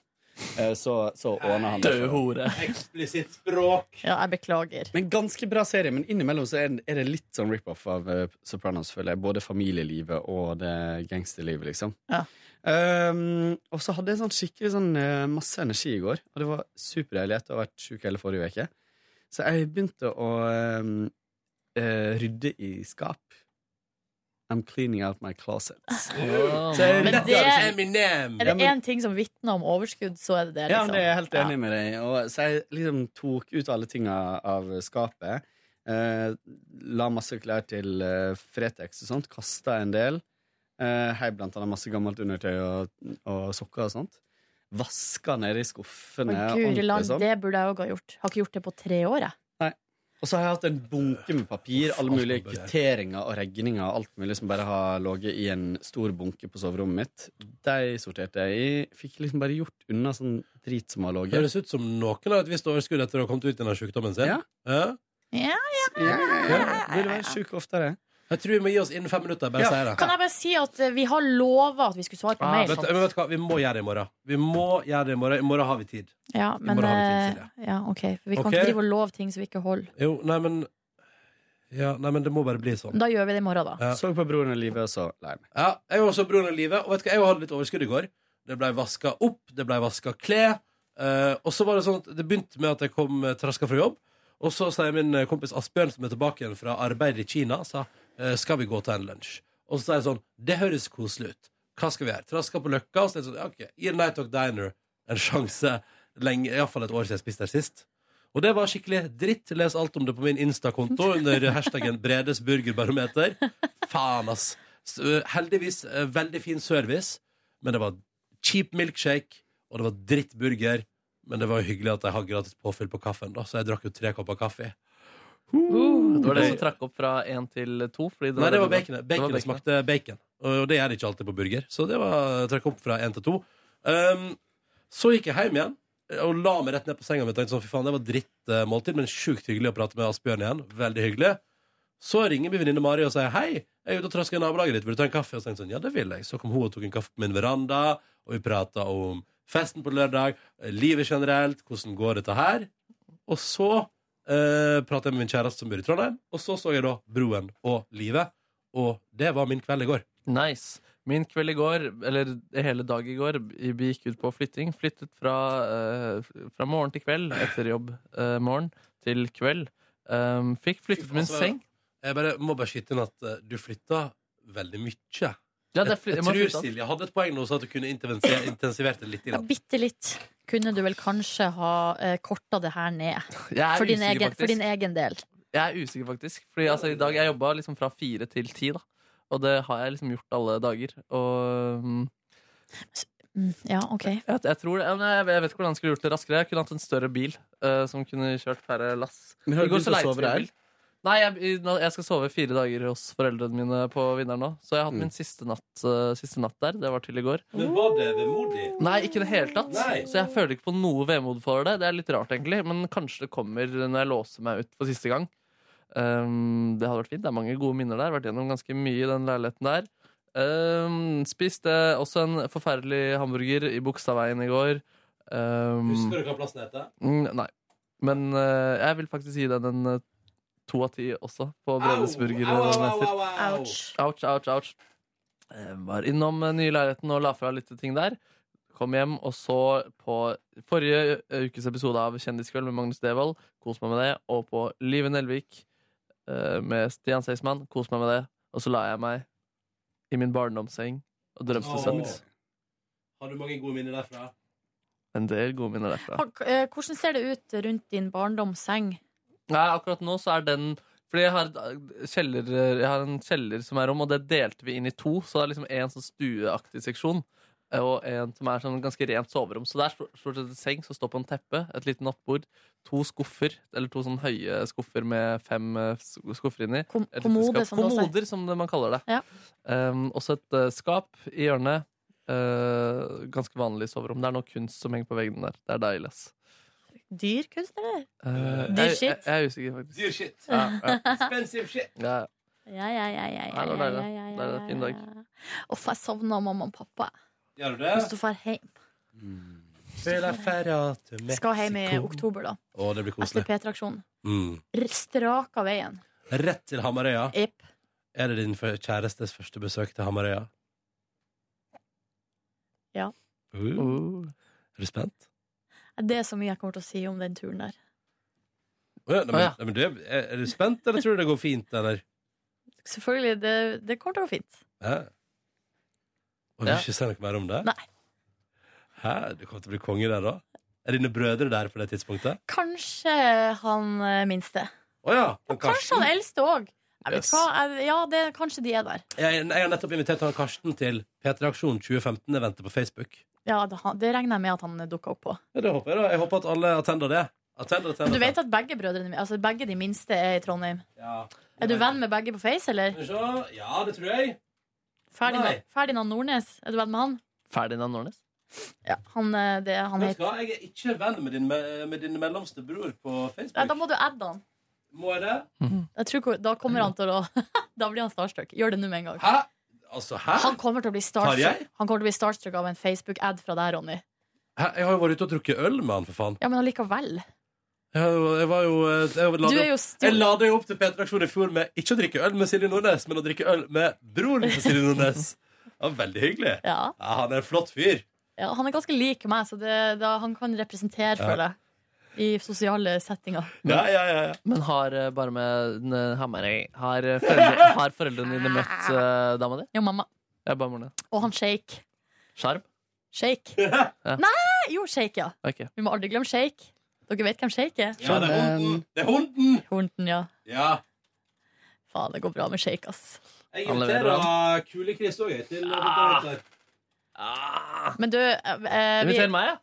Eh, Så, så ordner han
Død hore.
Eksplisitt språk.
Ja, jeg beklager.
Men ganske bra serie, men innimellom så er den- er det litt sånn rip-off av eh, Sopranos, føler jeg. Både familielivet og det gangsterlivet, liksom.
Ja.
Um, og så hadde jeg sånn skikkelig sånn eh, masse energi i går, og det var superdeilig etter å ha vært sjuk hele forrige uke. Så jeg begynte å um, eh, rydde i skap. I'm cleaning out my closets.
Wow.
Så jeg
Men
rydda
det-
liksom-
Er
Ja,
det
men-
én ting som vitner om overskudd, så er det det.
ja,
Liksom.
men det er jeg helt enig med deg i. Og Så jeg liksom tok ut alle tinga av skapet. Eh, la masse klær til eh, Fretex og sånt. Kasta en del. Eh, hei, blant annet masse gammelt undertøy og, og sokker og sånt. Vaska nede i skuffene.
Å,
ordentlig
Guri land,
sånn.
det burde jeg òg ha gjort. Har ikke gjort det på tre år, jeg.
Nei. Og så har jeg hatt en bunke med papir, alle
alt
mulige
må bare-
kvitteringer og regninger og alt mulig som bare har ligget i en stor bunke på soverommet mitt. De sorterte jeg i. Fikk liksom bare gjort unna sånn drit som har
Det
ligget.
høres ut som noen har et visst overskudd etter å ha kommet ut i denne sykdommen sin.
Ja.
Ja.
Ja, ja.
Burde være sjuk oftere.
Jeg tror vi må gi oss innen fem minutter. Bare
Ja.
sier det.
Kan jeg bare si at eh, vi har lova at vi skulle svare på
Ah,
mail?
vet,
sant?
men vet du hva, vi må gjøre det i morgen. Vi må gjøre det I morgen I morgen har vi tid.
Ja,
I
men
morgen har vi tid,
eh, ja, ok. For vi kan
Ok.
ikke drive og love ting som vi ikke holder.
Jo, nei, men Ja, nei, men det må bare bli sånn.
Da gjør vi det i morgen, da.
Ja.
Så på Broren og livet, og så lei meg.
Ja, jeg var også broren av livet, og vet du hva, jeg hadde litt overskudd i går. Det ble vaska opp, det ble vaska klær. eh, og så var det sånn at det begynte med at jeg kom eh, traska fra jobb. Og så sier min eh, kompis Asbjørn, som er tilbake igjen fra arbeid i Kina, sa eh, skal vi gå ta en lunsj. Og så sa jeg sånn, det høres koselig ut. Hva skal vi gjøre? Traska på Løkka? Og så er jeg sånn, ja, ok, gi Night Talk Diner en sjanse. Lenge, Iallfall et år siden jeg spiste der sist. Og det var skikkelig dritt. Les alt om det på min Insta-konto under hashtaggen Bredes burgerbarometer. Faen, ass. S- eh, Heldigvis eh, veldig fin service, men det var cheap milkshake, og det var drittburger. Men det var jo hyggelig at jeg har gratis påfyll på kaffen, da, så jeg drakk jo tre kopper kaffe.
Det var det som trakk opp fra én til to. Fordi
Nei, det var baconet.
Det var
Baconet smakte bacon. Og det gjør det ikke alltid på burger. Så det var trakk opp fra én til to. Um, så gikk jeg hjem igjen eh, og la meg rett ned på senga mi og tenkte sånn, fy faen, det var drittmåltid, men sjukt hyggelig å prate med Asbjørn igjen. Veldig hyggelig. Så ringer min venninne Mari og sier hei, jeg er ute og trasker i nabolaget ditt, vil du ta en kaffe? Og så tenkte jeg sånn, ja, det vil jeg. Så kom hun og tok en kaffe på min veranda, og vi prata om festen på lørdag, livet generelt, hvordan går dette her? Og så eh, prata jeg med min kjæreste som bor i Trondheim, og så så jeg da Broen og Livet, og det var min kveld i går.
Nice. Min kveld i går, eller hele dag i går, vi gikk ut på flytting. Flyttet fra, eh, fra morgen til kveld, etter jobb eh, morgen til kveld. Um, fikk flyttet min
Altså,
seng.
Jeg bare, må bare skyte inn at eh, du flytta veldig mye.
Ja, det er
jeg,
fly- jeg
jeg
må
tror
flytte.
Silje hadde et poeng nå, så at du kunne intensiver- intensivert det litt.
Ja,
Grann.
Bitte litt kunne du vel kanskje ha eh, korta det her ned.
Jeg er
For din,
usikker,
egen,
faktisk.
for din egen del.
Jeg er usikker, faktisk. Fordi altså, i dag jeg jobba liksom fra fire til ti, da. Og det har jeg liksom gjort alle dager. Og mm,
Mm, ja, OK.
jeg, jeg tror det, ja, men jeg, jeg vet ikke hvordan jeg skulle gjort det raskere. Jeg kunne hatt en større bil eh, som kunne kjørt færre lass.
Men har
I
du
går
begynt
så
å
leide
sove
vi
der?
bil. Nei, jeg, i- nå- jeg skal sove fire dager hos foreldrene mine på Vinneren nå. Så jeg
Mm.
har hatt min siste natt, eh, siste natt der. Det var til i går.
(laughs) Men var det vemodig?
Nei, ikke i det hele tatt. Så jeg føler ikke på noe vemod for det. Det er litt rart, egentlig. Men kanskje det kommer når jeg låser meg ut for siste gang. Um, det hadde vært fint. Det er mange gode minner der. Vært gjennom ganske mye i den leiligheten der. Um, spiste også en forferdelig hamburger i Bogstadveien i går. Um,
Husker du hva plassen heter?
Mm, nei. Men eh, jeg vil faktisk gi den en eh, to av ti også, på Bredes burger.
au, au,
den
au,
heter.
au, au. Ouch.
Ouch, ouch, ouch. Eh, var innom eh, nye leiligheten og la fra litt ting der. Kom hjem og så på forrige eh, ukes episode av Kjendiskveld med Magnus Devold. Kos meg med det. Og på Live Nelvik eh, med Stian Seisman. Kos meg med det. Og så la jeg meg i min barndomsseng og drømte
Åh.
søtt.
Har du mange gode minner derfra?
En del gode minner derfra.
Ha- eh, Hvordan ser det ut rundt din barndomsseng?
Nei, akkurat nå så er den Fordi jeg har, et eh, kjeller, jeg har en kjeller som er rom, og det delte vi inn i to. Så det er liksom en sånn stueaktig seksjon. og en som er sånn ganske rent soverom. Så det er stort stort sett en seng som står på en teppe, et lite nattbord, to skuffer, eller to sånn høye skuffer med fem eh, s- skuffer inni. Et lite
kommode,
skap.
som det også er.
Kommoder, som det man kaller det. Um, også et eh, skap i hjørnet. Eh, ganske vanlig soverom. Det er noe kunst som henger på veggen der. Det er deilig, ass.
Dyr kunst, eller?
Eh,
Dyr
jeg, jeg,
shit.
jeg er usikker, faktisk.
Dyr shit.
Ja, ja.
Expensive shit.
Ja, ja.
Ja, ja, ja, ja, ja,
Nei, det var
ja,
deilig.
ja, ja,
Deilig.
ja.
Fin dag.
Uff, jeg savner mamma og pappa.
Gjør du
Hvis du
det?
drar hjem.
Spiller ferja til Mexico.
Skal hjem i oktober, da.
Å, det blir
Etter
koselig.
P-traksjonen.
Mm.
R- Straka veien.
Rett til Hamarøya.
Jepp.
Er det din fø- kjærestes første besøk til Hamarøya?
Ja.
Uh. Er du spent?
Det er så mye jeg kommer til å si om den turen der.
Å ja, nei, men,
Å ja.
nei, men du, er, er du spent, eller tror du det går fint? Eller?
Selvfølgelig, det, det kommer til å gå fint.
Hæ? Og du
Ja.
vil ikke si noe mer om det?
Nei.
Hæ? Du kommer til å bli konge der, da? Er dine brødre der på det tidspunktet?
Kanskje han eh, minste.
Å ja! han
Kanskje
Karsten.
han eldste òg.
Yes.
Ja, det, kanskje de er der.
Jeg, jeg har nettopp invitert han Karsten til P3 Aksjon 2015-eventet på Facebook.
Ja, det, han- det regner jeg med at han dukker opp på.
Ja, det håper jeg, da. Jeg håper at alle attender det. Attender, attender,
Men du
attender.
vet at begge brødrene altså begge de minste er i Trondheim.
Ja.
Er du venn med begge på Face, eller?
Så, ja, det tror jeg.
Ferdinand,
Nei.
Ferdinand Nordnes, er du venn med han?
Ferdinand Nordnes?
Ja, han, eh, det, han
Vet du hva?
heter
Jeg er ikke venn med din, me- med din mellomste bror på
Nei,
Facebook.
Da må du adde han.
Må jeg det?
Jeg tror, ko- da kommer han til å (laughs) Da blir han starstruck. Gjør det nå med en gang.
Altså, hæ?
Han kommer til å bli starstruck
Tarjei?
Han kommer til å bli starstruck av en Facebook-ad fra deg, Ronny.
Hæ? Jeg har jo vært ute og drukket øl med han, for faen.
Ja, men allikevel.
Jeg har jo- jeg var jo eh, Jeg, la
Du
det
er jo
opp-
stor.
jeg la det jo opp til P3 Aksjon i fjor med ikke å drikke øl med Silje Nordnes, men å drikke øl med broren til Silje Nordnes. Det var veldig hyggelig.
Ja.
han er en flott fyr.
Ja, han er ganske lik meg, så det, da, han kan representere,
Ja.
føler jeg, i sosiale settinger.
Men har eh, bare med n- Hamarøy Har, eh, foreldre, har foreldrene dine
(laughs)
møtt eh, dama di?
Ja, mamma.
Ja, bare moren din.
Og han Shake.
Skjerm?
(laughs)
Shake.
Ja.
Nei! Jo, Shake, ja.
Ok.
Vi må aldri glemme Shake. Dere vet hvem Shake er?
Ja, det er hunden.
Det er hunden!
Hunden, ja.
Ja.
Faen, det går bra med Shake, ass.
Jeg
Han leverer inviterer
inviterer Kule-Chris òg, til
Ah.
Ah.
Men du eh, vi,
Inviter meg, ja.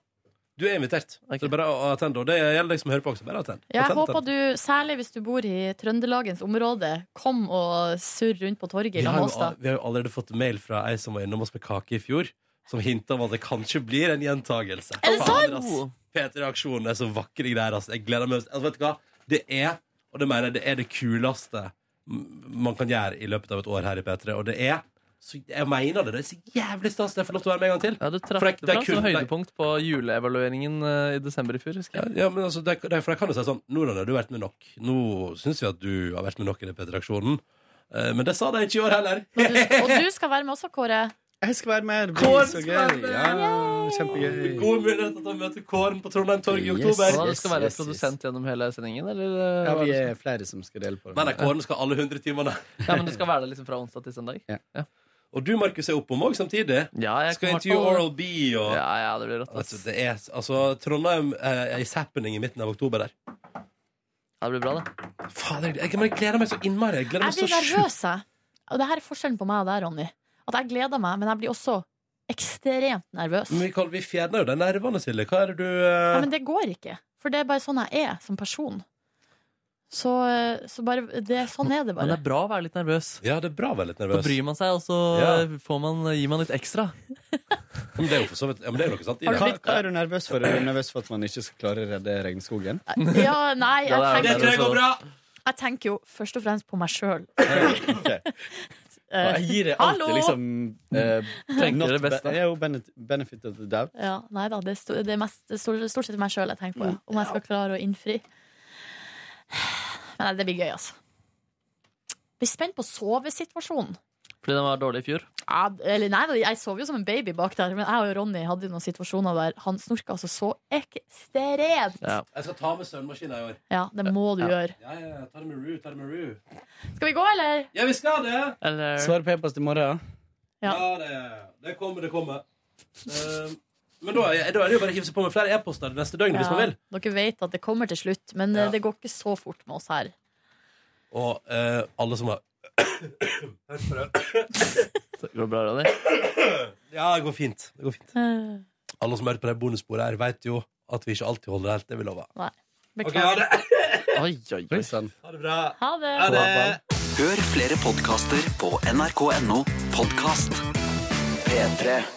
Du er invitert. Så det er bare å attende. Og det gjelder deg som hører på også. Bare attend.
Ja, jeg
Attend,
håper
attend.
du, særlig hvis du bor i Trøndelagens område, kom og surr rundt på torget i
Vi
lag med
har, jo,
oss, da.
(laughs)
al- vi har jo allerede fått mail fra ei som var innom oss med kake i fjor, som hinta om at det kanskje blir en gjentagelse.
Er det sant?
Fader, ass. P3-aksjonen er så vakre greier. ass. Jeg gleder meg. Altså, vet du hva? Det er, og det mener jeg, det er det kuleste m- man kan gjøre i løpet av et år her i P3, og det er så, jeg mener det. Det er så jævlig stas. Jeg får lov til å være med en gang til.
Ja, du traff
For det-
det
det er
fram som
kun- det er-
høydepunkt på juleevalueringen eh, i desember i fjor, husker jeg.
Ja, men altså, det, det, for jeg kan jo si sånn Nordland, har du vært med nok? Nå syns vi at du har vært med nok i den P3-aksjonen. Eh, Men det sa de ikke i år heller.
Og du skal være med også, Kåre.
Jeg skal være med. Det
Kåre
blir så
skal være
gøy.
med.
Ja, kjempegøy.
(laughs) God mulighet til å møte Kåren på Trondheim Torg i
Yes,
oktober.
yes,
Hva, det skal være
yes,
produsent gjennom hele sendingen, eller? eh,
Ja,
hva
vi
det
er flere som skal dele på det.
Nei, nei, Kåren skal alle 100 timene.
skal- ja, men det skal være det liksom fra onsdag til søndag?
Og du, Markus, er oppom òg samtidig.
Ja, jeg
Skal
kommer
intervjue
på-
Oral B og
Ja, ja, det blir rått. ass.
altså, det er, altså, Trondheim eh, is happening i midten av oktober der.
Ja, det blir bra, det.
Fader, jeg, jeg, men jeg gleder meg så innmari. Jeg gleder
Jeg
meg så
blir
sjukt.
nervøs, jeg. Og det her er forskjellen på meg og deg, Ronny. At jeg gleder meg, men jeg blir også ekstremt nervøs.
Men Mikael, vi fjerner jo de nervene, Silje. Hva er det du eh,
Ja, men det går ikke. For det er bare sånn jeg er som person. Så, så bare det, Sånn er det
Men
bare.
det er bra å være litt nervøs.
Ja, det er bra å være litt
Da
nervøs.
bryr man seg, og så
Ja.
eh, får man, gir man litt ekstra.
Ja, Men det er jo for så vidt ja, men det er jo noe sant i
Hva,
det.
hva er du nervøs for? Er du nervøs for at man ikke skal klare å redde regnskogen?
Ja, nei, jeg
Ja, det
tenker,
er- Det tror jeg går bra.
jeg tenker jo først og fremst på meg sjøl. (laughs)
Jeg gir deg alltid liksom eh,
Tenker
not
det beste.
be- Jeg er jo benet- benefit of the doubt.
Ja, nei da, det er, sto- det er mest, det er stort, stort sett meg sjøl jeg tenker på. ja. Om jeg skal klare å innfri. Men nei, det blir gøy, altså. Blir spent på sovesituasjonen.
Fordi den var dårlig i fjor.
Ja, eller nei, da, jeg sov jo som en baby bak der, men jeg og Ronny hadde jo noen situasjoner der han snorka altså så ekstremt.
Ja.
Jeg skal ta med søvnmaskina i år.
Ja, det må du gjøre.
Ja, ja, ja, ta det med Ru. Ta det med Ru.
Skal vi gå, eller?
Ja, vi skal det!
Svar på e-post i morgen.
Ja, det, det kommer, det kommer. Eh, men da, er- da er det jo bare å hive seg på med flere e-poster det neste døgn hvis man vil.
Ja, dere vet at det kommer til slutt, men eh, det går ikke så fort med oss her.
Og eh, alle som har
Så går det bra, Ronny?
Det Ja, det går fint. Det går fint.
Eh,
Alle som har hørt på det bonussporet her, vet jo at vi ikke alltid holder helt det vi lover.
Nei.
Ok, ha
Beklager.
det.
Oi, oi, oi, sann.
Ha det bra.
Ha det.
Ha det.
Hør flere podkaster på nrk.no podkast. P3.